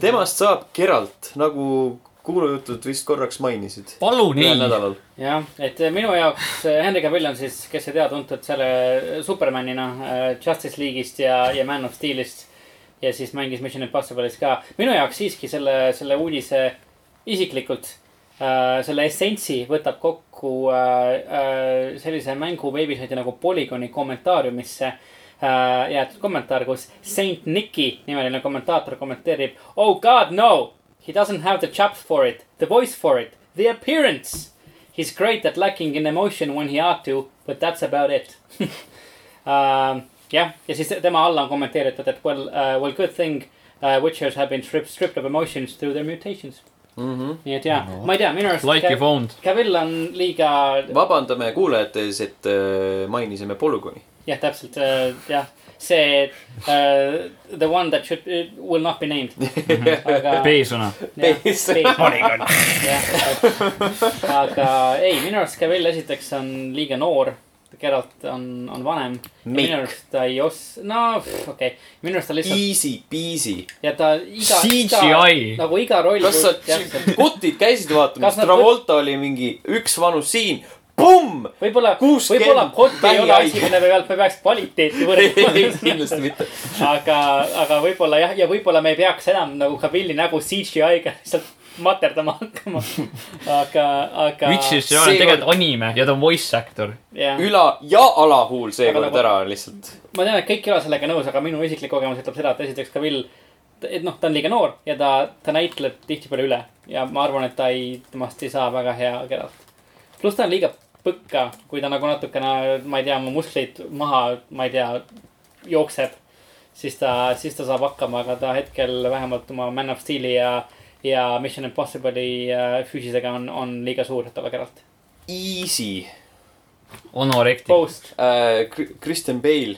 temast saab Geralt , nagu kuulujutud vist korraks mainisid .
palun
ühel
ei .
nädalal .
jah , et eh, minu jaoks Henry Cavill on siis , kes ei tea , tuntud selle eh, Supermanina äh, Justice League'ist ja , ja Man of Steelist . ja siis mängis Mission Impossible'is ka . minu jaoks siiski selle , selle uudise isiklikult äh, , selle essentsi võtab kokku äh, äh, sellise mängu veebisaidi nagu Polygoni kommentaariumisse äh, jäetud kommentaar , kus Saint Nicky nimeline kommentaator kommenteerib . Oh god no , he doesn't have the chops for it , the voice for it , the appearance . He is great at lacking in emotion when he ought to , but that's about it *laughs* uh, . jah , ja siis tema alla on kommenteeritud , et well uh, , well good thing uh, witchers have been stripped , stripped of emotions through their mutations .
Mhm.
nii et jaa no.
No. ,
ma ei tea , minu arust
Like your
Ca-
phone .
Cavill on liiga ,
vabandame kuulajate ees , et äh, mainisime polügooni .
jah , täpselt uh, jah , see uh, The one that should uh, , will not be named .
*laughs*
*laughs*
aga ,
B-sõna .
Peis.
*laughs*
Polygon . aga ei , minu arust Cavell esiteks on liiga noor . Geralt on , on vanem .
Meik.
minu arust ta ei os- , no pff, okei okay. , minu arust ta lihtsalt
Easy peasy .
ja ta iga ,
CGI.
iga nagu iga roll .
kas sa , kutid käisid vaatamas
Kas , nad-
Travolta oli mingi üks vanus siin , pumm .
võib-olla ,
kuuskümmend
võib-olla kott ei ole asi ,
vähihaige.
mille pealt me peaks kvaliteeti
*laughs*
võrdlema .
*laughs* kindlasti mitte .
aga , aga võib-olla jah , ja võib-olla me ei peaks enam nagu Cavilli nägu CGI-ga lihtsalt materdama hakkama . aga , aga .
Which is , see on
Seekord-
tegelikult anime ja ta on voice actor .
jah ,
üla- ja alahuul seekord
nagu-
ära lihtsalt .
ma tean , et kõik ei ole sellega nõus , aga minu isiklik kogemus ütleb seda , et esiteks Cavill , et noh , ta on liiga noor ja ta , ta näitleb tihtipeale üle ja ma arvan , et ta ei , temast ei saa väga hea Geralt . pluss ta on liiga põkka , kui ta nagu natukene , ma ei tea , oma muskleid maha , ma ei tea , jookseb , siis ta , siis ta saab hakkama , aga ta hetkel vähemalt oma Man of Steel'i ja , ja Mission Impossible'i äh, füüsisega on , on liiga suur , et olla Geralt .
Easy
Honorecti .
Post ,
äh, . Kristen Bale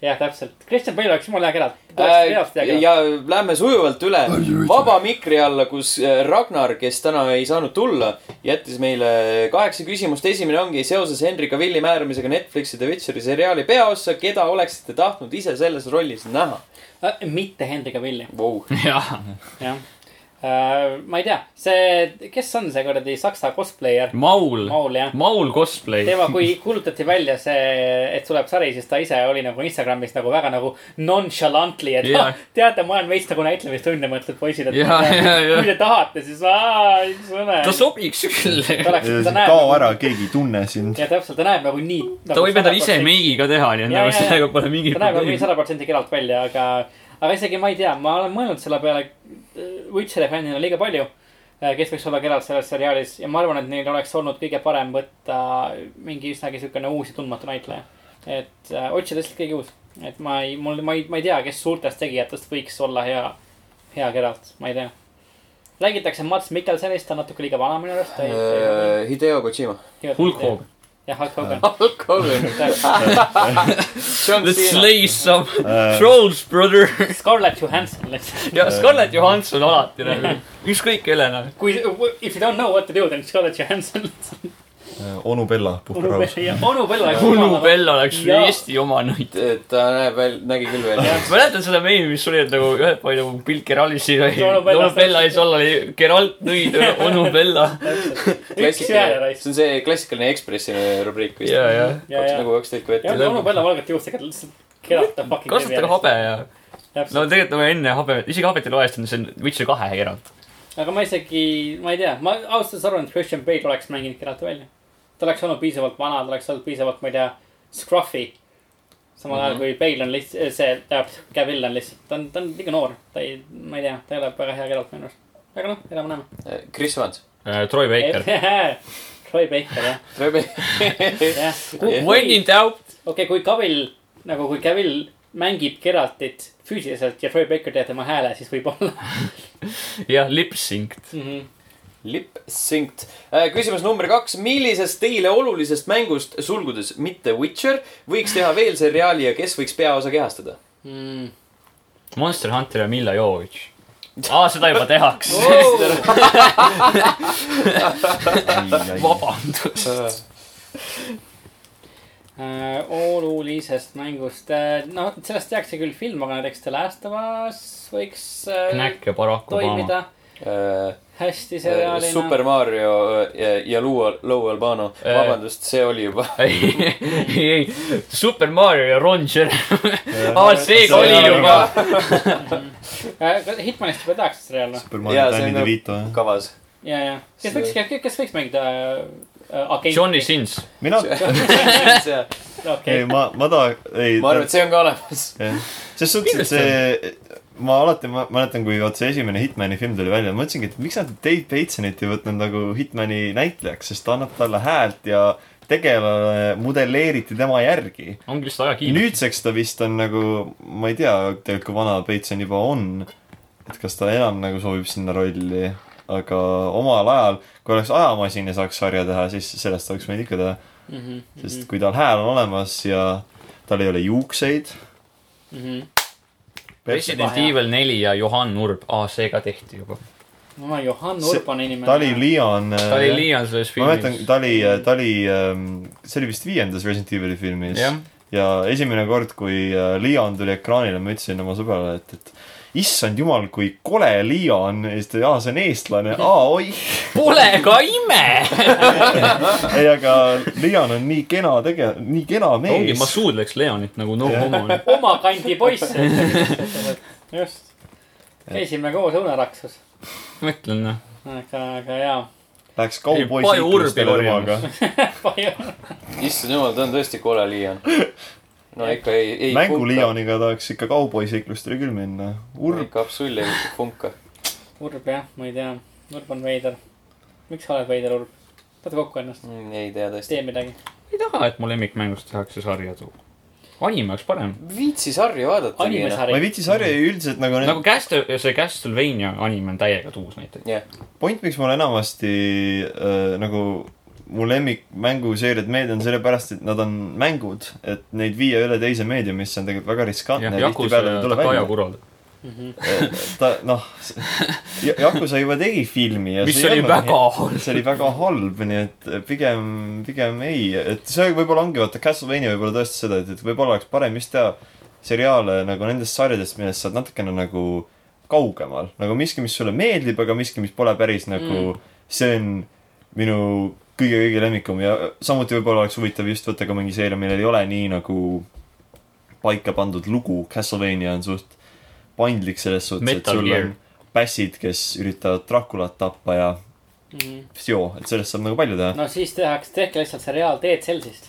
jah , täpselt . Kristjan Põllu oleks jumala hea Geralt . ta oleks Geralt hea
äh, .
Geralt .
ja lähme sujuvalt üle vaba mikri alla , kus äh, Ragnar , kes täna ei saanud tulla , jättis meile kaheksa küsimust . esimene ongi seoses Henry Cavilli määramisega Netflixi The Witcheri seriaali peaossa , keda oleksite tahtnud ise selles rollis näha
Äh, mitte Henry Cavilli .
wow. ?
*laughs* jah ,
jah uh, , ma ei tea , see , kes on see kuradi saksa cosplayer ,
Maul ,
Maul jah .
Maul cosplay .
tema , kui kuulutati välja see , et tuleb sari , siis ta ise oli nagu Instagramis nagu väga nagu nonchalantly , et
Jah.
yeah. teate , ma olen veits nagu näitlemistunne mõtled poisid , et
Jah, jah,
*laughs*
jah.
kui te tahate , siis aa , üks sõna .
ta sobiks küll .
ta oleks , ta
kao
näeb .
ära , keegi ei tunne sind .
ja täpselt , ta näeb nagu nii .
ta võib endale ise meigi ka teha , nii et
Jaa,
nagu
jaa, jaa.
sellega pole mingit
ta näeb nagu
probleemi .
sada protsenti keralt välja , aga , aga isegi ma ei tea , ma olen mõelnud selle peale äh, Witcheri fännina liiga palju . kes võiks olla keralt selles seriaalis ja ma arvan , et neil oleks olnud kõige parem võtta mingi üsnagi siukene uus ja tundmatu näitleja . et äh, otsida lihtsalt keegi uus , et ma ei , mul , ma ei , ma ei tea , kes suurtest tegijatest võiks olla hea , hea keralt , ma ei tea . räägitakse Mats Mikkelsonist , ta on natuke liiga vana minu arust .
Hideo Kojima .
Äh, Hulk Hogan .
jah , Hulk Hogan .
Hulk Hogan .
Let's slay some
Äh, Uh,
trolls , brother .
Scarlett Johansson lihtsalt .
ja Scarlett Johansson alati nagu , ükskõik kellena .
kui , if you don't know what to do , then Scarlett
*laughs*
Johansson lihtsalt .
äh, onu Bella , puhka
onu
rahus .
Bella , onu Bella .
Ulu . Bell oleks
Jaa.
Eesti oma nõid .
ta näeb veel , nägi küll veel .
ma mäletan seda meemi , mis oli , et nagu ühelt poolt nagu Bill Geraldi siin oli ,
Onu Bella-
onu Bella ja siis all oli Geralt nõid , onu Bella .
üks ühele
klassikaline ,
raisk .
see on see klassikaline Ekspressi rubrik vist .
ja , ja
ja , ja ,
nagu kaks tükki
ja
*laughs*
võeti .
onu Bella valget juust , ega ta lihtsalt kerata fucking .
kasutage . habe ja , no
täpselt ,
tegelikult nagu enne habe , isegi habet ei loe , sest see on Witcher kahe Geralt .
aga ma isegi , ma ei tea , ma ausalt öeldes arvan , et Christian Bale oleks mänginud kerata välja . ta oleks olnud piisavalt vana , ta oleks olnud piisavalt , ma ei tea , scruffy . samal
Mhm.
ajal kui Bale on lihtsalt , see , tähendab , Cavill on lihtsalt , ta on , ta on liiga noor , ta ei , ma ei tea , ta ei ole väga hea keralt minu arust . aga noh , elame-näeme .
Äh, Chris Evans .
Äh, Troy Baker .
*laughs* Troy Baker , jah , jah .
When in doubt .
okei okay, , kui Cavill , nagu kui Cavill mängib Geraltit füüsiliselt ja Troy Baker teeb tema hääle , siis võib-olla
jah , lip-synced .
mm .
Mhm.
-hmm.
*laughs* Lip synced . küsimus number kaks . millisest teile olulisest mängust , sulgudes mitte Witcher , võiks teha veel seriaali ja kes võiks peaosa kehastada ?
Mm.
Monster Hunter ja Milla Jovovich . aa , seda juba tehakse . *laughs*
*laughs*
vabandust .
Äh, olulisest mängust , noh , sellest tehakse küll film , aga näiteks The Last of Us võiks äh,
Knäkk ja Barack Obama .
toimida
Äh,
hästi seriaalina .
äh, Super Mario äh, ja Lou , Lou Albano .
Äh.
vabandust , see oli juba .
*laughs*
*laughs*
ei , ei , ei , Super Mario ja Ron Jeremy . aa , see
see
oli
oli
juba .
äh, . Hitmanist juba tehakse seriaal , noh .
Superman
Jaa,
ja
see on
Danny
nagu-
DeVito .
kavas . *laughs*
ja , ja . kes võiks , kes võiks mängida äh, agenti ?
Johnny Sins .
*laughs*
mina ,
ma
ei
okei ,
ma , ma tahan , ei .
arvan , et see on ka olemas .
selles suhtes , et see , ma alati ma, mäletan , kui vot see esimene Hitmani film tuli välja , ma mõtlesingi , et miks nad Dave Batesonit ei võtnud nagu Hitmani näitlejaks , sest ta annab talle häält ja tegelane modelleeriti tema järgi .
ongi lihtsalt ajakiir .
nüüdseks ta vist on nagu , ma ei tea tegelikult , kui vana Bateson juba on , et kas ta enam nagu sobib sinna rolli , aga omal ajal , kui oleks ajamasin ja saaks sarja teha , siis sellest oleks võinud
Mhm,
ikka teha . sest kui tal hääl on olemas ja tal ei ole juukseid ,
mhm,
Resident
Vahe.
Evil neli ja Johan Urb , aa , see ka tehti juba .
no Johan
See-
Urban inimene .
ta oli Leon .
ta oli Leon selles
ma mäletan
filmis ,.
ta oli , ta oli , ähm, see oli vist viiendas Resident Evil'i filmis .
jah ,
ja esimene kord , kui äh, Leon tuli ekraanile , ma ütlesin oma sõbrale , et , et issand jumal , kui kole Leon . ja siis ta , aa , see on eestlane , aa , oih .
Pole ka ime .
*laughs* ei , aga Leon on nii kena tege- , nii kena
ongi , ma
mees .
suudleks Leonit nagu no homo .
oma *laughs* kandi poiss . just , käisime koos õunaraksus ,
ma ütlen , noh .
aga , aga jaa .
Läks
Ei, Paju
kauboisiklustele
Urbi
temaga .
issand jumal , ta on tõesti kole Leon . no ikka ei , ei .
mängu . Leoniga tahaks ikka kauboisiklustele küll minna . Urb ,
ikka absoluutselt ei funka .
Urb jah , ma ei tea , Urb on veider . miks sa oled veider , Urb ? võta kokku ennast ,
Mm, ei tea tõesti .
tee midagi .
ei taha , et mu lemmikmängust tehakse sarja tuua . anime oleks parem .
viitsi sarja vaadata .
ma ei
animesari ,
viitsi sarja ju üldiselt nagu
nagu
nagu... .
Castle , see Castlevania anime on täiega tuus näiteks .
jah ,
point , miks mul enamasti äh, nagu mu lemmik mänguseeriad meelde on sellepärast , et nad on mängud , et neid viia üle teise meediumisse on tegelikult väga riskantne .
jah , Yakuza ja Takaja . Kurol ,
Mhm.
ta noh , Yakuza juba tegi filmi .
mis oli väga . *laughs* halb .
see oli väga halb , nii et eh, pigem , pigem ei , et see võib-olla ongi , vaata Castlevania võib-olla tõestas seda , et , et võib-olla oleks parem just teha seriaale nagu nendest sarjadest , millest sa oled natukene nagu kaugemal . nagu miski , mis sulle meeldib , aga miski , mis pole päris nagu mm. , see on minu kõige-kõige lemmikum ja samuti võib-olla oleks huvitav just võtta ka mingi seeria , millel ei ole nii nagu paika pandud lugu . Castlevania on suht paindlik selles suhtes , et
Metal
sul
Gear.
on pässid , kes üritavad Draculat tappa ja joo , et sellest saab nagu palju teha no. .
Mhm. no siis tehakse , tehke lihtsalt seriaal Dead Cellsist ,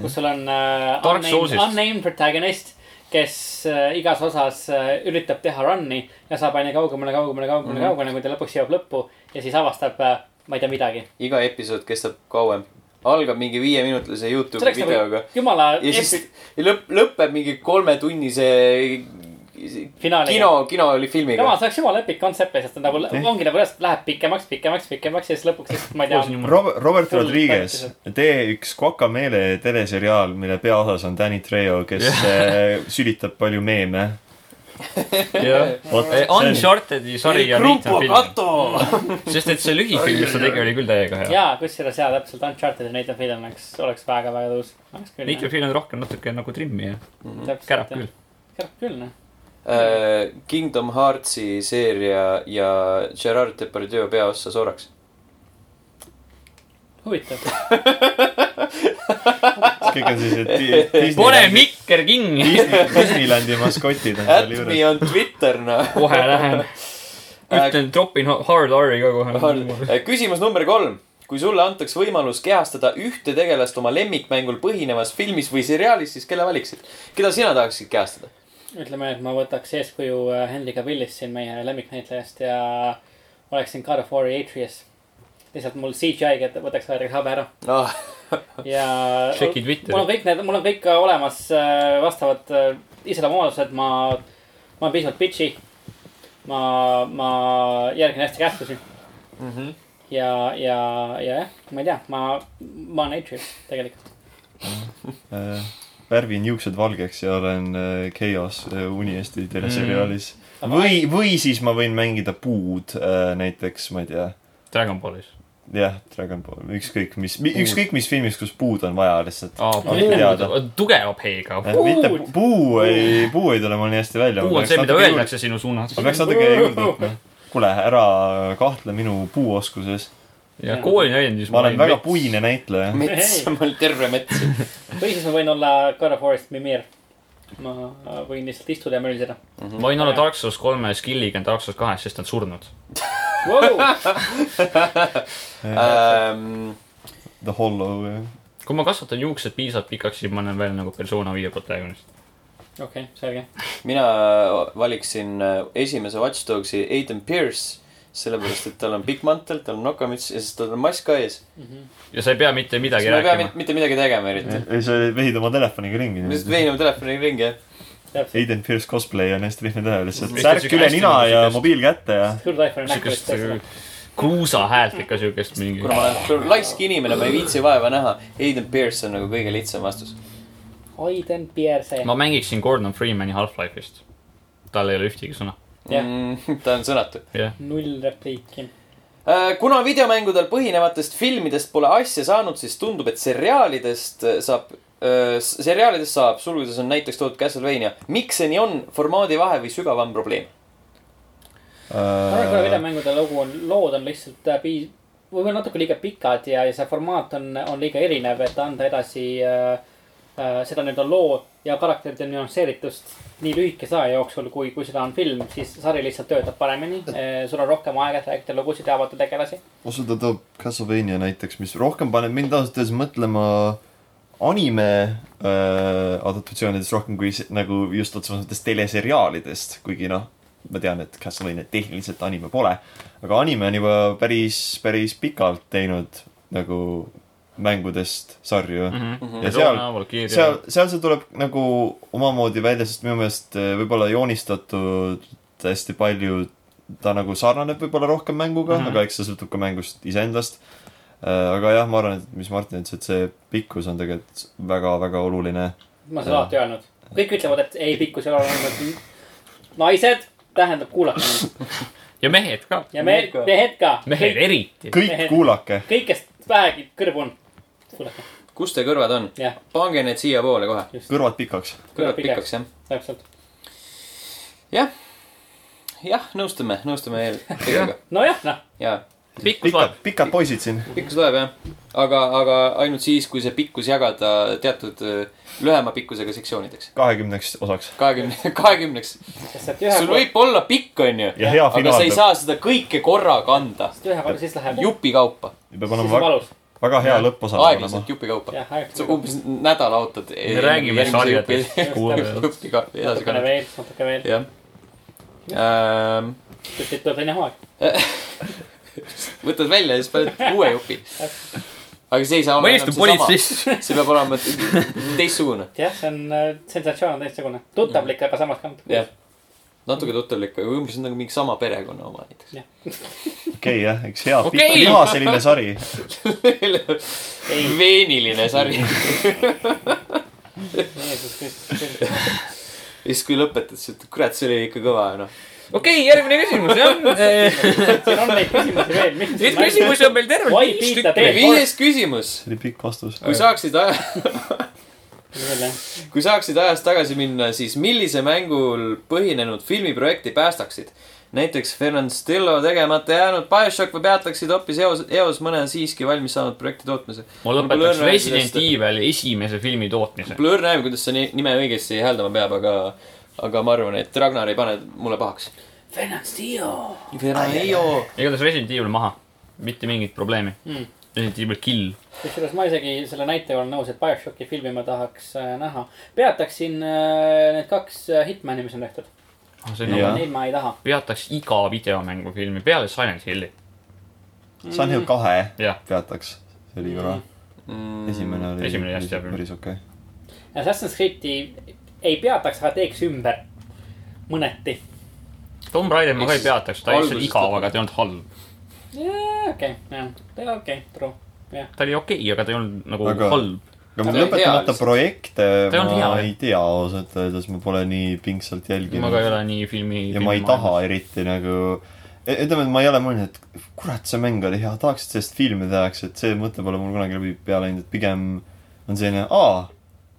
kus sul on uh,
Dark
unnamed,
Soulsist.
unnamed protagonist , kes uh, igas osas uh, üritab teha run'i ja saab aina kaugemale , kaugemale , kaugemale mm , -hmm. kaugemale , kui ta lõpuks jõuab lõppu ja siis avastab uh, , ma ei tea midagi .
iga episood kestab kauem . algab mingi viieminutilise
see
Youtube'i
oleks
videoga
nagu . jumala
ja siis ja lõpp , lõpeb mingi kolmetunnise
Finaaliga.
kino , kinofilmiga
jumala ,. see oleks jumala epic kontsept lihtsalt , nagu
Nii.
ongi nagu üles , läheb pikemaks , pikemaks , pikemaks ja siis lõpuks lihtsalt ma ei
Kuulsin
tea .
jumala-
Robert , Robert
Full
Rodriguez
practice. ,
tee üks Guacamele teleseriaal , mille peaosas on Danny Trejo , kes yeah. sülitab palju meeme .
jah . Eh, Uncharted'i sari ja Riita film ,
Kato .
sest et see lühifilm , mis ta tegi , oli küll täiega hea .
jaa , kusjuures jaa , täpselt Uncharted'i Nathan Fillion oleks , oleks väga-väga tõus . oleks küll .
Riita film on rohkem natuke nagu trimmi ja kärab
kärab
küll ..
kärab küll , noh .
Äh, Kingdom Heartsi seeria ja Gerard Depardieu peaossa Soraks .
huvitav .
kõik on sellised
*laughs*
Di-
pane
Disneylandi ,
mikker kinni ,
Disneylandi maskotid on
At
seal
me
juures .
on Äh, Twitter , noh .
kohe lähen .
Äh,
ütlen , tropin hard R-i ka kohe .
eh, küsimus number kolm . kui sulle antaks võimalus kehastada ühte tegelast oma lemmikmängul põhinevas filmis või seriaalis , siis kelle valiksid ? keda sina tahaksid kehastada ?
ütleme , et ma võtaks eeskuju äh, Henry Cavillist siin meie lemmiknäitlejast ja oleksin God of War'i Atreus . lihtsalt mul CGI-ga et- võtaks , võetaks habe ära
noh ,
ja .
Checki Twitteri.
mul on kõik need , mul on kõik äh, olemas äh, vastavad äh, iseloomuomadused , ma , ma olen piisavalt bitch'i . ma , ma järgin hästi käskusi ja , ja , ja jah , ma ei tea , ma , ma olen Atreus tegelikult .
Äh, värvin juuksed valgeks ja olen äh, Chaos äh, Uniesti teleseriaalis . või , või siis ma võin mängida puud äh, näiteks , ma ei tea ,
Dragon Ballis .
jah , Dragon Ball , ükskõik mis , ükskõik mis filmis , kus puud on vaja lihtsalt .
aa ,
teada.
puud , tugeva P-ga .
Puud. Äh, mitte
Puud!
puu ei , puu ei tule mul nii hästi välja .
puu on see , mida . öeldakse sinu suunas
ma . peaks natuke juurde võtma . kuule , ära kahtle minu puuoskuses .
ja kooli näidendis
ma olen väga . puine näitleja .
mets , *laughs* mul on terve mets .
või siis ma võin olla God of War'ist Mimir . ma äh, võin lihtsalt istuda ja möliseda .
ma võin olla Dark Souls kolme skill'iga ja Dark Souls kahes , sest ta on surnud .
Wow!
Ähm,
The Hollow , jah .
kui ma kasvatan juuksed piisavalt pikaks , siis ma olen veel nagu persona viie protagonist .
okei okay, , selge .
mina valiksin äh, esimese Watch Dogsi Aiden Pierce , sellepärast et tal on pikk mantel , tal on nokamüts ja siis tal on mask ka ees .
Mhm.
ja sa ei pea mitte
siis
midagi
ma ei pea
rääkima
mit- . mitte midagi tegema eriti .
ei , sa vehid oma telefoniga ringi
ma . lihtsalt veinime telefoni ringi ja
täpselt .
Aiden Pierce cosplay on hästi lihtne teha lihtsalt .
Mis ta
särk
siuke
üle
hästi
nina ja
muusikast-
mobiil kätte ja .
suur telefon on näkku vist
siukest äh,
tõesti .
kruusa häält ikka siukest mingi
kuna . ma olen laisk inimene , ma ei viitsi vaeva näha . Aiden Pierce on nagu kõige lihtsam vastus .
Aiden Pierce .
ma mängiksin Gordon Freemani Half-Life'ist . tal ei ole ühtegi sõna .
Jah.
mm, . ta on sõnatu .
jah ,
null repliiki .
kuna videomängudel põhinevatest filmidest pole asja saanud , siis tundub , et seriaalidest saab , seriaalidest saab , sulgudes on näiteks toodud Castlevania . miks see nii on , formaadi vahe või sügavam probleem ?
ma arvan , et videomängude lugu on , lood on lihtsalt äh, piis- , võib-olla natuke liiga pikad ja , ja see formaat on , on liiga erinev , et anda edasi äh, äh, seda nii-öelda loo ja karakterite nüansseeritust nii lühikese aja jooksul , kui , kui seda on film , siis sari lihtsalt töötab paremini . sul on rohkem aega , et rääkida lugusid ja avada tegelasi .
ausalt öelda toob Castlevania näiteks , mis rohkem paneb mind ausalt öeldes mõtlema anime äh, adaptatsioonidest rohkem kui se- nagu just otsemas mõttes teleseriaalidest , kuigi noh , ma tean , et Castlevania tehniliselt anime pole , aga anime on juba päris , päris pikalt teinud nagu mängudest sarju mm .
Mhm.
ja seal
Persona, , Valkyria.
seal , seal see tuleb nagu omamoodi välja , sest minu meelest eh, võib-olla joonistatud hästi palju , ta nagu sarnaneb võib-olla rohkem mänguga mm ,
Mhm.
-hmm. aga eks see sõltub ka mängust iseendast . aga jah , ma arvan , et mis Martin ütles , et see pikkus on tegelikult väga-väga oluline .
ma olen seda alati öelnud . kõik ütlevad , et ei , pikkus ei ole olnud . naised tähendab kuulata mind
ja mehed ka .
ja me , mehed ka .
mehed eriti .
*laughs*
kõik kuulake .
kõik , kes vähegi kõrvu on , kuulake ,
kus teie kõrvad on ?
jah ,
pange need siiapoole kohe .
kõrvad pikaks .
kõrvad pikaks , jah .
täpselt .
jah , jah , nõustume , nõustume
*laughs*
eel- teiega .
nojah , noh ,
jaa ,
pikkus
pikad
loeb .,
pikad poisid siin .
pikkus loeb jah , aga , aga ainult siis , kui see pikkus jagada teatud öö, lühema pikkusega sektsioonideks .
kahekümneks osaks .
kahekümne , kahekümneks .
sest et ühe
sul
kord ,
võib olla pikk , onju .
ja hea
aga sa
finaal
ei
peab ,
saa seda kõike korraga anda .
ühe kord siis läheb .
jupi kaupa ,
peab
siis
olema
on
väga,
valus .
väga hea lõpposa .
aeglaselt jupi kaupa .
jah , aeg
sa . umbes nädal ootad .
me räägime sarjadest .
jupi *laughs* ka- edasi
natukene
kannad .
veel , natuke veel ,
jah . Ähm,
sest et tuleb teine hooaeg .
võtad välja ja siis paned uue jupi . aga see ei saa
ma
olla
istun . politseis .
*laughs* see peab olema teistsugune .
jah , see on , sensatsioon on teistsugune , tuttavlik , aga samas kannatab .
jah , natuke tuttavlik , aga umbes nagu mingi sama perekonna oma *laughs* näiteks .
okei jah , eks hea
Okei.
okay. , hea selline sari .
ei ,
veeniline sari . ja
Jeesus Kristus ,
siis , kui lõpetad , siis ütled , kurat , see oli ikka kõva , noh .
okei , järgmine küsimus ,
*laughs*
jah .
siin on neid küsimusi veel , mis
Neid küsimusi on meil tervelt
Oi,
viis
Piita,
tükki .
viies küsimus .
see oli pikk vastus .
kui saaksid aja ,
veel jah ,
kui saaksid ajas tagasi minna , siis millise mängul põhinenud filmiprojekti päästaksid ? näiteks Fernand Stillo tegemata jäänud BioShock või peataksid hoopis eos , eos mõne siiski valmis saanud projekti tootmise .
ma lõpetaks Resident . Evil'i esimese filmi tootmise .
pole õrna aimu , kuidas see ni- nime õigesti hääldama peab , aga , aga ma arvan , et Ragnar ei pane mulle pahaks .
Fernand Stio .
Fernand Eio .
igatahes Resident Evil maha , mitte mingit probleemi .
Hmm.
Resident Evil kill .
kusjuures ma isegi selle näitega olen nõus , et BioShocki filmi ma tahaks äh, näha . peataksin äh, need kaks äh, Hitmani , mis on tehtud .
Ah, nagu-
Jah.
Neid ma ei taha .
peataks iga videomängufilmi peale Silent Hilli .
Sun Hill kahe
jah ,
peataks . see oli kõva .
Mm.
esimene oli .
Esimene hästi hea film.
päris okei
Assassin's Creed'i ei peataks , aga teeks ümber . mõneti .
Tomb Raider ma ka ei
Eks
peataks , ta oli lihtsalt
algusest
igav ,
lõpuni.
aga ta ei olnud halb .
okei , jah , okei , true .
ta oli okei okay, , aga ta ei olnud nagu
Aga-
aga... halb .
okay. .
Ta
aga
oli hea
lõpetamata
lihtsalt.
projekte
Ta ei olnud
ma
hea,
ei tea ausalt öeldes , ma pole nii pingsalt jälginud .
ma ka ei ole nii filmi .
ja ma ei taha . eriti nagu , ütleme , et ma ei ole mõelnud , et kurat , see mäng oli hea , tahaks , et sellest filmi tehakse , et see mõte pole mul kunagi läbi pea läinud , et pigem on selline , aa ,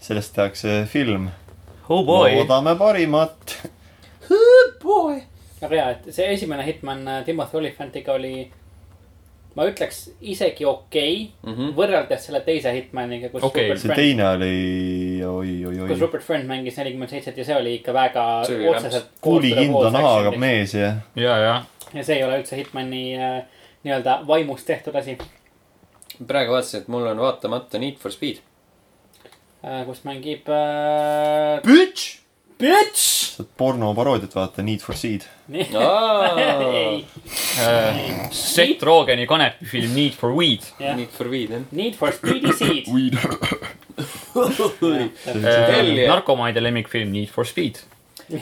sellest tehakse film .
Oh boy .
loodame parimat .
Boy .
aga jaa , et see esimene Hitman äh, Timothy Olyphantiga oli , ma ütleks isegi okei okay, mm
Mhm.
-hmm. võrreldes selle teise Hitmaniga , kus
Okei,
Rupert
see
Friend ,
teine oli oi-oi-oi
kus . Rupert Friend mängis nelikümmend seitset ja see oli ikka väga
See oli
otseselt .
kuulikindla nahaga . mees ja
ja , ja .
ja see ei ole üldse Hitmani äh, nii-öelda vaimust tehtud asi ,
praegu vaatasin , et mul on vaatamata Need for Speed .
*laughs* kus mängib äh, .
Bitch .
Bitch .
saad pornoparoodiat vaata , Need for Speed .
*laughs* ei ,
Äh, Seth Rogeni kanepifilm Need for Weed .
jah ,
Need for Speed , jah .
Need for Speedy Seed .
Hell yeah.
narkomaade Äh, lemmikfilm Need for Speed .
*laughs*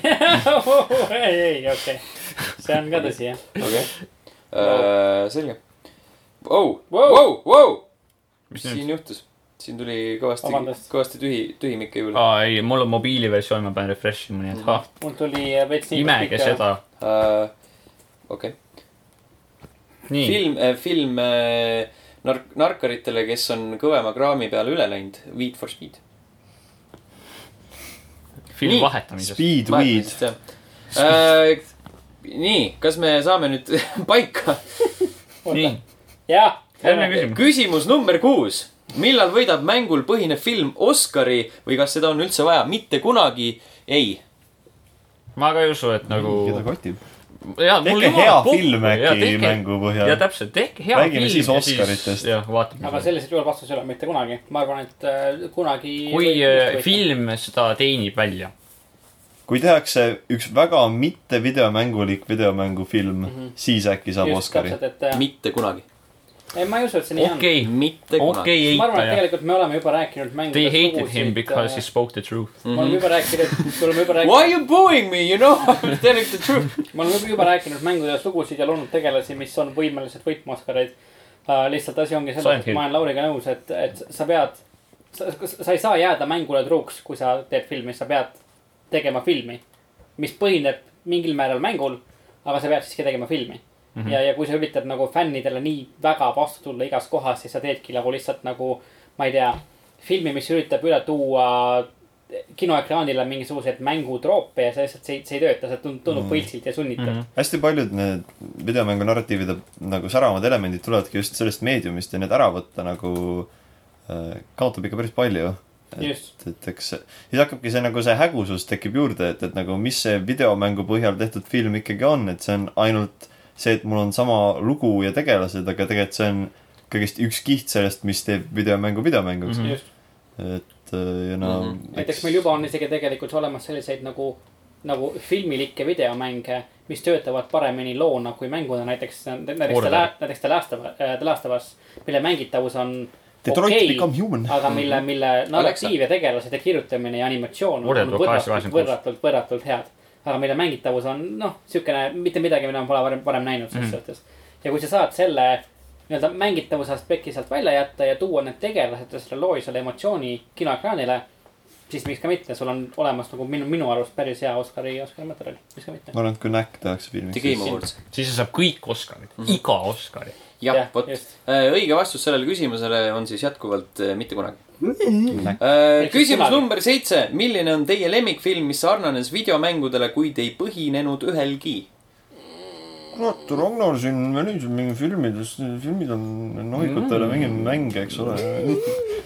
ei , ei , okei , see on ka tõsi jah .
okei . Äh, selge . Vau ,
Wow.
vau , vau . mis
nüüd?
siin juhtus ? siin tuli kõvasti
Vabandust. ,
kõvasti tühi , tühimikke juurde .
aa ei , mul on mobiiliversioon , ma pean refresh ima , nii et ah ,
mul tuli äh, veits nii .
imege . seda .
Äh, okei ,
nii ,
film , film äh, nark- , narkaritele , kes on kõvema kraami peale üle läinud , Weed for Speed .
film
Nii.
vahetamisest .
Speed Weed .
Äh, nii , kas me saame nüüd *laughs* paika ?
nii ,
jah .
järgmine . küsimus .
küsimus number kuus . millal võidab mängul põhinev film Oscari või kas seda on üldse vaja ? mitte kunagi ei .
ma ka ei usu , et nagu .
keda kotib ? tehke hea film äkki
ja
mängu põhjal .
täpselt , tehke hea
Räägime siis
film ja
Oscaritest.
jah , vaatame .
aga sellisel juhul vastus ei ole mitte kunagi . ma arvan , et äh, kunagi .
kui äh, . film seda teenib välja .
kui tehakse üks väga mitte videomängulik videomängufilm , siis äkki saab
just
Oscari .
täpselt , et äh,
mitte kunagi .
ei , ma ei usu , et see nii on .
okei ,
mitte kunagi .
okei ,
ma arvan , et
eitaja .
tegelikult me oleme juba rääkinud mängudest .
They hated him
äh,
because he spoke the truth .
Mhm.
me oleme juba rääkinud ,
*laughs*
me oleme
Why
juba rääkinud ,
you booing me , you
*laughs*
know I am telling the truth .
me oleme juba rääkinud mängudest lugusid ja loonud tegelasi , mis on võimelised võitma Oscareid uh, . lihtsalt asi ongi selles , et
Silent Hill.
ma olen Lauriga nõus , et , et sa pead , sa, sa ei saa jääda mängule truuks , kui sa teed filmi , sa pead tegema filmi , mis põhineb mingil määral mängul , aga sa pead siiski tegema filmi
Mhm.
mm . -hmm. ja , ja kui sa üritad nagu fännidele nii väga vastu tulla igas kohas , siis sa teedki nagu lihtsalt nagu , ma ei tea , filmi , mis üritab üle tuua kinoekraanile mingisuguseid mängutroope ja see lihtsalt , see ei , see ei tööta , see tund- tundub
Mhm.
võltsilt ja sunnitav mm . -hmm.
hästi paljud need videomängu narratiivide nagu säravamad elemendid tulevadki just sellest meediumist ja need ära võtta nagu äh, kaotab ikka päris palju .
Just.
et , et eks siis hakkabki see nagu see hägusus tekib juurde , et , et nagu mis see videomängu põhjal tehtud film ikkagi on , et see on ainult see , et mul on sama lugu ja tegelased , aga tegelikult see on kõigest üks kiht sellest , mis teeb videomängu videomänguks
Mhm.
mm .
just ,
-hmm. et äh, ja no mm . -hmm.
Mhm. näiteks meil juba on isegi tegelikult olemas selliseid nagu , nagu filmilikke videomänge , mis töötavad paremini loona kui mänguna , näiteks , näiteks The
Orwell.
Last , näiteks The Last of , The Last of Us , mille mängitavus on
Detroit
okei, Ah.
okay. Become Human .
aga mille ,
Mhm.
mille narratiiv ja tegelased ja kirjutamine ja animatsioon on
Võrreldavalt
võrratult ,
886.
võrratult , võrratult head . aga mille mängitavus on noh , siukene mitte midagi , mida ma pole varem , varem näinud selles
Mhm.
mm. suhtes . ja kui sa saad selle nii-öelda mängitavuse aspekti sealt välja jätta ja tuua need tegelased ja selle loo ja selle emotsiooni kinoekraanile , siis miks ka mitte , sul on olemas nagu minu , minu arust päris hea Oscari , Oscari materjal , miks ka mitte
ma . arvan , et kui Näkk tehakse
The
filmiks ,
Game
siis
Awards .
siis see saab kõik Oscarid ,
Mhm.
iga Oscari .
jah
Jah, ,
vot .
just.
õige vastus sellele küsimusele on siis jätkuvalt äh, mitte kunagi .
Näkk
Mm-hmm. Ehk siis
küsimus
kunagi.
number seitse . milline on teie lemmikfilm , mis sarnanes videomängudele , kuid ei põhinenud ühelgi ?
kurat , Ragnar siin menüüs on mingi filmides , filmid on nohikutele mm. mingi mänge , eks ole .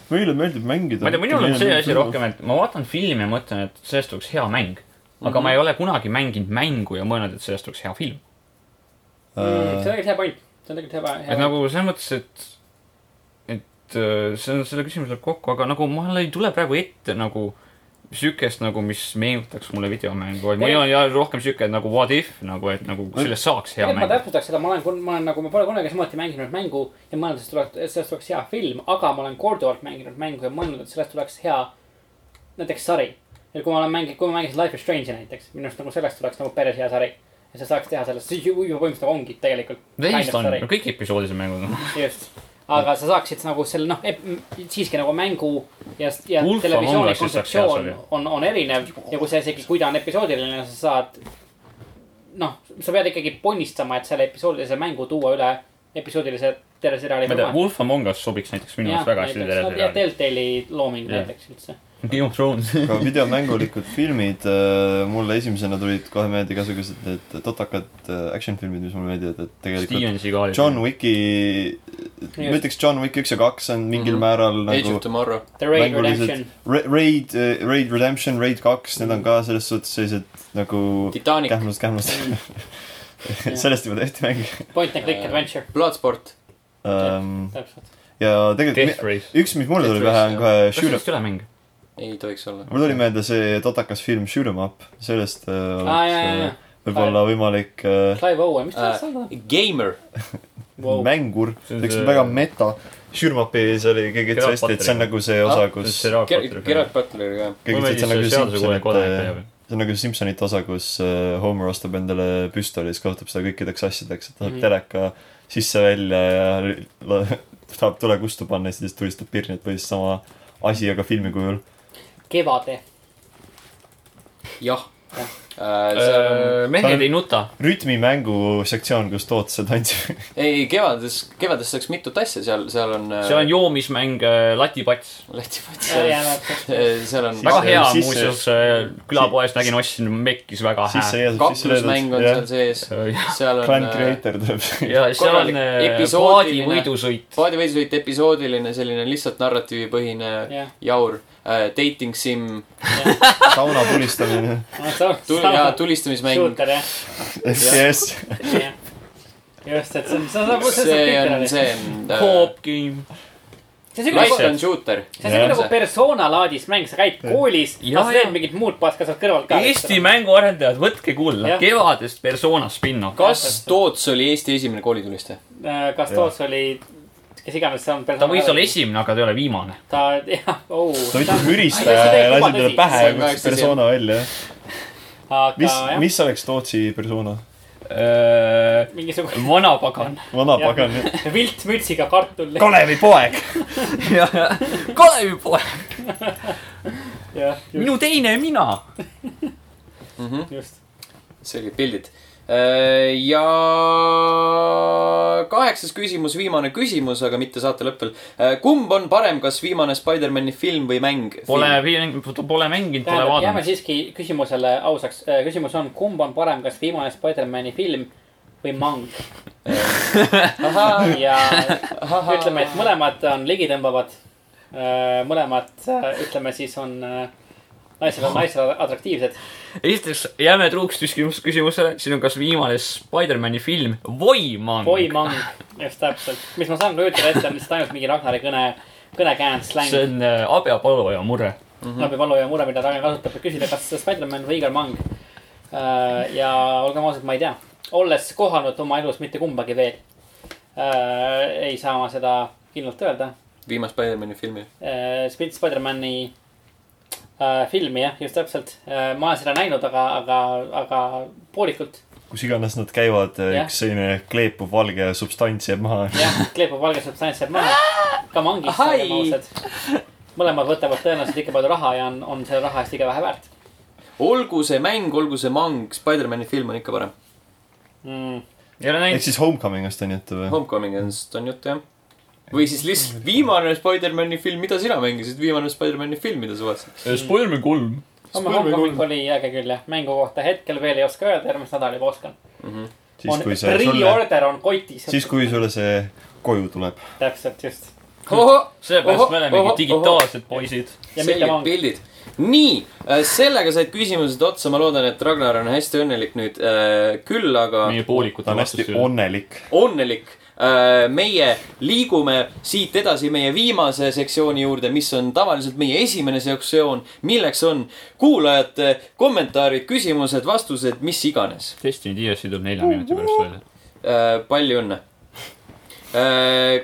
meile meeldib mängida .
ma ei tea , minul on see asi . rohkem , et ma vaatan filmi ja mõtlen , et sellest tuleks hea mäng .
Mhm.
aga ma ei ole kunagi mänginud mängu ja mõelnud , et sellest tuleks hea film .
see on tegelikult hea point , see on tegelikult hea , hea
et . nagu selles mõttes , et , et äh, see on , selle küsimus läheb kokku , aga nagu mul ei tule praegu ette nagu siukest nagu , mis meenutaks mulle videomängu , vaid mul on jah rohkem siuke nagu what if nagu , et nagu sellest saaks hea
tegelikult ma
mäng .
täpsustaks seda , ma olen , ma olen nagu , ma pole kunagi samuti mänginud mängu ja mõelnud , et sellest tuleks , et sellest tuleks hea film , aga ma olen korduvalt mänginud mängu ja mõelnud , et sellest tuleks hea näiteks sari . et kui ma olen mänginud , kui ma mängisin Life is Strange'i näiteks , minu arust nagu sellest tuleks nagu päris hea sari . ja sa saaks teha sellest , see ju ju põhimõtteliselt ongi tegelikult .
teist on , kõik episoodis on mängud .
just , aga sa saaksid nagu selle noh , siiski nagu mängu ja , ja
Wolf Among
televisiooni
Us'is saaks hea
kontseptsioon
sarja.
on , on erinev ja kui sa isegi , kui ta on episoodiline , sa saad . noh , sa pead ikkagi ponnistama , et selle episoodilise mängu tuua üle episoodilise teleseriaali
ma ei tea , Wolf Among Us sobiks näiteks minu arust väga hästi
ja
teleseriaali .
Deltali looming
Jah.
näiteks üldse .
Game of Thrones .
aga videomängulikud filmid , mulle esimesena tulid kohe meelde igasugused need totakad äh, action filmid , mis mulle meeldivad , et tegelikult
Steven Seagal .
John Wicki , ma ütleks John Wick üks ja kaks on mingil
Mhm.
määral
Age
nagu
of Tomorrow .
The Raid
Mängulised-
Redemption ,
Ra- Raid , Raid Redemption , Raid kaks , need on ka selles suhtes sellised nagu
Titanic ,
kähmlast , kähmlast . *laughs* sellest juba tehti mäng
Point and Click Adventure ,
Bloodsport .
um, .
täpselt .
ja
Death
tegelikult mi-
Race .
üks , mis mulle tuli
Tetris,
pähe , on
jah.
kohe
kas
Shoot Em
sellest , üle mäng ?
ei tohiks olla .
mul tuli meelde see totakas film Shoot Em Up , sellest äh,
aa , ja , ja , ja
oleks äh, , võib-olla võimalik äh,
Clive Owen , mis ta
Äh,
üldse on ?
Gamer .
Wow.
mängur ,
See on
üks
see-
väga meta . Shoot Em Upis oli kõige
Gerard
tõesti , et see on
Butleri-
nagu see osa , kus
Gerard Butler ka .
kõige tõesti , see on nagu Simsonite , see on nagu Simsonite osa , kus äh, Homer ostab endale püstoli ja siis kasutab seda kõikideks asjadeks , et ta saab
Mhm.
teleka sisse-välja ja la- *laughs* tahab tule kustu panna ja siis tulistab pirni , et põhimõtteliselt sama asi , aga filmi kujul .
Kevade .
jah
Jah.
äh, .
mehed ei nuta .
rütmimängu sektsioon , kus tootsed *laughs* andsid .
ei , kevades , kevades saaks mitut asja , seal , seal on .
seal
Äh.
on joomismäng , äh, latipats .
Läti pats , *laughs* Äh, seal on
Siis-
väga hea
sisse-
muuseas , külapoes nägin , ostsin , mekkis väga
sisse
hea .
järsult sisse
kaklusmäng on seal
löödud .
sees , seal
Clan
on . äh,
Creator
*laughs*
tuleb .
ja seal on
korralik
äh, paadi
episoodiline-
võidusõit .
paadi veidusõit episoodiline , selline lihtsalt narratiivipõhine
jah ,
jaur äh, , dating sim ,
sauna pulistamine .
tuli , jaa ,
jah .
tulistamismäng .
Shooter jah ,
FPS .
jah . just , et see on , see on ,
see on ,
see on .
see on äh, .
Coop game .
see on siuke
Light
nagu ,
on shooter .
see on siuke nagu persona laadis mäng , sa käid koolis ,
Jah,
sa teed
jah.
mingit muud paska seal kõrval ka .
Eesti mänguarendajad , võtke kulla
Jah. ,
kevadest persona spin-off .
kas Toots oli Eesti esimene koolitulistaja ?
Äh, kas Toots oli , kes iganes see on .
ta võis olla . esimene , aga ta ei ole viimane .
ta , *laughs* jah , oo .
ta võttis müristaja ja lasi talle pähe
See
ja
on ka
kutsus
üks asi,
persona välja .
aga
mis ,
jah ,
mis oleks Tootsi persona ?
Äh,
mingisugune
vanapagan .
vana
Jah.
pagan .
*laughs* vilt mütsiga kartul .
Kalevi poeg .
Kalevipoeg ,
jah ,
minu teine mina .
just .
selged pildid . ja kaheksas küsimus , viimane küsimus , aga mitte saate lõpul . kumb on parem , kas viimane Spider-man'i film või mäng ?
Pole , pole mänginud , pole
tähendab , jääme
vaadanud .
siiski küsimusele ausaks . küsimus on , kumb on parem , kas viimane Spider-man'i film või
*laughs*
mang ? ja ütleme , et mõlemad on ligitõmbavad . mõlemad , ütleme siis on äh, naisele , naisele atraktiivsed .
esiteks jääme truuks küsimus , küsimusele , siin on kas viimane Spider-man'i film või mang .
Boy mang , just täpselt . mis ma saan kujutada ette , on lihtsalt ainult mingi Ragnari kõne , kõnekäänd , släng
see . on äh, abipaluja mure .
läbi valu Mhm. ja mure , mida Ragnar kasutab , et küsida , kas Spider-man või Igor Mang . ja olgem ausad , ma ei tea , olles kohanud oma elus mitte kumbagi veel , ei saa ma seda kindlalt öelda .
viimane Spider-man'i filmi .
Spits Spider-mani äh, filmi jah , just täpselt , ma olen seda näinud , aga , aga , aga poolikult
kus iganes nad käivad ,
Jah.
üks selline kleepuv valge substants jääb maha .
jah , kleepub valge substants jääb maha , ka mangis
Ahai!
saame ausad . mõlemad võtavad tõenäoliselt ikka palju raha ja on , on selle raha eest liiga vähe väärt
olgu see mäng , olgu see mang , Spider-man'i film on ikka parem .
mm. .
ei ole
ehk
näinud .
siis Homecomingust on juttu või ?
Homecoming'ist on juttu jah . või siis lihtsalt viimane Spider-man'i film , mida sina mängisid , viimane Spider-man'i film , mida sa vaatasid .
äh, Spider-man kolm .
homme hommik oli äge küll jah , mängu kohta hetkel veel ei oska öelda , järgmist nädala juba oskan . on
siis , kui see sulle ,
pre-order on kotis .
siis kui sulle see koju tuleb .
täpselt just .
seepärast me
Ohoh, ohoh,
olemegi digitaalsed poisid .
ja mitte
selged
vangi .
pildid . nii , sellega said küsimused otsa , ma loodan , et Ragnar on hästi õnnelik nüüd . küll aga
meie poolikud
ta on hästi . onnelik .
õnnelik . Äh, meie liigume siit edasi meie viimase sektsiooni juurde , mis on tavaliselt meie esimene sektsioon , milleks on kuulajate kommentaarid , küsimused , vastused , mis iganes .
Destiny DLC tuleb nelja minuti pärast välja .
palju õnne .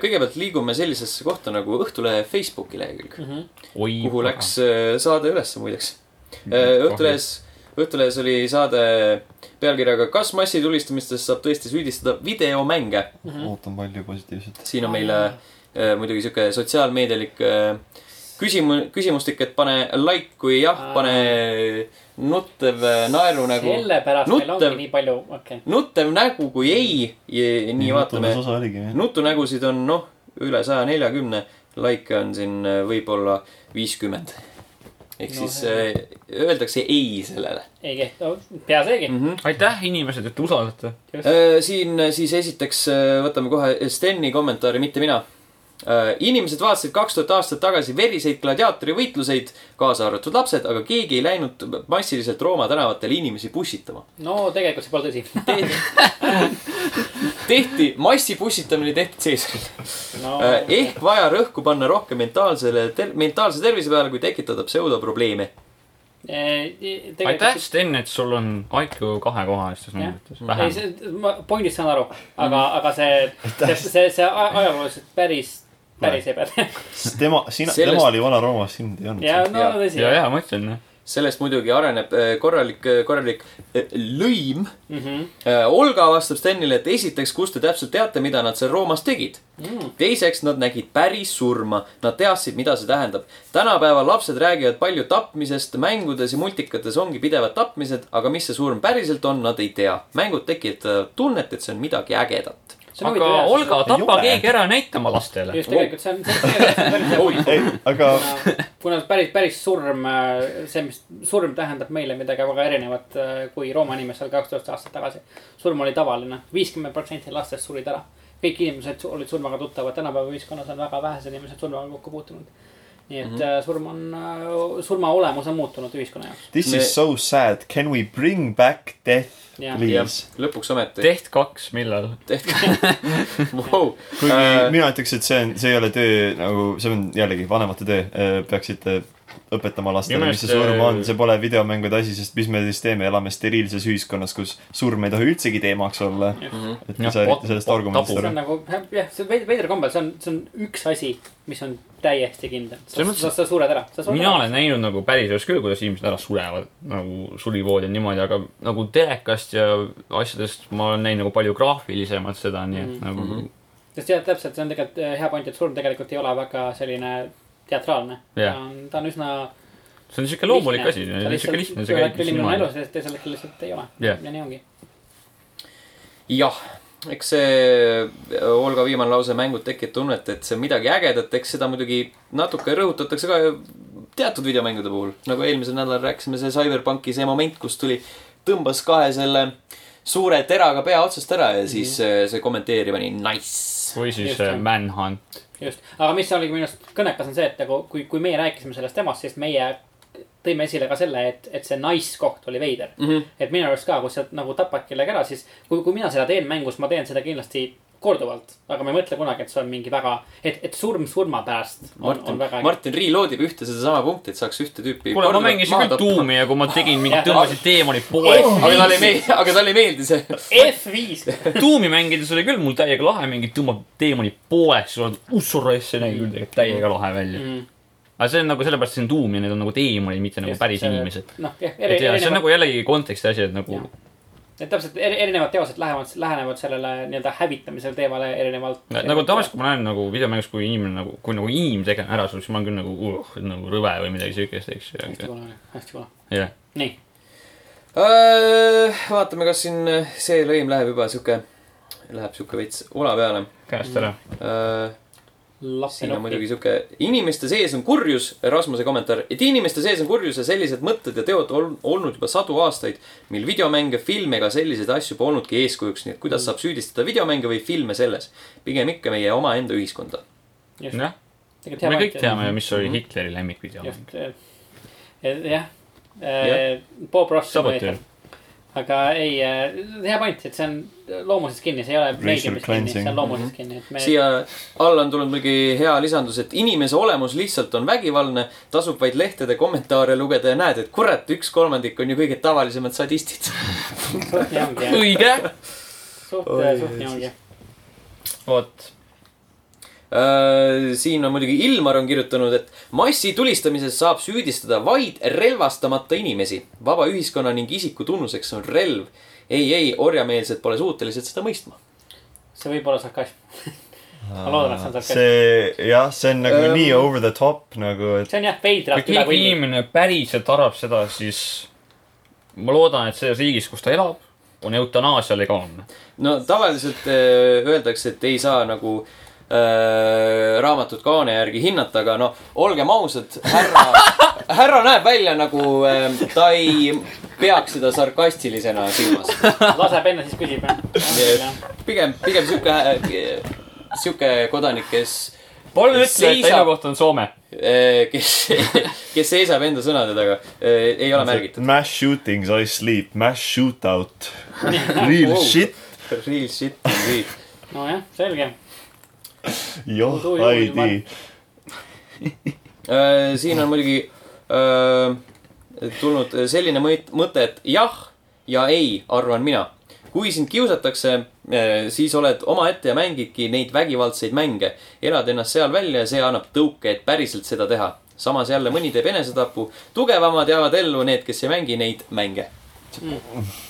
kõigepealt liigume sellisesse kohta nagu Õhtulehe Facebooki lehekülg .
Mhm.
oi .
kuhu läks äh, saade üles muideks .
Äh,
Õhtulehes , Õhtulehes oli saade pealkirjaga Kas massitulistamistest saab tõesti süüdistada videomänge ?
Mhm.
ootan palju positiivset .
siin on meile äh, muidugi sihuke sotsiaalmeedialik äh, küsimus , küsimustik , et pane like , kui jah , pane nuttev äh, naerunägu ,
sellepärast meil
Nuttev.
ongi nii palju , okei .
nuttev nägu , kui ei , nii vaatame .
osa oligi .
nutunägusid on noh , üle saja neljakümne , like on siin äh, võib-olla viiskümmend . ehk
No
no, siis
hea.
äh, öeldakse ei sellele
ei kehti , pea seegi .
mm . -hmm.
aitäh , inimesed , et te usaldate .
siin äh, siis esiteks äh, võtame kohe Steni kommentaari , mitte mina . inimesed vaatasid kaks tuhat aastat tagasi veriseid gladiaatorivõitluseid , kaasa arvatud lapsed , aga keegi ei läinud massiliselt Rooma tänavatele inimesi pussitama .
no tegelikult see pole tõsi .
*laughs* tehti , massipussitamine tehti Caesarile .
no
*laughs* Äh, ehk vaja rõhku panna rohkem mentaalsele ter- , mentaalse tervise peale , kui tekitada pseudoprobleeme .
eh, .
aitäh , Sten , et sul on IQ kahekohalistes
Jah.
numbrites .
ei ,
vähem .
see , ma pointist saan aru , aga , aga see , see , see , see a- ajalooliselt päris , päris ei päde .
sest tema , sina ,
Sellest-
tema oli Vana-Roomas , sind ei olnud
ja
seal .
no tõsi
ja ,. ja ma ütlen ,
sellest muidugi areneb äh, korralik , korralik äh, lõim .
mm . -hmm.
Äh, Olga vastab Stenile , et esiteks , kust te täpselt teate , mida nad seal Roomas tegid mm. . teiseks , nad nägid päris surma , nad teadsid , mida see tähendab . tänapäeval lapsed räägivad palju tapmisest , mängudes ja multikates ongi pidevad tapmised , aga mis see surm päriselt on , nad ei tea . mängud tekitavad tunnet , et see on midagi ägedat .
see on
aga
huvitav jah .
Olga , tapa
Jube.
keegi ära näitama lastele .
just tegelikult see on , see on päris hea .
ei , aga
kuna päris , päris surm , see , mis surm tähendab meile midagi väga erinevat , kui Rooma inimestel kaks tuhat aastat tagasi . surm oli tavaline , viiskümmend protsenti lastest surid ära . kõik inimesed su- olid surmaga tuttavad , tänapäeva ühiskonnas on väga vähesed inimesed surmaga kokku puutunud . nii
Mhm.
et mm -hmm. surm on , surma olemus on muutunud ühiskonna jaoks .
this
Me-
is so sad , can we bring back death ,
Jah.
jah
please ?,
lõpuks ometi .
teht kaks , millal ?
tehke wow. .
kuigi äh... mina ütleks , et see on , see ei ole töö nagu , see on jällegi vanemate töö , peaksite õpetama lastele ,
Minu
mis see
meelest,
surm on ,
äh,
see pole videomängude asi , sest mis me siis teeme , elame steriilses ühiskonnas , kus surm ei tohi üldsegi teemaks olla . et kui
Jah,
sa
tabu-
eriti sellest
tabu.
argumendist
see
aru
on . nagu jah , see on veid- veidra kombel , see on , see on üks asi , mis on täiesti kindel . sa
Selles , mõttes-
sa, sa sured ära .
mina olen näinud nagu päriselus küll , kuidas inimesed ära surevad , nagu sulivood ja niimoodi , aga nagu telekast ja asjadest ma olen näinud nagu palju graafilisemalt seda , nii et nagu mm -hmm.
mhm. sest jah , täpselt , see on tegelikult eh, hea point , et surm tegelikult ei ole väga selline teatraalne
Jah.
ta on , ta on üsna .
see on siuke loomulik asi , see on siuke lihtne , see
ühel
käib
hetkel
just
inimene on
niimoodi
elus . ja teisel hetkel lihtsalt ei ole
Jah.
ja nii ongi .
jah , eks see äh, Olga viimane lause , mängud tekitavad tunnet , et see on midagi ägedat , eks seda muidugi natuke rõhutatakse ka teatud videomängude puhul . nagu eelmisel nädalal rääkisime , see Cyberpunki see moment , kus tuli , tõmbas kahe selle suure teraga pea otsast ära ja siis
Mhm.
äh, see kommenteerima nii nice .
või siis
Just,
äh,
jah.
Manhunt .
just , aga mis oligi minu arust kõnekas on see , et nagu kui , kui meie rääkisime sellest temast , siis meie tõime esile ka selle , et , et see naiskoht oli veider mm .
Mhm.
-hmm. et minu arust ka , kui sa nagu tapad kellegi ära , siis kui , kui mina seda teen mängus , ma teen seda kindlasti korduvalt , aga ma ei mõtle kunagi , et see on mingi väga , et , et surm surma pärast on ,
Martin
on väga ,
Martin riiload ib ühte sedasama punkti , et saaks ühte tüüpi .
kuule , ma mängisin küll Doom'i ja kui ma tegin mingi , tõmbasin teemani pooleks .
aga talle ei meeldi , aga talle ei meeldi
*laughs*
see .
F5
Doom'i mängides oli küll mul täiega lahe , mingi tõmbab teemani pooleks , sul on ussuress , see nägi küll tegelikult täiega lahe välja .
mm. .
aga see on nagu sellepärast , see on Doom ja need on nagu teemonid , mitte nagu
Just,
päris
see-
inimesed .
noh , jah ,
et ja see on
erinevad ,
nagu jällegi konteksti asi , et nagu
Jah. et täpselt eri- erinevad teosed lähevad , lähenevad sellele nii-öelda hävitamisele teemale erinevalt .
nagu tavaliselt , kui ma näen nagu videomängus , kui inimene nagu , kui nagu inimtegelane ära sureb , siis ma olen küll nagu uh, , nagu rõve või midagi siukest , eks
hästi
ju .
kuna , hästi kuna ,
jah ,
nii
Äh, vaatame , kas siin see lõim läheb juba sihuke , läheb sihuke veits ola peale
käest ära .
Äh, siin on
lappi
muidugi sihuke , inimeste sees on kurjus , Rasmuse kommentaar , et inimeste sees on kurjus ja sellised mõtted ja teod on olnud juba sadu aastaid , mil videomänge , filme ega selliseid asju polnudki eeskujuks , nii et kuidas saab süüdistada videomänge või filme selles . pigem ikka meie omaenda ühiskonda .
Just.
jah ,
Tegelikult hea
me kõik
point,
teame , mis oli Hitleri lemmikvideo .
just , jah , Eh, Bob Ross .
Sabotöör. .
aga ei , hea point , et see on loomuses kinni , see ei ole meediumis kinni , see
cleansing.
on loomuses kinni , et me .
siia alla on tulnud muidugi hea lisandus , et inimese olemus lihtsalt on vägivaldne , tasub vaid lehtede kommentaare lugeda ja näed , et kurat , üks kolmandik on ju kõige tavalisemad sadistid . *laughs*
suht nii ongi jah ,
õige .
suht ,
Oi,
suht nii ongi .
vot ,
Äh, siin on muidugi Ilmar on kirjutanud , et massi tulistamises saab süüdistada vaid relvastamata inimesi . vaba ühiskonna ning isiku tunnuseks on relv . ei , ei , orjameelsed pole suutelised seda mõistma .
see võib olla sarkasm . *laughs* ma loodan , et see on sarkasm .
see , jah , see on nagu
Ähm,
um, nii over the top nagu , et
see on jah , veidralt
kui
üle
keegi
võlli .
inimene päriselt arvab seda , siis ma loodan , et selles riigis , kus ta elab , on eutanaasia legaalne .
no tavaliselt äh, öeldakse , et ei saa nagu äh, raamatut kaane järgi hinnata , aga noh , olgem ausad , *laughs* härra , härra näeb välja nagu äh, ta ei peaks seda sarkastilisena silmas .
laseb enne , siis küsib jah .
pigem , pigem sihuke , sihuke kodanik , kes
palun ütle , et ta
Seisab.
elukoht on Soome .
kes , *laughs* kes seisab enda sõnade taga , ei ole märgitud .
mass shootings I sleep , mass shootout , real
Wow.
shit ,
Real shit indeed .
nojah , selge .
joh
Oi, oi, ,
ei
ma-
tea .
siin on muidugi äh, tulnud selline mõit- mõte , et jah ja ei , arvan mina . kui sind kiusatakse , siis oled omaette ja mängidki neid vägivaldseid mänge . elad ennast seal välja ja see annab tõuke , et päriselt seda teha . samas jälle mõni teeb enesetapu , tugevamad jäävad ellu , need , kes ei mängi neid mänge .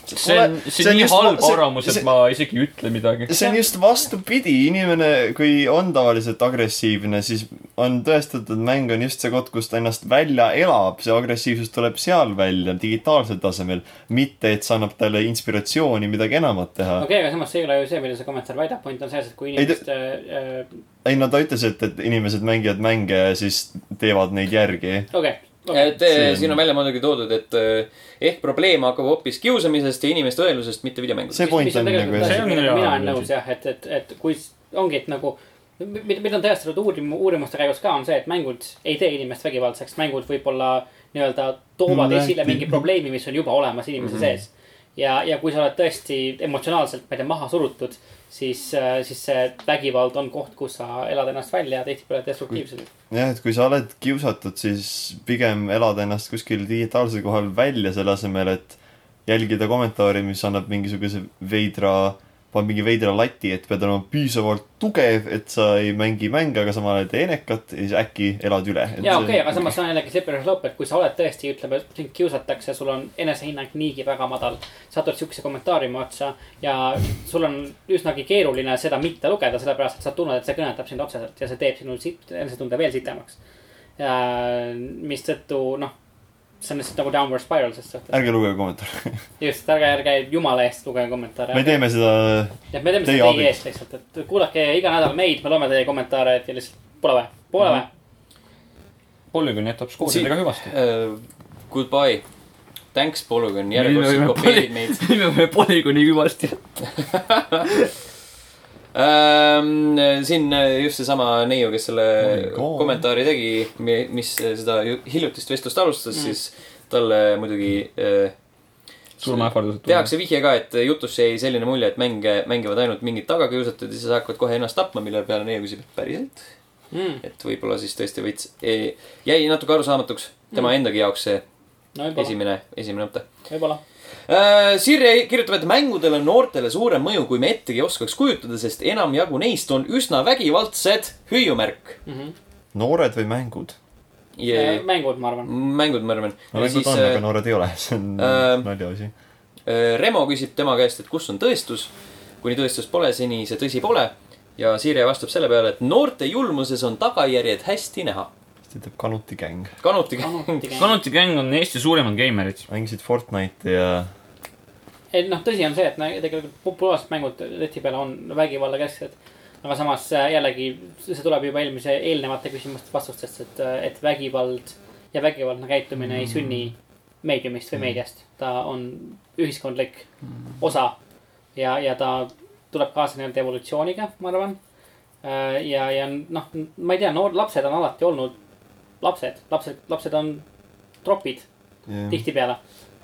see on , see on nii
just-
halb
see-
arvamus , et
see-
ma isegi ei ütle midagi .
see on just vastupidi , inimene , kui on tavaliselt agressiivne , siis on tõestatud , mäng on just see koht , kus ta ennast välja elab , see agressiivsus tuleb seal välja , digitaalsel tasemel . mitte , et see annab talle inspiratsiooni midagi enamat teha
okei , aga samas see ei ole ju see , mida see kommentaar väidab , point on selles , et kui
Ei, ta-
inimeste äh,
ei no ta ütles , et , et inimesed mängivad mänge ja siis teevad neid järgi .
okei , okei ,
et
See
see...
on-
siin on välja muidugi toodud , et eh, ehk probleem hakkab hoopis kiusamisest ja inimeste õelusest , mitte videomängudest .
see point on nagu
see
jah ,
on
mina
hea
olen
analüüs.
nõus jah , et , et , et kui s- ongi , et nagu mida , mida on tõestatud uurim- , uurimuste käigus ka , on see , et mängud ei tee inimest vägivaldseks , mängud võib-olla nii-öelda toovad
No,
esile
näete.
mingi probleemi , mis on juba olemas inimese
Mhm.
sees . ja , ja kui sa oled tõesti emotsionaalselt , ma ei tea , maha surutud , siis , siis see vägivald on koht , kus sa elad ennast välja tihtipeale destruktiivselt .
jah , et kui sa oled kiusatud , siis pigem elad ennast kuskil digitaalsel kohal välja , selle asemel , et jälgida kommentaari , mis annab mingisuguse veidra , paneb mingi veidra lati , et pead olema piisavalt tugev , et sa ei mängi mänge , aga samal ajal ei tee enekat ja siis äkki elad üle .
ja okei okay, , aga samas see on jällegi slippery slope , et kui sa oled tõesti , ütleme , sind kiusatakse , sul on enesehinnang niigi väga madal . satud siukse kommentaariumi otsa ja sul on üsnagi keeruline seda mitte lugeda , sellepärast et sa tunned , et see kõnetab sind otseselt ja see teeb sinul siit , enesetunde veel sitemaks . mistõttu noh , see on lihtsalt nagu downward spiral ses suhtes .
ärge lugege kommentaare .
just , ärge , ärge jumala eest lugege kommentaare .
me teeme seda ,
jah , me teeme
teie
seda
abil.
teie eest lihtsalt , et kuulake iga nädal meid , me loeme teie kommentaare ja lihtsalt pole vaja , pole
Mhm.
vaja .
polügoon jätab skoolidega hüvasti .
äh, Goodbye . Thanks , Polügon ,
Me
järjekordselt
võime
kopeerib meid .
me võime polügooni hüvasti .
Ähm, siin äh, just seesama neiu , kes selle
Oh my God.
kommentaari tegi , mis äh, seda ju- hiljutist vestlust alustas mm. , siis talle muidugi äh,
surmaähvardused .
tehakse vihje ka , et jutus jäi selline mulje , et mänge mängivad ainult mingid tagakiusatud ja siis hakkavad kohe ennast tapma , mille peale neiu küsib , et päriselt . et võib-olla siis tõesti võits , jäi natuke arusaamatuks tema mm. endagi jaoks see
no võib-olla ,
esimene , esimene mõte .
võib-olla .
Äh, Sirje kirjutab , et mängudel on noortele suurem mõju , kui me ettegi oskaks kujutada , sest enamjagu neist on üsna vägivaldsed , hüüumärk .
noored või mängud ?
ja
mängud , ma
*laughs*
arvan .
mängud , ma arvan . ja
mängud
siis
on , aga
äh,
noored ei ole , see on
ähm,
naljaasi .
äh, Remo küsib tema käest , et kus on tõestus . kuni tõestust pole , seni see tõsi pole . ja Sirje vastab selle peale , et noorte julmuses on tagajärjed hästi näha .
siis ta ütleb Kanuti gäng .
kanuti
Kanuti gäng on Eesti suurimad geimerid .
mängisid Fortnite'i ja
ei noh , tõsi on see , et no tegelikult populaarsed mängud tihtipeale on vägivallakesksed . aga samas äh, jällegi , see tuleb juba eelmise , eelnevate küsimuste vastustest , et , et vägivald ja vägivaldne käitumine ei sünni meediumist või meediast . ta on ühiskondlik osa ja , ja ta tuleb kaasa nii-öelda evolutsiooniga , ma arvan . ja , ja noh , ma ei tea , noor , lapsed on alati olnud lapsed , lapsed , lapsed on tropid
ja...
tihtipeale .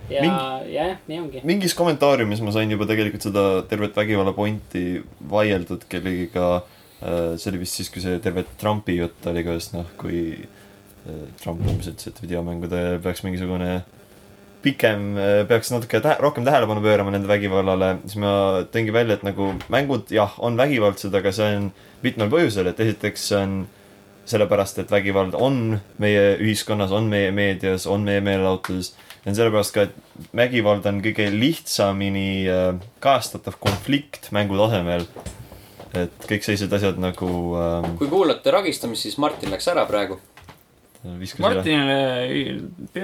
ja ,
Mingi-
ja jah , nii ongi .
mingis kommentaariumis ma sain juba tegelikult seda tervet vägivalla pointi vaieldud kellegiga . see oli vist siis , kui see terve Trumpi jutt oli , kuidas noh , kui äh, Trump umbes ütles , et videomängudel peaks mingisugune pikem , peaks natuke tä rohkem tähelepanu pöörama nende vägivallale , siis ma tõingi välja , et nagu mängud jah , on vägivaldsed , aga see on mitmel põhjusel , et esiteks see on sellepärast , et vägivald on meie ühiskonnas , on meie meedias , on meie meelelahutuses . ja sellepärast ka , et vägivald on kõige lihtsamini äh, kajastatav konflikt mängu tasemel . et kõik sellised asjad nagu äh,
*laughs* kui kuulate ragistamist , siis Martin läks ära praegu .
viskas üle .
Martinile ei ,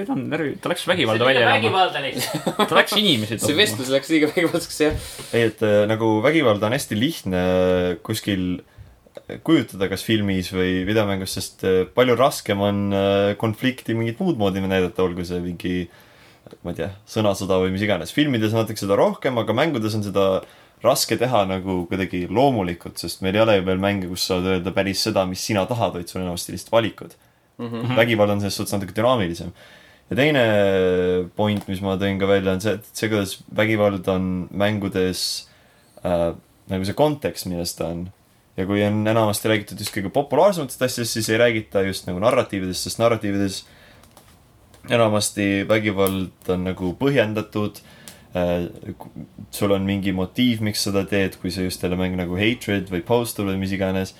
ta on närvi , ta läks vägivalda välja elama .
lihtsalt .
ta läks inimesi
see
tapma .
vestlus läks liiga vägivaldseks , jah .
ei , et äh, nagu vägivald on hästi lihtne äh, kuskil äh, kujutada kas filmis või videomängus , sest äh, palju raskem on äh, konflikti mingit muud moodi näidata , olgu see mingi äh, ma ei tea , sõnasõda või mis iganes . filmides on natuke seda rohkem , aga mängudes on seda raske teha nagu kuidagi loomulikult , sest meil ei ole ju veel mänge , kus sa saad öelda päris seda , mis sina tahad , vaid sul on enamasti lihtsalt valikud mm . -hmm. vägivald on selles suhtes natuke dünaamilisem . ja teine point , mis ma tõin ka välja , on see , et see , kuidas vägivald on mängudes äh, nagu see kontekst , milles ta on ja kui on enamasti räägitud just kõige populaarsematest asjadest , siis ei räägita just nagu narratiividest , sest narratiivides enamasti vägivald on nagu põhjendatud . sul on mingi motiiv , miks seda teed , kui see just jälle mäng nagu Hatred või Postal või mis iganes .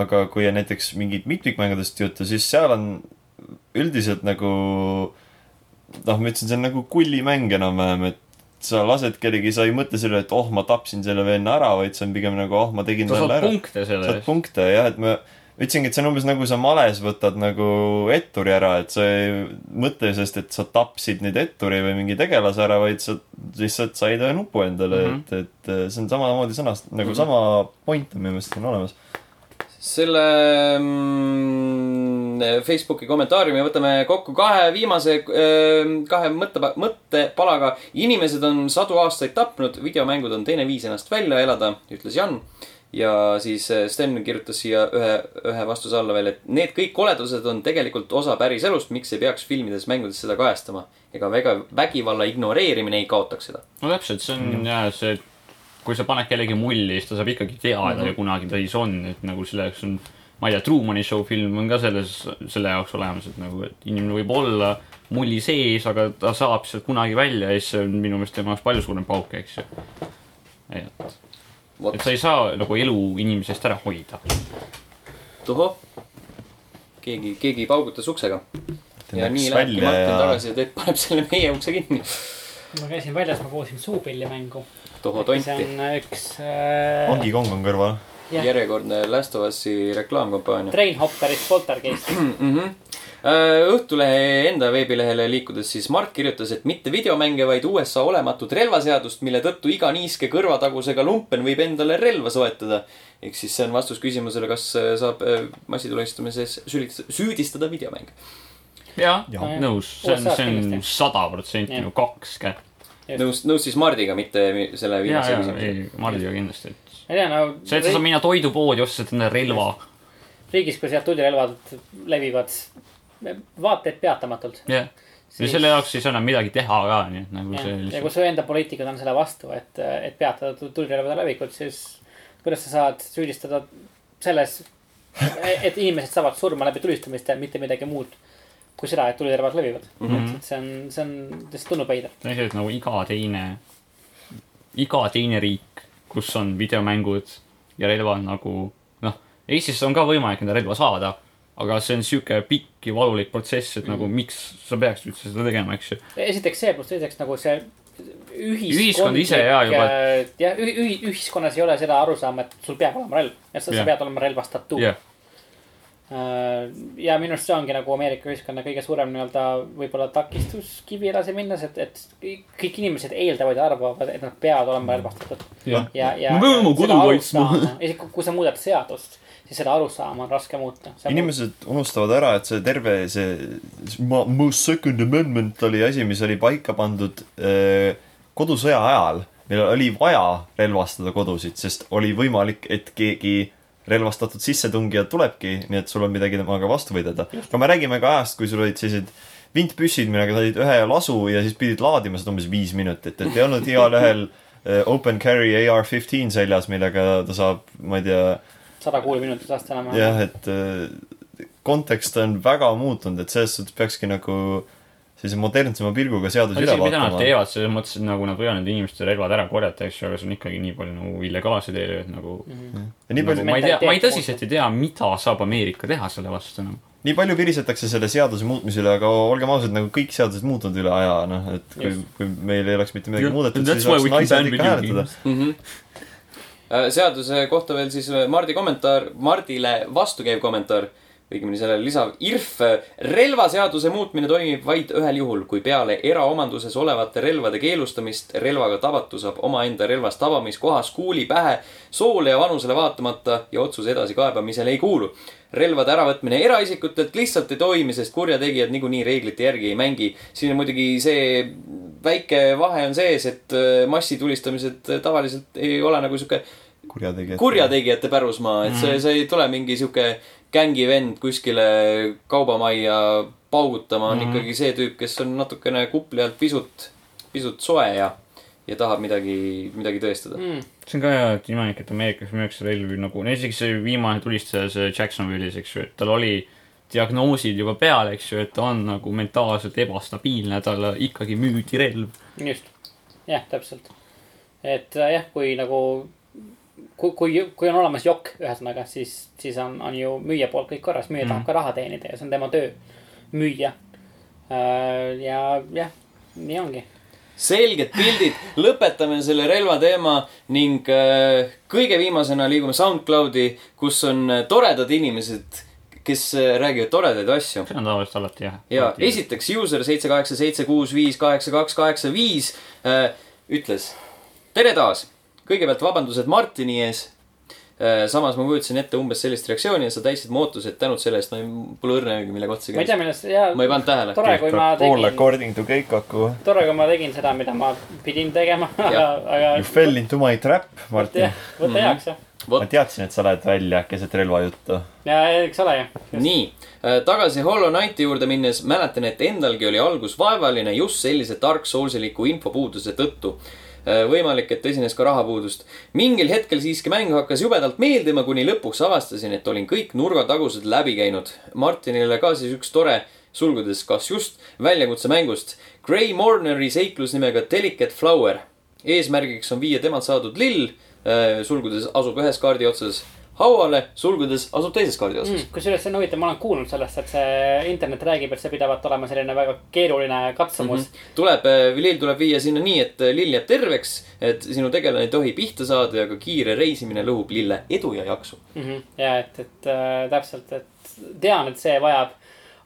aga kui on näiteks mingid mitmikmängudest juttu , siis seal on üldiselt nagu noh , ma ütlesin , see on nagu kullimäng enam-vähem , et sa lased kellegi , sa ei mõtle selle , et oh , ma tapsin selle venna ära , vaid see on pigem nagu oh , ma tegin
sa
talle
saad
ära .
punkte selle
saad
eest .
punkte jah , et ma ütlesingi , et see on umbes nagu sa males võtad nagu etturi ära , et sa ei mõtle sellest , et sa tapsid nüüd etturi või mingi tegelase ära , vaid sa lihtsalt said ühe nupu endale mm ,
Mhm.
-hmm. et , et see on samamoodi sõnast
Mhm.
nagu mm -hmm. sama point on minu meelest on olemas .
selle mm, Facebooki kommentaariumi võtame kokku kahe viimase , kahe mõtte , mõttepalaga . inimesed on sadu aastaid tapnud , videomängud on teine viis ennast välja elada , ütles Jan . ja siis eh, Sten kirjutas siia ühe , ühe vastuse alla veel , et need kõik oledused on tegelikult osa päriselust , miks ei peaks filmides , mängudes seda kajastama . ega väga vägivalla ignoreerimine ei kaotaks seda .
no täpselt , see on jaa , see , kui sa paned kellegi mulli , siis ta saab ikkagi teada mm -hmm. kunagi , mis on , et nagu selle jaoks on , ma ei tea , Truman'i show film on ka selles , selle jaoks olemas , et nagu , et inimene võib olla mulli sees , aga ta saab sealt kunagi välja ja siis see on minu meelest tema jaoks palju suurem pauk , eks ju . et ,
vot
et sa , ei saa nagu elu inimesest ära hoida .
tohoh . keegi , keegi paugutas uksega ja
läks
nii lähebki
välja
Martin
ja-
tagasi ja teeb , paneb selle meie ukse kinni .
ma käisin väljas , ma kuulsin suupillimängu .
tohoh
see
tonti .
on üks äh,
Donkey Kong on kõrval .
jah.
järjekordne Last of Us'i reklaamkampaania .
Train Hopperist Poltergeist .
mm . -hmm. Õhtulehe enda veebilehele liikudes siis Mart kirjutas , et mitte videomänge , vaid USA olematut relvaseadust , mille tõttu iga niiske kõrvatagusega lumpen võib endale relva soetada . ehk siis see on vastus küsimusele , kas äh, saab äh, massitulistamises süüdistada , süüdistada videomäng .
jah
Jah.
ja. , nõus , see on ,
USA-s
see on
kindlasti.
sada protsenti
Jah.
nagu kaks kätt .
nõus , nõus siis Mardiga , mitte mi- selle
ja ,
viimase
ja ,
küsimusega .
ei , Mardiga kindlasti , et
ma ei tea , no .
see , et sa saad minna toidupoodi , osta endale relva .
riigis , kus jah , tulirelvad levivad vaata et peatamatult .
jah ja selle jaoks ei saa enam midagi teha ka , nii et nagu see
ja kui
lihtsalt
su enda poliitikud on selle vastu , et , et peatada tu- tulirelvade levikut , siis kuidas sa saad süüdistada selles , et inimesed saavad surma läbi tulistamiste , mitte midagi muud kui seda , et tulirelvad levivad mm . -hmm. see on , see on lihtsalt tunnupeider .
Mhm. see on see , et nagu iga teine , iga teine riik , kus on videomängud ja relvad nagu noh , Eestis on ka võimalik enda relva saada , aga see on sihuke pikk ja valulik protsess , et
Mhm.
nagu miks sa peaksid üldse seda tegema , eks ju .
esiteks see , pluss teiseks nagu see ühiskondlik .
Ühiskond ise jaa juba- .
jah , ühi- , ühiskonnas ei ole seda arusaama , et sul peab olema relv , et sa,
Jah.
sa pead olema relvastatud
jah ,
Äh, ja minu arust see ongi nagu Ameerika ühiskonna kõige suurem nii-öelda võib-olla takistus kivi edasi minnes , et , et kõik- kõik inimesed eeldavad ja arvavad , et nad peavad olema relvastatud .
Jah.
ja , ja .
Ma pean oma kodu kaitsma. .
*laughs* isegi kui- kui sa muudad seadust , siis seda arusaama on raske muuta .
inimesed unustavad ära , et see terve see ma- most second amendment oli asi , mis oli paika pandud eh, kodusõja ajal , meil oli vaja relvastada kodusid , sest oli võimalik , et keegi relvastatud sissetungija tulebki , nii et sul on midagi temaga vastu võidelda . aga me räägime ka ajast , kui sul olid sellised vintpüssid , millega said ühe lasu ja siis pidid laadima seda umbes viis minutit , et ei olnud igalühel eh, open carry AR-15 seljas , millega ta saab , ma ei tea
sada kuuli minutit lasta enam .
jah , et äh, kontekst on väga muutunud , et selles suhtes peakski nagu sellise modernsema pilguga seadusi üle
isegi mida nad
vaatama .
teevad , selles mõttes , et nagu nad võivad nende inimeste relvad ära korjata , eks ju , aga see on ikkagi nii palju nagu illegaalseid eelööd nagu
ja Mhm. nii palju ,
ma ei tea , ma ei tõsiselt ei tea , mida saab Ameerika teha selle vastu nagu. enam .
nii palju virisetakse selle seaduse muutmise üle , aga olgem ausad , nagu kõik seadused muutuvad üle aja , noh , et kui
Just. ,
kui meil ei oleks mitte midagi
Yeah,
muudetud ,
that's
siis
why
oleks
we can ban
naised ikka
video
hääletada .
mm . -hmm. seaduse kohta veel siis äh, Mardi kommentaar , Mardile vastukäiv kommentaar , õigemini sellele lisav IRF . relvaseaduse muutmine toimib vaid ühel juhul , kui peale eraomanduses olevate relvade keelustamist relvaga tabatu saab omaenda relvast tabamiskohas kuuli pähe soole ja vanusele vaatamata ja otsuse edasikaebamisele ei kuulu . relvade äravõtmine eraisikutelt lihtsalt ei toimi , sest kurjategijad niikuinii reeglite järgi ei mängi . siin on muidugi see väike vahe on sees , et äh, öö, massitulistamised äh, tavaliselt ei ole nagu sihuke
kurjategijad .
kurjategijate pärusmaa , et see , see ei tule mingi sihuke gängivend kuskile kaubamajja paugutama , on ikkagi see tüüp , kes on natukene kupli alt pisut , pisut soe ja , ja tahab midagi , midagi tõestada .
Mm.
see on ka hea , et imelik , et Ameerikas müüakse relvi nagu , no isegi see viimane tulistaja , see Jacksonville'is , eks ju , et tal oli diagnoosid juba peal , eks ju , et ta on nagu mentaalselt ebastabiilne , talle ikkagi müüdi relv .
just , jah , täpselt . et äh, jah , kui nagu , kui , kui , kui on olemas
Mhm.
jokk , ühesõnaga , siis , siis on , on ju müüja poolt kõik korras , müüja mm. tahab ka raha teenida ja see on tema töö . müüa . ja jah , nii ongi .
selged pildid , lõpetame selle relvateema ning äh, kõige viimasena liigume SoundCloudi , kus on äh, toredad inimesed , kes äh, räägivad toredaid asju .
see on tavaliselt alati jah .
ja . esiteks user seitse , kaheksa , seitse , kuus , viis , kaheksa , kaks , kaheksa , viis äh, ütles . tere taas , kõigepealt vabandused Martini ees . samas ma kujutasin ette umbes sellist reaktsiooni ja sa täitsid mu ootused , tänud selle eest , ma ei- pole õrna õige , mille kohta see
ma ei tea ,
käis .
millest ja
ma ei pannud tähele .
tore , kui ma
All
tegin ,
according to Keikaku .
tore , kui ma tegin seda , mida ma pidin tegema , aga , aga
You fell into my trap ,
vot
Martin
jah ., võta
Mhm.
heaks jah .
ma teadsin , et sa lähed välja keset relvajuttu .
ja eks ole ju .
nii , tagasi Hollow Knighti juurde minnes mäletan , et endalgi oli algus vaevaline just sellise tark soulsiliku infopuuduse tõttu . võimalik , et esines ka rahapuudust . mingil hetkel siiski mäng hakkas jubedalt meeldima , kuni lõpuks avastasin , et olin kõik nurgatagused läbi käinud . Martinile ka siis üks tore , sulgudes kas just , väljakutse mängust . Gray Morneri seiklus nimega Delicate Flower . eesmärgiks on viia temalt saadud lill , sulgudes asub ühes kaardi otsas , hauale , sulgudes asub teises kaardi otsas .
Mhm. kusjuures see on huvitav , ma olen kuulnud sellest , et see internet räägib , et see pidavat olema selline väga keeruline katsumus mm .
tuleb , lill tuleb viia sinna nii , et lill jääb terveks , et sinu tegelane ei tohi pihta saada ja ka kiire reisimine lõhub lille edu ja jaksu .
-hmm. Mm
Mhm.
-hmm. ja et , et äh, täpselt , et tean , et see vajab ,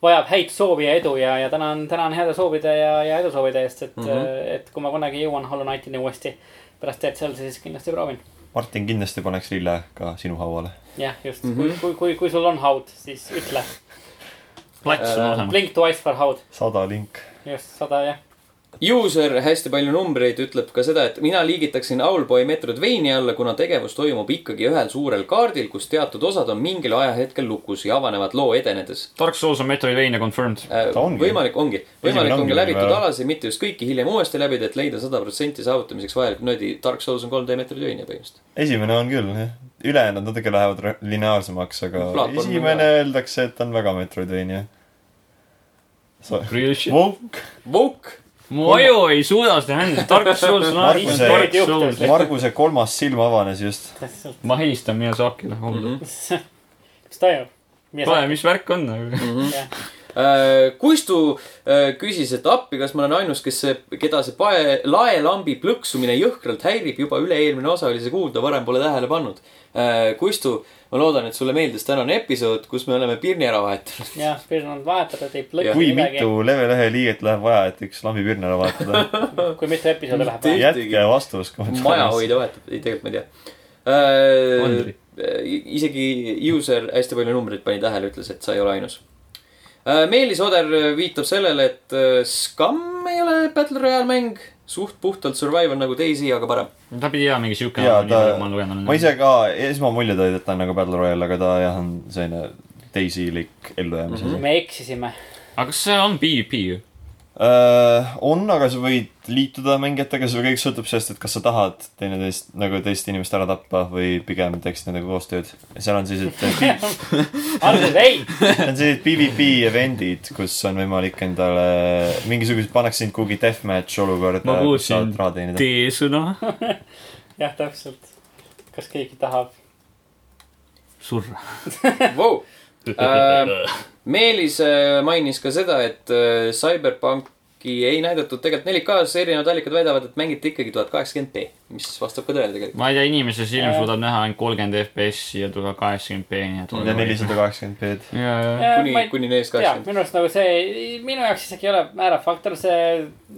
vajab häid soovi ja edu ja , ja tänan , tänan heade soovide ja , ja edusoovide eest , et
Mhm.
mm , -hmm. et kui ma kunagi jõuan Hollow Knightini uuesti pärast Dead Cellsi , siis kindlasti proovin .
Martin kindlasti paneks lille ka sinu hauale .
jah , just
Mhm.
mm , -hmm. kui , kui, kui , kui sul on haud , siis ütle .
plats on
Äh, Mhm.
olemas .
Blink twice for haud ,
sada link .
just sada jah .
User hästi palju numbreid ütleb ka seda , et mina liigitaksin Owlboy Metroidvania alla , kuna tegevus toimub ikkagi ühel suurel kaardil , kus teatud osad on mingil ajahetkel lukus ja avanevad loo edenedes .
Dark Souls on Metroidvania confirmed .
Äh,
Ta ongi.
võimalik ongi , võimalik
ongi
on ka läbitud
väga-
alasid , mitte just kõiki hiljem uuesti läbida , et leida sada protsenti saavutamiseks vajalik nöödi . Dark Souls on 3D Metroidvania põhimõtteliselt .
esimene on küll , jah . ülejäänud natuke lähevad re- lineaarsemaks , aga
Platvorm on
esimene
ka.
öeldakse , et on väga Metroidvania . sa ,
Real shit .
Vouk ,
Voke ,
mu aju ei suuda seda händida , Dark
*laughs*
Souls on alati
Margus-
Dark Souls .
Marguse kolmas silm avanes just .
täpselt ,
ma helistan Miyazakile
Mhm.
hullu .
mis *laughs* toimub ?
kuule , mis värk on nagu ?
Mhm.
Äh, Kuistu äh, küsis , et appi , kas ma olen ainus , kes , keda see pae , laelambi plõksumine jõhkralt häirib , juba üle-eelmine osa oli see kuulda , varem pole tähele pannud . Kuistu , ma loodan , et sulle meeldis tänane episood , kus me oleme pirni ära vahetanud .
jah , Pirn on vahetatud , ei plõki
kui
midagi ,
mitu level ühe liiget läheb vaja , et üks lambipirn ära vahetada ?
kui mitu episoodi läheb
Mitte-
vaja .
jätke vastus kommentaaris .
majahoidja vahetab , ei tegelikult ma ei tea Äh,
Andri. .
isegi user hästi palju numbreid pani tähele , ütles , et sa ei ole ainus . Meelis Oder viitab sellele , et äh, Scum ei ole Battle Royale mäng , suht puhtalt survival nagu Daisy , aga parem .
*laughs* ta pidi jaa mingi siuke
Mhm. jaa ,
nii
ta
palju ma olen , lugenud
ma ise ka , esmamuljed olid , et ta on nagu Battle Royale , aga ta jah , on selline teisilik ellujäämise asi .
me eksisime ,
aga kas see on PvP ju ?
Äh, on , aga sa võid liituda mängijatega , see kõik sõltub sellest , et kas sa tahad teineteist nagu teist inimest ära tappa või pigem teeks nendega koostööd . seal on siis , et
alguses ei ,
Need on sellised PvP event'id , kus on võimalik endale mingisugused , pannakse sind kuhugi deathmatch olukorda .
ma kuulsin
raha teenida .
T-sõna .
jah , täpselt . kas keegi tahab ?
*laughs* surra .
Vau , Ähm, Meelis äh, mainis ka seda , et äh, CyberPunki ei näidatud tegelikult 4K-s , erinevad allikad väidavad , et mängiti ikkagi tuhat kaheksakümmend B , mis vastab ka tõele tegelikult .
*laughs* ma ei tea , inimese silm suudab näha ainult kolmkümmend FPS-i ja tuhat kaheksakümmend
ja
B-ni .
nelisada kaheksakümmend B-d .
jaa ,
Äh,
kuni , kuni neljast
jaa ,
kaheksakümmend .
minu arust nagu see , minu jaoks isegi ei ole määrav faktor see ,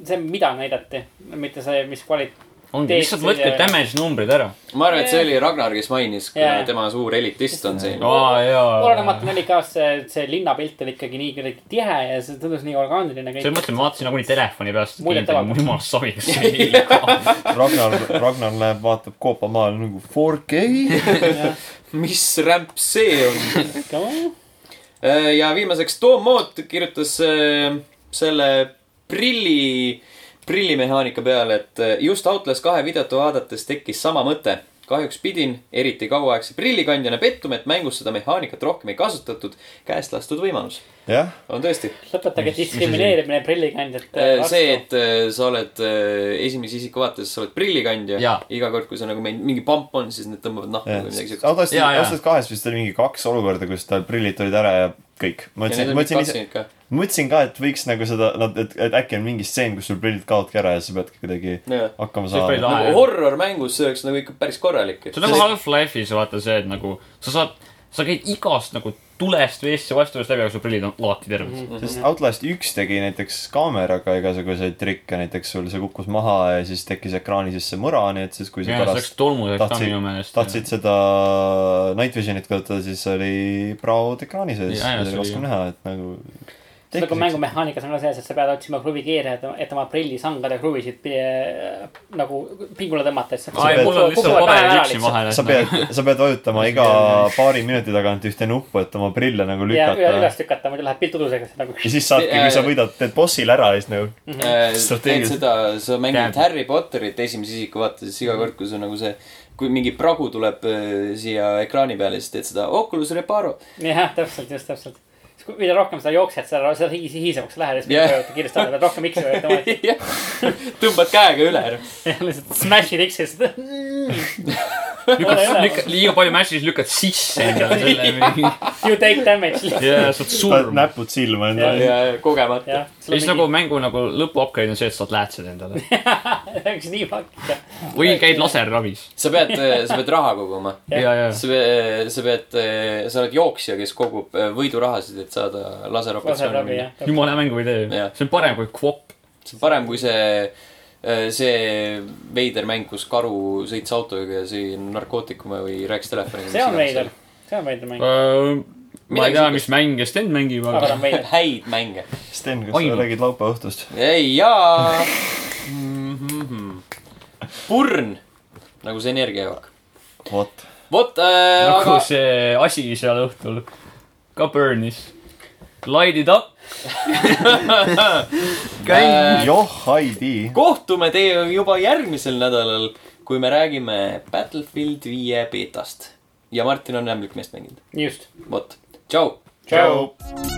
see , mida näidati , mitte see , mis kvali- .
ongi , lihtsalt võtke damage numbrid ära .
ma arvan , et see oli Ragnar , kes mainis , kuna
Jaa.
tema suur elitist on siin .
aa , jaa .
olenemata 4K-s see , see linnapilt oli ikkagi nii kuidagi tihe ja see tundus nii orgaaniline kõik .
selles mõttes ma vaatasin nagunii telefoni peast .
Muljetavaldne.
jumal savi , kas see nii liiga .
Ragnar , Ragnar läheb , vaatab koopamaal nagu
*laughs*
4K .
mis rämp see on ? Äh, ja viimaseks Tom Moot kirjutas äh, selle prilli , prillimehaanika peale , et äh, just Outlast kahe videot vaadates tekkis sama mõte . kahjuks pidin eriti kauaaegse prillikandjana pettuma , et mängus seda mehaanikat rohkem ei kasutatud . käest lastud võimalus .
jah ,
on tõesti .
lõpetage
Mis- mis asi?
diskrimineerimine prillikandjate
see , et äh, sa oled äh, esimese isiku vaates , sa oled prillikandja
Jaa. .
iga kord , kui sa nagu meil- mingi pamp on , siis need tõmbavad nahku või midagi siukest .
Outlast ,
Jaa, jaa.
Outlast kahes vist oli mingi kaks olukorda , kus tal prillid tulid ära ja kõik . ma
ja need
mõtlesin ,
on vist
ma mõtlesin ise ,
cutscene'id ka .
ma mõtlesin ka , et võiks nagu seda , et , et äkki on mingi stseen , kus sul prillid kaovadki ära ja sa peadki kuidagi
jah .
hakkama
See
saama
prill- .
nagu
Lahe.
horror-mängus see oleks nagu ikka päris korralik .
see on nagu Half-Life'is vaata see , et nagu sa saad , sa käid igast nagu tulest veest ja vastuolust läbi , aga su prillid on alati terved mm .
Mhm.
sest Outlast üks tegi näiteks kaameraga igasuguseid trikke , näiteks sul see kukkus maha ja siis tekkis ekraani sisse mõra , nii et siis kui
-hmm.
sa
ja see läks
pärast
tolmuseks ka
tahtsid-
minu meelest .
tahtsid seda night vision'it kasutada , siis oli praod ekraani sees ,
Jaa, jaa,
oli
see oli-
raskem näha , et nagu .
see nagu mängumehaanikas on ka sees , et sa pead otsima kruvikeere , et , et oma prillisangade kruvisid pi- äh, nagu pingule tõmmata , et sa .
aa , ei , mul on lihtsalt paber ja üksi . vahel .
sa pead , sa pead
*laughs*
vajutama iga paari minuti tagant ühte nuppu , et oma prille
ja
nagu
üle-
lükata .
üles lükata , muidu läheb pilt udusega , siis nagu .
ja siis saadki , kui sa võidad , teed bossil ära ja siis nagu .
Mhm.
Äh, teed
Strateegias-
seda , sa mängid
Käed.
Harry Potterit esimese isiku vaates iga
Mhm.
kord , kui sul nagu see , kui mingi pragu tuleb äh, siia ekraani peale , siis teed seda Oculus Reparo .
jah , täpselt , just täpselt . mida rohkem sa jooksed , seda , seda hi- hiisemaks sa lähed ja
Jah.
siis vajutad kiiresti alla , pead rohkem X-i vajutama .
*laughs*
*laughs* tõmbad käega üle ära .
jah , lihtsalt smash'id X-i ja siis .
lükkad
Ole hea. ,
lükkad liiga palju match'i , siis lükkad sisse endale selle mingi .
You take damage .
ja saad surma .
näpud silma endale .
ja , ja kogemata .
jah ,
ja siis nagu . mängu nagu lõpu upgrade on see , et saad läätsed endale .
*laughs* üks nii pakk .
või käid laserravis .
sa pead , sa pead raha koguma .
Jah.
ja , ja .
sa pead , sa pead , sa oled jooksja , kes kogub äh, võidurahasid , et saada
laserravi
laseroperatsiooni .
jah .
jumala hea mängu idee
Jah. .
see on parem kui Quop . Äh,
see on parem kui see , see veider mäng , kus karu sõits autoga ja sõi narkootikume või rääkis telefoniga .
see on veider , see on veider mäng ,
ma
Midagi
ei tea ,
siukest.
mis mänge Sten mängib ,
aga ta
aga
on veider .
häid mänge .
Sten , kas
Ainult.
sa räägid laupäeva õhtust ?
ei jaa . Burn , nagu see energiajook .
vot .
vot äh, ,
nagu
aga
see asi seal õhtul ka Burnis . Light it up .
Äh,
joh , Heidi .
kohtume teiega juba järgmisel nädalal , kui me räägime Battlefield viie beetast . ja Martin on ämblik meest mänginud .
just .
vot , tšau .
tšau ..